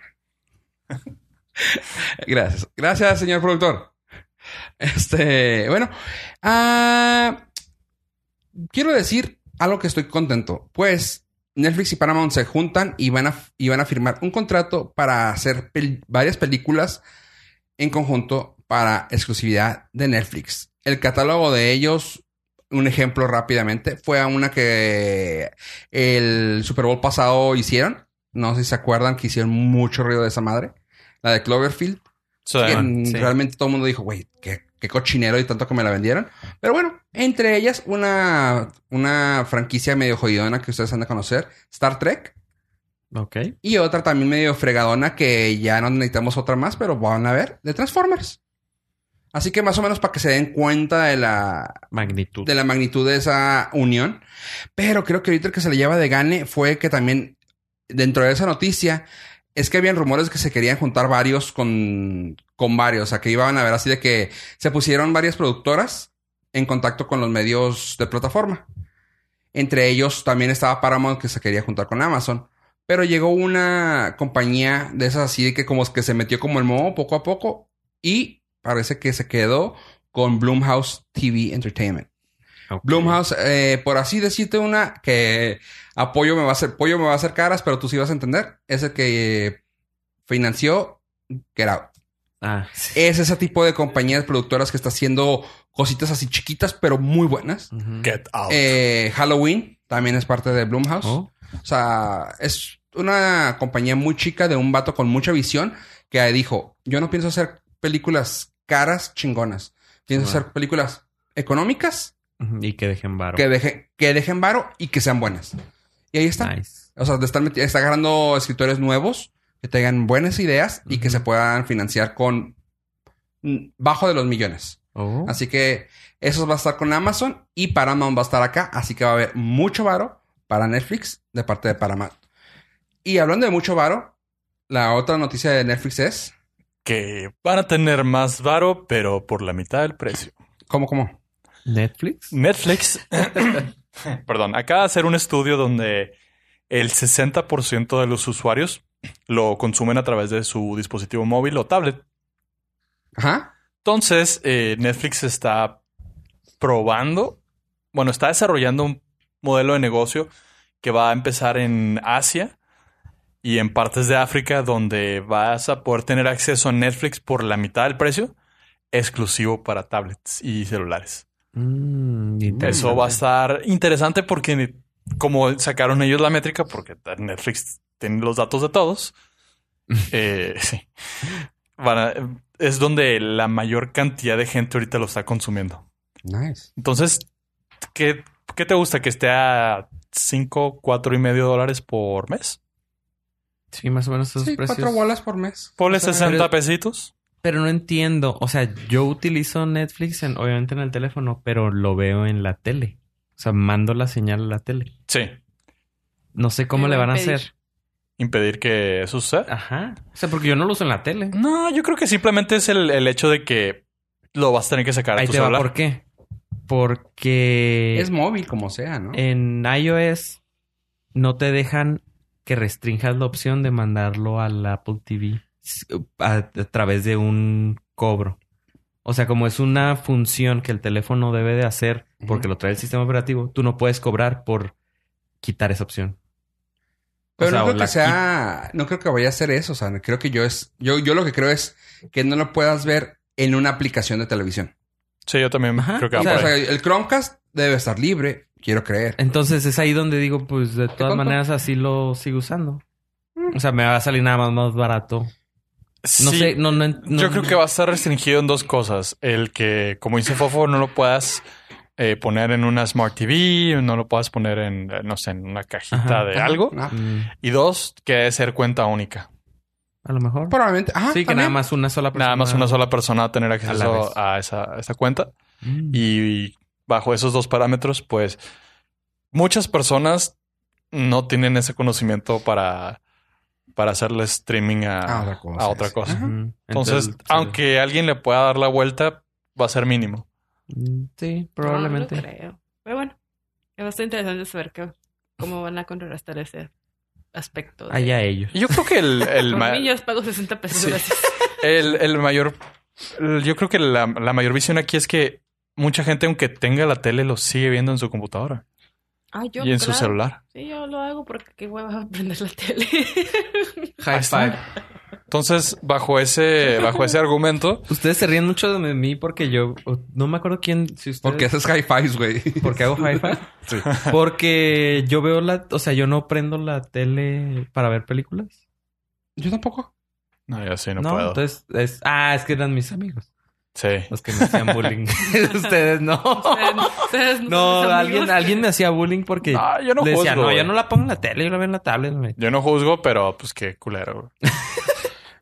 Speaker 2: Gracias. Gracias, señor productor. Este, bueno, ah, quiero decir algo que estoy contento. Pues Netflix y Paramount se juntan y van a, y van a firmar un contrato para hacer pel- varias películas en conjunto para exclusividad de Netflix. El catálogo de ellos, un ejemplo rápidamente, fue a una que el Super Bowl pasado hicieron. No sé si se acuerdan que hicieron mucho ruido de esa madre. La de Cloverfield.
Speaker 3: Sí.
Speaker 2: Que en-
Speaker 4: sí.
Speaker 2: Realmente todo el mundo dijo, güey, qué, qué cochinero y tanto que me la vendieron. Pero bueno, entre ellas una, una franquicia medio jodidona que ustedes han de conocer, Star Trek.
Speaker 4: Ok.
Speaker 2: Y otra también medio fregadona que ya no necesitamos otra más, pero van a ver, de Transformers. Así que más o menos para que se den cuenta de la,
Speaker 4: Magnitud.
Speaker 2: de la magnitud de esa unión. Pero creo que ahorita el que se le lleva de gane fue que también dentro de esa noticia es que habían rumores que se querían juntar varios con, con varios. O sea, que iban a ver así de que se pusieron varias productoras en contacto con los medios de plataforma. Entre ellos también estaba Paramount que se quería juntar con Amazon. Pero llegó una compañía de esas así de que como que se metió como el moho poco a poco y parece que se quedó con Bloomhouse TV Entertainment.
Speaker 4: Ok.
Speaker 2: Blumhouse, eh, por así decirte una que apoyo me va a hacer, pollo me va a hacer caras, pero tú sí vas a entender, es el que eh, financió Get Out.
Speaker 4: Ah, sí.
Speaker 2: Es ese tipo de compañías productoras que está haciendo cositas así chiquitas, pero muy buenas.
Speaker 4: Ujú.
Speaker 3: Get out.
Speaker 2: Eh, Halloween también es parte de Blumhouse.
Speaker 4: Oh.
Speaker 2: O sea, es una compañía muy chica de un vato con mucha visión que dijo, yo no pienso hacer películas caras chingonas. Pienso
Speaker 4: Wow.
Speaker 2: hacer películas económicas
Speaker 4: Ujú. Y que dejen varo.
Speaker 2: que, deje- que dejen varo y que sean buenas. Y ahí está.
Speaker 4: Nice.
Speaker 2: O sea, te están meti- está agarrando escritores nuevos que tengan buenas ideas y que
Speaker 4: Ujú.
Speaker 2: se puedan financiar con mm, bajo de los millones.
Speaker 4: Oh.
Speaker 2: Así que eso va a estar con Amazon y Paramount va a estar acá. Así que va a haber mucho varo para Netflix de parte de Paramount. Y hablando de mucho varo, la otra noticia de Netflix es...
Speaker 3: Que van a tener más varo, pero por la mitad del precio.
Speaker 2: ¿Cómo, cómo?
Speaker 4: Netflix.
Speaker 3: Netflix, perdón, acaba de hacer un estudio donde el 60% de los usuarios lo consumen a través de su dispositivo móvil o tablet.
Speaker 2: Ajá.
Speaker 3: Entonces, eh, Netflix está probando, bueno, está desarrollando un modelo de negocio que va a empezar en Asia y en partes de África donde vas a poder tener acceso a Netflix por la mitad del precio, exclusivo para tablets y celulares.
Speaker 4: Mm,
Speaker 3: Eso
Speaker 4: interesante.
Speaker 3: va a estar interesante porque como sacaron ellos la métrica, porque Netflix tiene los datos de
Speaker 4: <laughs>
Speaker 3: todos, eh, sí. Van a- es donde la mayor cantidad de gente ahorita lo está consumiendo.
Speaker 2: Nice.
Speaker 3: Entonces, ¿qué, qué te gusta? ¿Que esté a 5, 4 y medio dólares por mes?
Speaker 4: Sí, más o menos esos
Speaker 2: Sí,
Speaker 4: precios.
Speaker 2: cuatro bolas por mes.
Speaker 3: Ponle
Speaker 2: O sea,
Speaker 3: 60 pesitos.
Speaker 4: Pero no entiendo. O sea, yo utilizo Netflix, en- obviamente en el teléfono, pero lo veo en la tele. O sea, mando la señal a la tele.
Speaker 3: Sí.
Speaker 4: No sé cómo
Speaker 5: Te
Speaker 4: le
Speaker 5: va a
Speaker 4: van a
Speaker 5: impedir.
Speaker 4: hacer.
Speaker 3: Impedir que eso suceda.
Speaker 4: Ajá. O sea, porque yo no lo uso en la tele.
Speaker 3: No, yo creo que simplemente es el, el hecho de que lo vas a tener que sacar a
Speaker 4: Ahí
Speaker 3: tu
Speaker 4: te va.
Speaker 3: celular.
Speaker 4: ¿Por qué? Porque
Speaker 2: Es móvil, como sea, ¿no?
Speaker 4: en iOS no te dejan que restrinjas la opción de mandarlo al Apple TV s- a, a través de un cobro. O sea, como es una función que el teléfono debe de hacer porque lo trae el sistema operativo, tú no puedes cobrar por quitar esa opción.
Speaker 2: Pero
Speaker 4: O sea,
Speaker 2: no
Speaker 4: o
Speaker 2: creo
Speaker 4: la
Speaker 2: que sea, no creo que vaya a ser eso. O sea, creo que yo es, yo, yo lo que creo es que no lo puedas ver en una aplicación de televisión.
Speaker 3: Sí, yo también
Speaker 4: Ajá.
Speaker 3: creo que va
Speaker 2: O sea,
Speaker 3: por ahí.
Speaker 2: el Chromecast debe estar libre, quiero creer.
Speaker 4: Entonces es ahí donde digo, pues de todas
Speaker 2: compro.
Speaker 4: maneras así lo sigo usando.
Speaker 2: Mm.
Speaker 4: O sea, me va a salir nada más más barato. No
Speaker 3: Sí.
Speaker 4: sé, no, no, en- no-
Speaker 3: Yo creo que va a estar restringido en dos cosas. El que, como dice Fofo, no lo puedas eh, poner en una Smart TV, no lo puedas poner en, eh, no sé, en una cajita
Speaker 4: Ajá.
Speaker 3: de algo.
Speaker 2: Ah,
Speaker 4: Mm.
Speaker 3: Y dos, que debe ser cuenta única.
Speaker 4: A lo mejor.
Speaker 2: Probablemente. Ah,
Speaker 4: sí, que
Speaker 2: también.
Speaker 4: nada más una sola persona.
Speaker 3: Nada más una sola persona va a tener
Speaker 4: A la vez.
Speaker 3: acceso a, esa, a esa cuenta.
Speaker 4: Mm.
Speaker 3: Y bajo esos dos parámetros, pues muchas personas no tienen ese conocimiento para, para hacerle streaming a,
Speaker 2: A otra cosa,
Speaker 3: a otra
Speaker 2: sí.
Speaker 3: cosa.
Speaker 2: Ajá.
Speaker 4: Mm.
Speaker 3: Entonces,
Speaker 4: sí.
Speaker 3: aunque alguien le pueda dar la vuelta, va a ser mínimo.
Speaker 4: Mm, Sí,
Speaker 5: No,
Speaker 4: probablemente.
Speaker 5: no creo. Pero bueno, es bastante interesante saber que, cómo van a contrarrestar ese aspecto. de-
Speaker 4: Allá ellos.
Speaker 3: Y Yo creo que el, el,
Speaker 5: Por
Speaker 3: ma-
Speaker 5: mí yo les pago 60 pesos.
Speaker 3: Sí.
Speaker 5: gracias.
Speaker 3: el- el mayor... el- yo creo que la, la mayor visión aquí es que mucha gente, aunque tenga la tele, lo sigue viendo en su computadora
Speaker 5: Ah, yo,
Speaker 3: y en su
Speaker 5: claro.
Speaker 3: celular.
Speaker 5: Sí, yo lo hago porque qué hueva <laughs> prender la
Speaker 4: <laughs>
Speaker 5: tele.
Speaker 3: Ahí
Speaker 4: High
Speaker 3: está.
Speaker 4: five.
Speaker 3: Entonces, bajo ese, bajo ese argumento,
Speaker 4: Ustedes se ríen mucho de mí porque yo o- no me acuerdo quién. Si ustedes,
Speaker 2: Porque haces high fives, güey. <laughs>
Speaker 4: porque hago hi-fi. Porque yo veo la, o sea, yo no prendo la tele para ver películas.
Speaker 2: Yo tampoco.
Speaker 3: no, yo sí no,
Speaker 4: No,
Speaker 3: puedo.
Speaker 4: entonces es, ah, es que eran mis amigos
Speaker 3: Sí.
Speaker 4: los que me hacían
Speaker 2: <laughs>
Speaker 4: bullying. <laughs> ustedes no.
Speaker 5: Ustedes
Speaker 4: No,
Speaker 5: son mis
Speaker 4: alguien,
Speaker 5: amigos.
Speaker 4: alguien me hacía bullying porque
Speaker 3: Ah, yo no
Speaker 4: le decía,
Speaker 3: juzgo,
Speaker 4: no,
Speaker 3: güey.
Speaker 4: yo no la pongo en la tele, yo la veo en la tablet. güey".
Speaker 3: Yo no juzgo, pero pues qué culero. güey.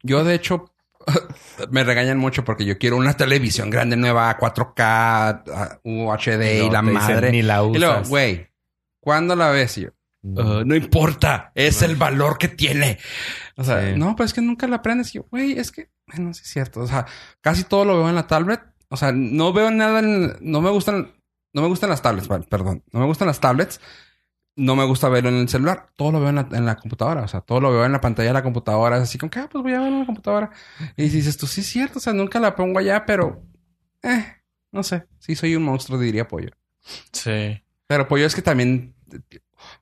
Speaker 2: Yo, de hecho, <laughs> me regañan mucho porque yo quiero una televisión grande, nueva, 4K, ah, UHD y
Speaker 7: No,
Speaker 2: la
Speaker 7: te dicen,
Speaker 2: madre.
Speaker 7: Ni la
Speaker 2: Y luego,
Speaker 7: usas.
Speaker 2: güey, ¿cuándo la ves? Y yo,
Speaker 4: Mm.
Speaker 2: "Ah, no importa, es el valor que tiene. O sea,
Speaker 7: Sí.
Speaker 2: no, pues es que nunca la aprendes. Y yo, güey, es que, no sí es cierto. O sea, casi todo lo veo en la tablet. O sea, no veo nada en, no me gustan, no me gustan las tablets, vale, perdón, no me gustan las tablets. No me gusta verlo en el celular. Todo lo veo en la, en la computadora. O sea, todo lo veo en la pantalla de la computadora. Es así como que, ah, pues voy a verlo en la computadora. Y dices tú, sí es cierto. O sea, nunca la pongo allá, pero, eh, no sé. Sí soy un monstruo, diría Pollo.
Speaker 3: Sí.
Speaker 2: Pero Pollo es que también.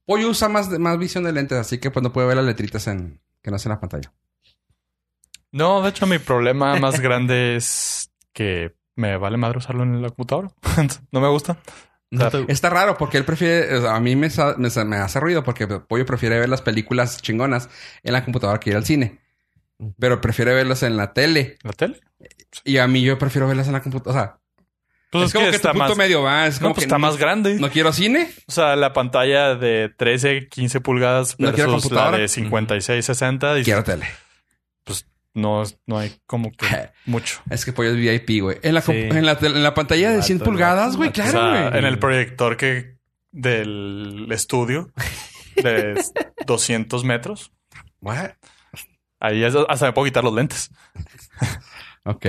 Speaker 2: Pollo usa más, más visión de lentes, así que pues no puede ver las letritas en que no hacen la pantalla.
Speaker 3: No, de hecho, mi problema más grande es que me vale madre usarlo en la computadora. <laughs> no me gusta. O sea,
Speaker 2: Está raro porque él prefiere. o sea, a mí me, sa- me sa- me hace ruido porque Pollo prefiere ver las películas chingonas en la computadora que ir al cine. Pero prefiere verlas en la tele.
Speaker 3: ¿La tele?
Speaker 2: Y a mí yo prefiero verlas en la computadora. O sea,
Speaker 3: Pues
Speaker 2: es como que,
Speaker 3: está
Speaker 2: tu punto
Speaker 3: más...
Speaker 2: medio va. Es
Speaker 3: no,
Speaker 2: como
Speaker 3: pues
Speaker 2: que
Speaker 3: está
Speaker 2: no,
Speaker 3: más grande.
Speaker 2: no quiero cine.
Speaker 3: O sea, la pantalla de 13, 15 pulgadas
Speaker 2: No quiero
Speaker 3: versus la
Speaker 2: computadora.
Speaker 3: de 56, 60. dices,
Speaker 2: Quiero Ah, tele.
Speaker 3: no, no hay como que mucho.
Speaker 2: <laughs> Es que Pollo es VIP, güey. En la,
Speaker 7: Sí.
Speaker 2: compu- en la, tel- en la pantalla de
Speaker 7: Vato,
Speaker 2: 100
Speaker 7: no.
Speaker 2: pulgadas, güey.
Speaker 3: O sea, eh,
Speaker 2: Claro, güey.
Speaker 3: en el proyector que del estudio de
Speaker 2: <laughs>
Speaker 3: 200 metros.
Speaker 2: What?
Speaker 3: Ahí es- hasta me puedo quitar los lentes.
Speaker 2: Ok.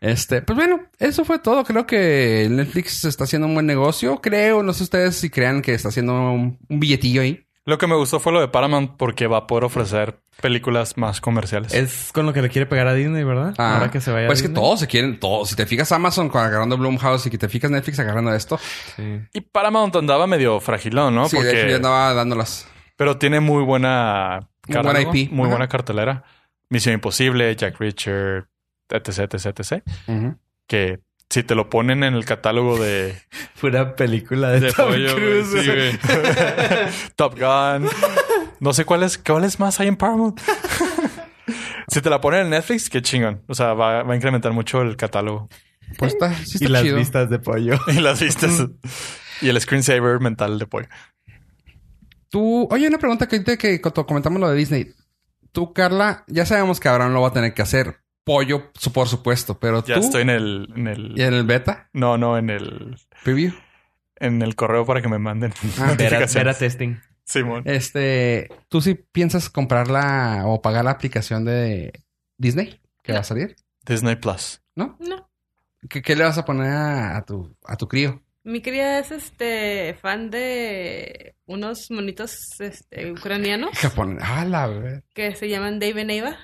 Speaker 2: Este, pues bueno, eso fue todo. Creo que Netflix está haciendo un buen negocio. Creo, no sé ustedes si crean que está haciendo un, un billetillo ahí.
Speaker 3: Lo que me gustó fue lo de Paramount porque va a poder ofrecer películas más comerciales.
Speaker 4: Es con lo que le quiere pegar a Disney, ¿verdad?
Speaker 2: Ah,
Speaker 4: Ahora que se
Speaker 7: Eh,
Speaker 4: vaya. a
Speaker 2: Pues que
Speaker 4: Disney.
Speaker 2: todos se quieren, todos. Si te fijas Amazon con- agarrando Blumhouse y que te fijas Netflix agarrando esto,
Speaker 4: Sí.
Speaker 3: Y Paramount andaba medio fragilón, ¿no?
Speaker 2: sí, de hecho
Speaker 3: porque,
Speaker 2: yo andaba dándolas.
Speaker 3: Pero tiene muy buena,
Speaker 2: Muy buena
Speaker 3: catálogo,
Speaker 2: IP.
Speaker 3: muy
Speaker 2: Ajá.
Speaker 3: buena cartelera. Misión Imposible, Jack Reacher, etc, etc, etc. Que si te lo ponen en el catálogo de,
Speaker 4: Fuera película de,
Speaker 3: De
Speaker 4: Tom
Speaker 3: pollo, güey,
Speaker 4: Cruise.
Speaker 3: sí, güey. <laughs> Top Gun. No sé cuáles cuáles más hay en Paramount. si te la ponen en Netflix, qué chingón. O sea, va, va a incrementar mucho el catálogo <laughs>
Speaker 2: Pues está, sí
Speaker 7: Y
Speaker 2: está
Speaker 7: las
Speaker 2: chido.
Speaker 7: vistas de pollo.
Speaker 3: y las vistas. y el screensaver mental de pollo.
Speaker 2: Tú, oye, una pregunta que ahorita que cuando comentamos lo de Disney. Tú, Carla, ya sabemos que Abraham lo va a tener que hacer. Pollo, su- por supuesto, pero
Speaker 3: Ya
Speaker 2: tú
Speaker 3: estoy en el, en el-
Speaker 2: y en el beta
Speaker 3: No, no, en el...
Speaker 7: <laughs>
Speaker 2: preview.
Speaker 3: En el correo para que me manden <laughs>
Speaker 2: Ah,
Speaker 4: Vera,
Speaker 3: notificaciones.
Speaker 4: Vera Testing.
Speaker 3: Simón.
Speaker 2: Este, ¿tú sí piensas comprarla o pagar la aplicación de Disney que va a salir?
Speaker 3: Disney Plus.
Speaker 2: ¿No?
Speaker 5: No.
Speaker 2: ¿Qué, qué le vas a poner a, a tu a tu
Speaker 4: <laughs>
Speaker 2: crío?
Speaker 5: Mi cría es este fan de unos monitos este, ucranianos
Speaker 2: Japón. Ah, la ver-
Speaker 5: que se llaman Dave and Eva.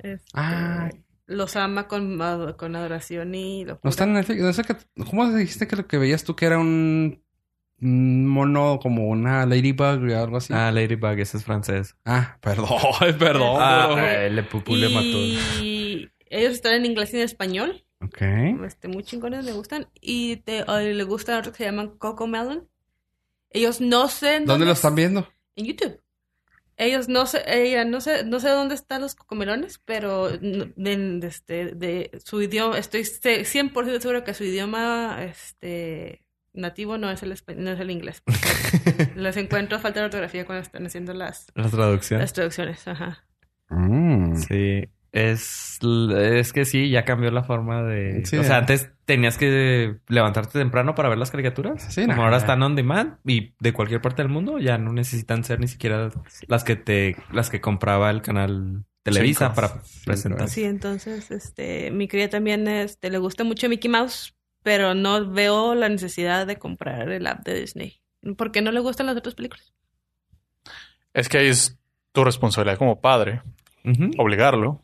Speaker 5: Este,
Speaker 2: Ah.
Speaker 5: Los ama con, ad- con adoración y locura.
Speaker 2: No está en Netflix. No sé qué- ¿Cómo dijiste que lo que veías tú que era un, un mono como una ladybug o algo así? Ah,
Speaker 4: Ah, Ladybug, ese es francés.
Speaker 2: perdón. <laughs>
Speaker 5: perdón.
Speaker 4: Ah,
Speaker 5: güey.
Speaker 4: eh, le pupú le mató.
Speaker 5: Y ellos están en inglés y en español.
Speaker 2: Ok.
Speaker 5: Este, muy chingones, me gustan. Y te, o le gustan otros que se llaman Coco Melon. Ellos no sé en
Speaker 2: ¿Dónde lo están viendo?
Speaker 5: En YouTube. Ellos no sé, ella no sé, no sé dónde están los cocomelones, pero n- en- de, este, de su idioma, estoy se- 100% seguro que su idioma este, nativo no es el espa- no es el inglés. Los encuentro falta de ortografía cuando están haciendo las,
Speaker 4: La traducción.
Speaker 5: las traducciones, ajá.
Speaker 2: Mm.
Speaker 4: Sí. Es, es que sí, ya cambió la forma de.
Speaker 2: Sí.
Speaker 4: o sea, antes tenías que levantarte temprano para ver las caricaturas.
Speaker 2: Sí,
Speaker 4: Como
Speaker 2: no.
Speaker 4: ahora están on demand y de cualquier parte del mundo ya no necesitan ser ni siquiera las que te, las que compraba el canal Televisa
Speaker 2: Cinco.
Speaker 4: para presentar.
Speaker 5: Sí, entonces, este, mi cría también este, le gusta mucho Mickey Mouse, pero no veo la necesidad de comprar el app de Disney. Porque no le gustan las otras películas.
Speaker 3: Es que ahí es tu responsabilidad como padre
Speaker 4: Ujú.
Speaker 3: obligarlo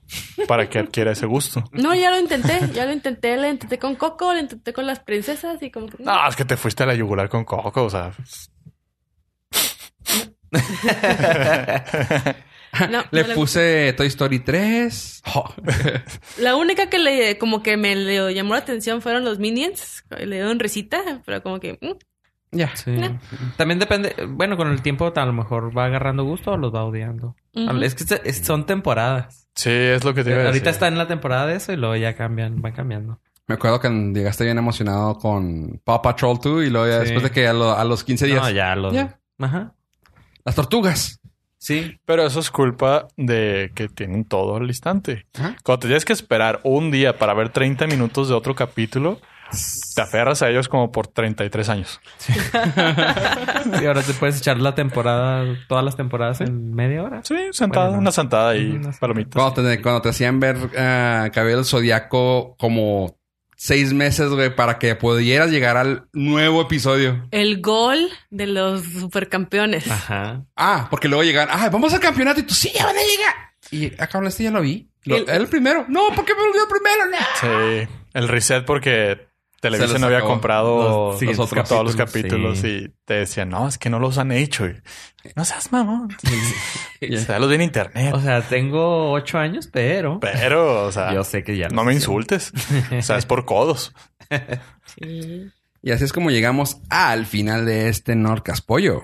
Speaker 3: para que adquiera ese
Speaker 4: <laughs>
Speaker 3: gusto.
Speaker 5: No, ya lo intenté, ya lo intenté, la intenté con Coco, la intenté con las princesas y como que...
Speaker 2: Ah,
Speaker 3: No, es que te fuiste a la yugular con Coco, o
Speaker 4: <laughs>
Speaker 3: sea.
Speaker 5: no,
Speaker 2: Le
Speaker 5: no le-
Speaker 2: puse Toy Story 3.
Speaker 5: La única que le como que me le llamó la atención fueron los Minions, le dieron risita, pero como que... mm,
Speaker 2: Ya.
Speaker 4: Sí.
Speaker 5: No.
Speaker 4: También depende. Bueno, con el tiempo a lo mejor va agarrando gusto o los va odiando.
Speaker 5: ujú.
Speaker 4: Es que se- es- son temporadas.
Speaker 3: Sí, es lo que te iba a decir.
Speaker 4: Ahorita está en la temporada de eso y luego ya cambian, van cambiando.
Speaker 2: Me acuerdo que llegaste bien emocionado con Paw Patrol 2 y luego ya
Speaker 4: Sí.
Speaker 2: después de que a, lo- a los 15 días.
Speaker 4: No, ya los.
Speaker 2: Ya.
Speaker 4: Ajá.
Speaker 2: Las tortugas.
Speaker 4: Sí.
Speaker 3: Pero eso es culpa de que tienen todo al instante.
Speaker 2: Ajá.
Speaker 3: Cuando te tienes que esperar un día para ver 30 minutos de otro capítulo, te aferras a ellos como por 33 años.
Speaker 4: Y ahora te puedes echar la temporada, todas las temporadas en media hora.
Speaker 3: Sí, sentada,
Speaker 4: Bueno, no.
Speaker 3: una sentada y
Speaker 4: Una sentada.
Speaker 3: palomitas.
Speaker 2: Cuando te, cuando te hacían ver ah, Cabello del Zodíaco como seis meses, güey, para que pudieras llegar al nuevo episodio.
Speaker 5: El gol de los supercampeones.
Speaker 4: Ajá.
Speaker 2: Ah, porque luego llegan, ah, vamos al campeonato y tú sí, ya van a llegar. Y acá este ya lo vi. Lo-
Speaker 5: El-
Speaker 2: el, primero. No, ¿por qué me olvidó el primero? No.
Speaker 3: <laughs> Sí, el reset porque
Speaker 2: Se
Speaker 3: Televisa
Speaker 2: los
Speaker 3: no había
Speaker 2: acabó.
Speaker 3: comprado
Speaker 4: Los
Speaker 3: los
Speaker 4: siguientes
Speaker 3: otros- todos los
Speaker 4: capítulos,
Speaker 3: capítulos y te decían, no, es que no los han hecho. y, no seas mamón. Se da los en internet.
Speaker 4: O sea, tengo ocho años, pero.
Speaker 3: Pero, o sea,
Speaker 4: Yo sé que ya
Speaker 3: Ah. no me
Speaker 4: insulto.
Speaker 3: insultes. o sea, es por codos.
Speaker 5: Sí.
Speaker 2: Y así es como llegamos al final de este Norcas Pollo.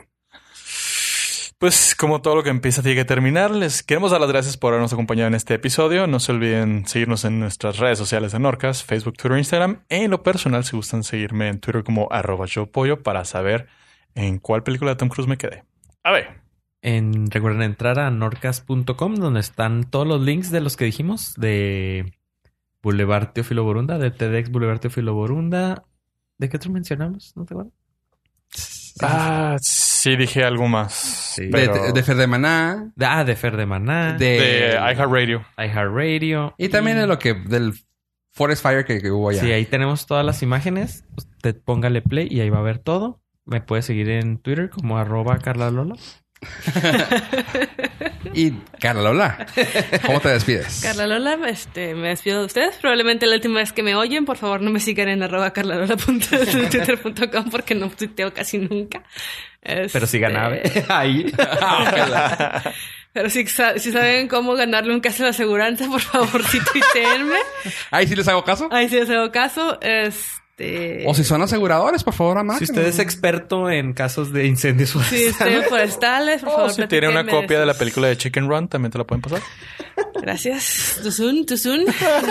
Speaker 3: Pues como todo lo que empieza tiene que terminar, les queremos dar las gracias por habernos acompañado en este episodio. No se olviden seguirnos en nuestras redes sociales de Norcas, Facebook, Twitter, Instagram. En lo personal, si gustan seguirme en Twitter como arroba yo pollo para saber en cuál película de Tom Cruise me quedé. A ver,
Speaker 4: En, recuerden entrar a norcas.com donde están todos los links de los que dijimos de Boulevard Teófilo Borunda, de TEDx Boulevard Teófilo Borunda. ¿De qué otro mencionamos? ¿No te acuerdas?
Speaker 3: ah, sí dije algo más.
Speaker 2: De,
Speaker 3: pero-
Speaker 2: de, de Fer de Maná.
Speaker 4: De- ah, de Fer de Maná,
Speaker 2: De,
Speaker 3: de iHeartRadio.
Speaker 4: iHeartRadio.
Speaker 2: Y también de lo que del Forest Fire que, que hubo allá.
Speaker 4: Sí, ahí tenemos todas las imágenes. Usted póngale play y ahí va a ver todo. Me puede seguir en Twitter como arroba Carla Lola.
Speaker 2: Y Carla Lola, ¿cómo te despides?
Speaker 5: <laughs> Carla Lola, este, me despido de ustedes. Probablemente la última vez que me oyen, por favor no me sigan en arroba carlalola.twitter.com porque no tuiteo casi nunca.
Speaker 4: Pero si
Speaker 5: Este, <laughs>
Speaker 4: ganaba ahí.
Speaker 5: Pero si, sa- si saben cómo ganarle un caso de aseguranza, por favor, sí tuiteenme.
Speaker 2: Ahí sí les hago caso.
Speaker 5: Ahí sí les hago caso. Este...
Speaker 2: O si son aseguradores, por favor, amar.
Speaker 4: Si usted es experto en casos de incendios
Speaker 5: Sí,
Speaker 4: forestales.
Speaker 5: estoy en forestales, por
Speaker 3: O
Speaker 5: favor.
Speaker 3: Oh, si tiene una
Speaker 5: platíquenme
Speaker 3: copia de la
Speaker 5: sus-
Speaker 3: película de Chicken Run, también te la pueden pasar.
Speaker 5: Gracias. Tuzun, Tuzun. <laughs>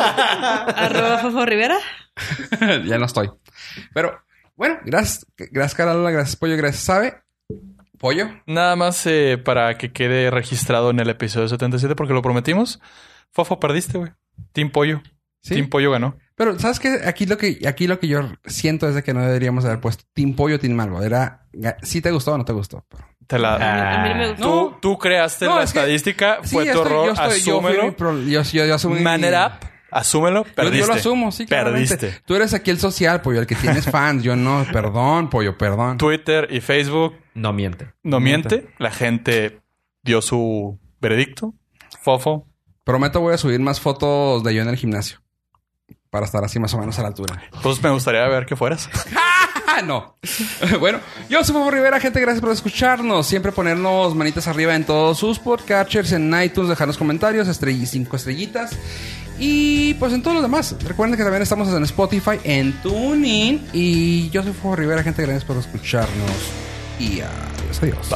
Speaker 5: Arroba Fofo Rivera.
Speaker 2: <laughs> ya no estoy. Pero bueno, gracias, gracias Carla Lola, gracias Pollo, gracias Sabe. Pollo.
Speaker 3: Nada más eh, para que quede registrado en el episodio 77 porque lo prometimos. Fofo, perdiste, güey. Team Pollo.
Speaker 2: Sí.
Speaker 3: Team Pollo ganó.
Speaker 2: Pero sabes que aquí lo que aquí lo que yo siento es de que no deberíamos haber puesto Team Pollo, Team Malvo. Era si te gustó o no te gustó. Pero-
Speaker 3: Te la...
Speaker 5: A mí no me gustó.
Speaker 3: Tú, tú creaste
Speaker 2: No,
Speaker 3: la
Speaker 2: es que-
Speaker 3: estadística, fue
Speaker 2: yo
Speaker 3: tu
Speaker 2: estoy-
Speaker 3: error,
Speaker 2: yo estoy- yo fui mi
Speaker 3: asúmelo.
Speaker 2: pro- Yo, yo, yo asumí mi-
Speaker 3: Man it up, asúmelo,
Speaker 2: Yo-
Speaker 3: perdiste.
Speaker 2: Yo, lo asumo, sí, claramente.
Speaker 3: Perdiste.
Speaker 2: Tú eres aquí el social, pollo, el que tienes fans. Yo no, perdón, pollo, perdón.
Speaker 3: Twitter y Facebook
Speaker 4: No miente.
Speaker 3: no miente. La gente dio su veredicto. Fofo.
Speaker 2: Prometo voy a subir más fotos de yo en el gimnasio. Para estar así más o menos a la altura.
Speaker 3: Pues me gustaría ver que fueras.
Speaker 2: ¡Ah, no! <laughs> bueno, yo soy Fofo Rivera, gente. Gracias por escucharnos. Siempre ponernos manitas arriba en todos sus podcatchers, en iTunes, dejarnos comentarios, estrell- cinco estrellitas. Y pues en todos los demás. Recuerden que también estamos en Spotify, en TuneIn. Y yo soy Fofo Rivera, gente. Gracias por escucharnos. Y adiós, adiós.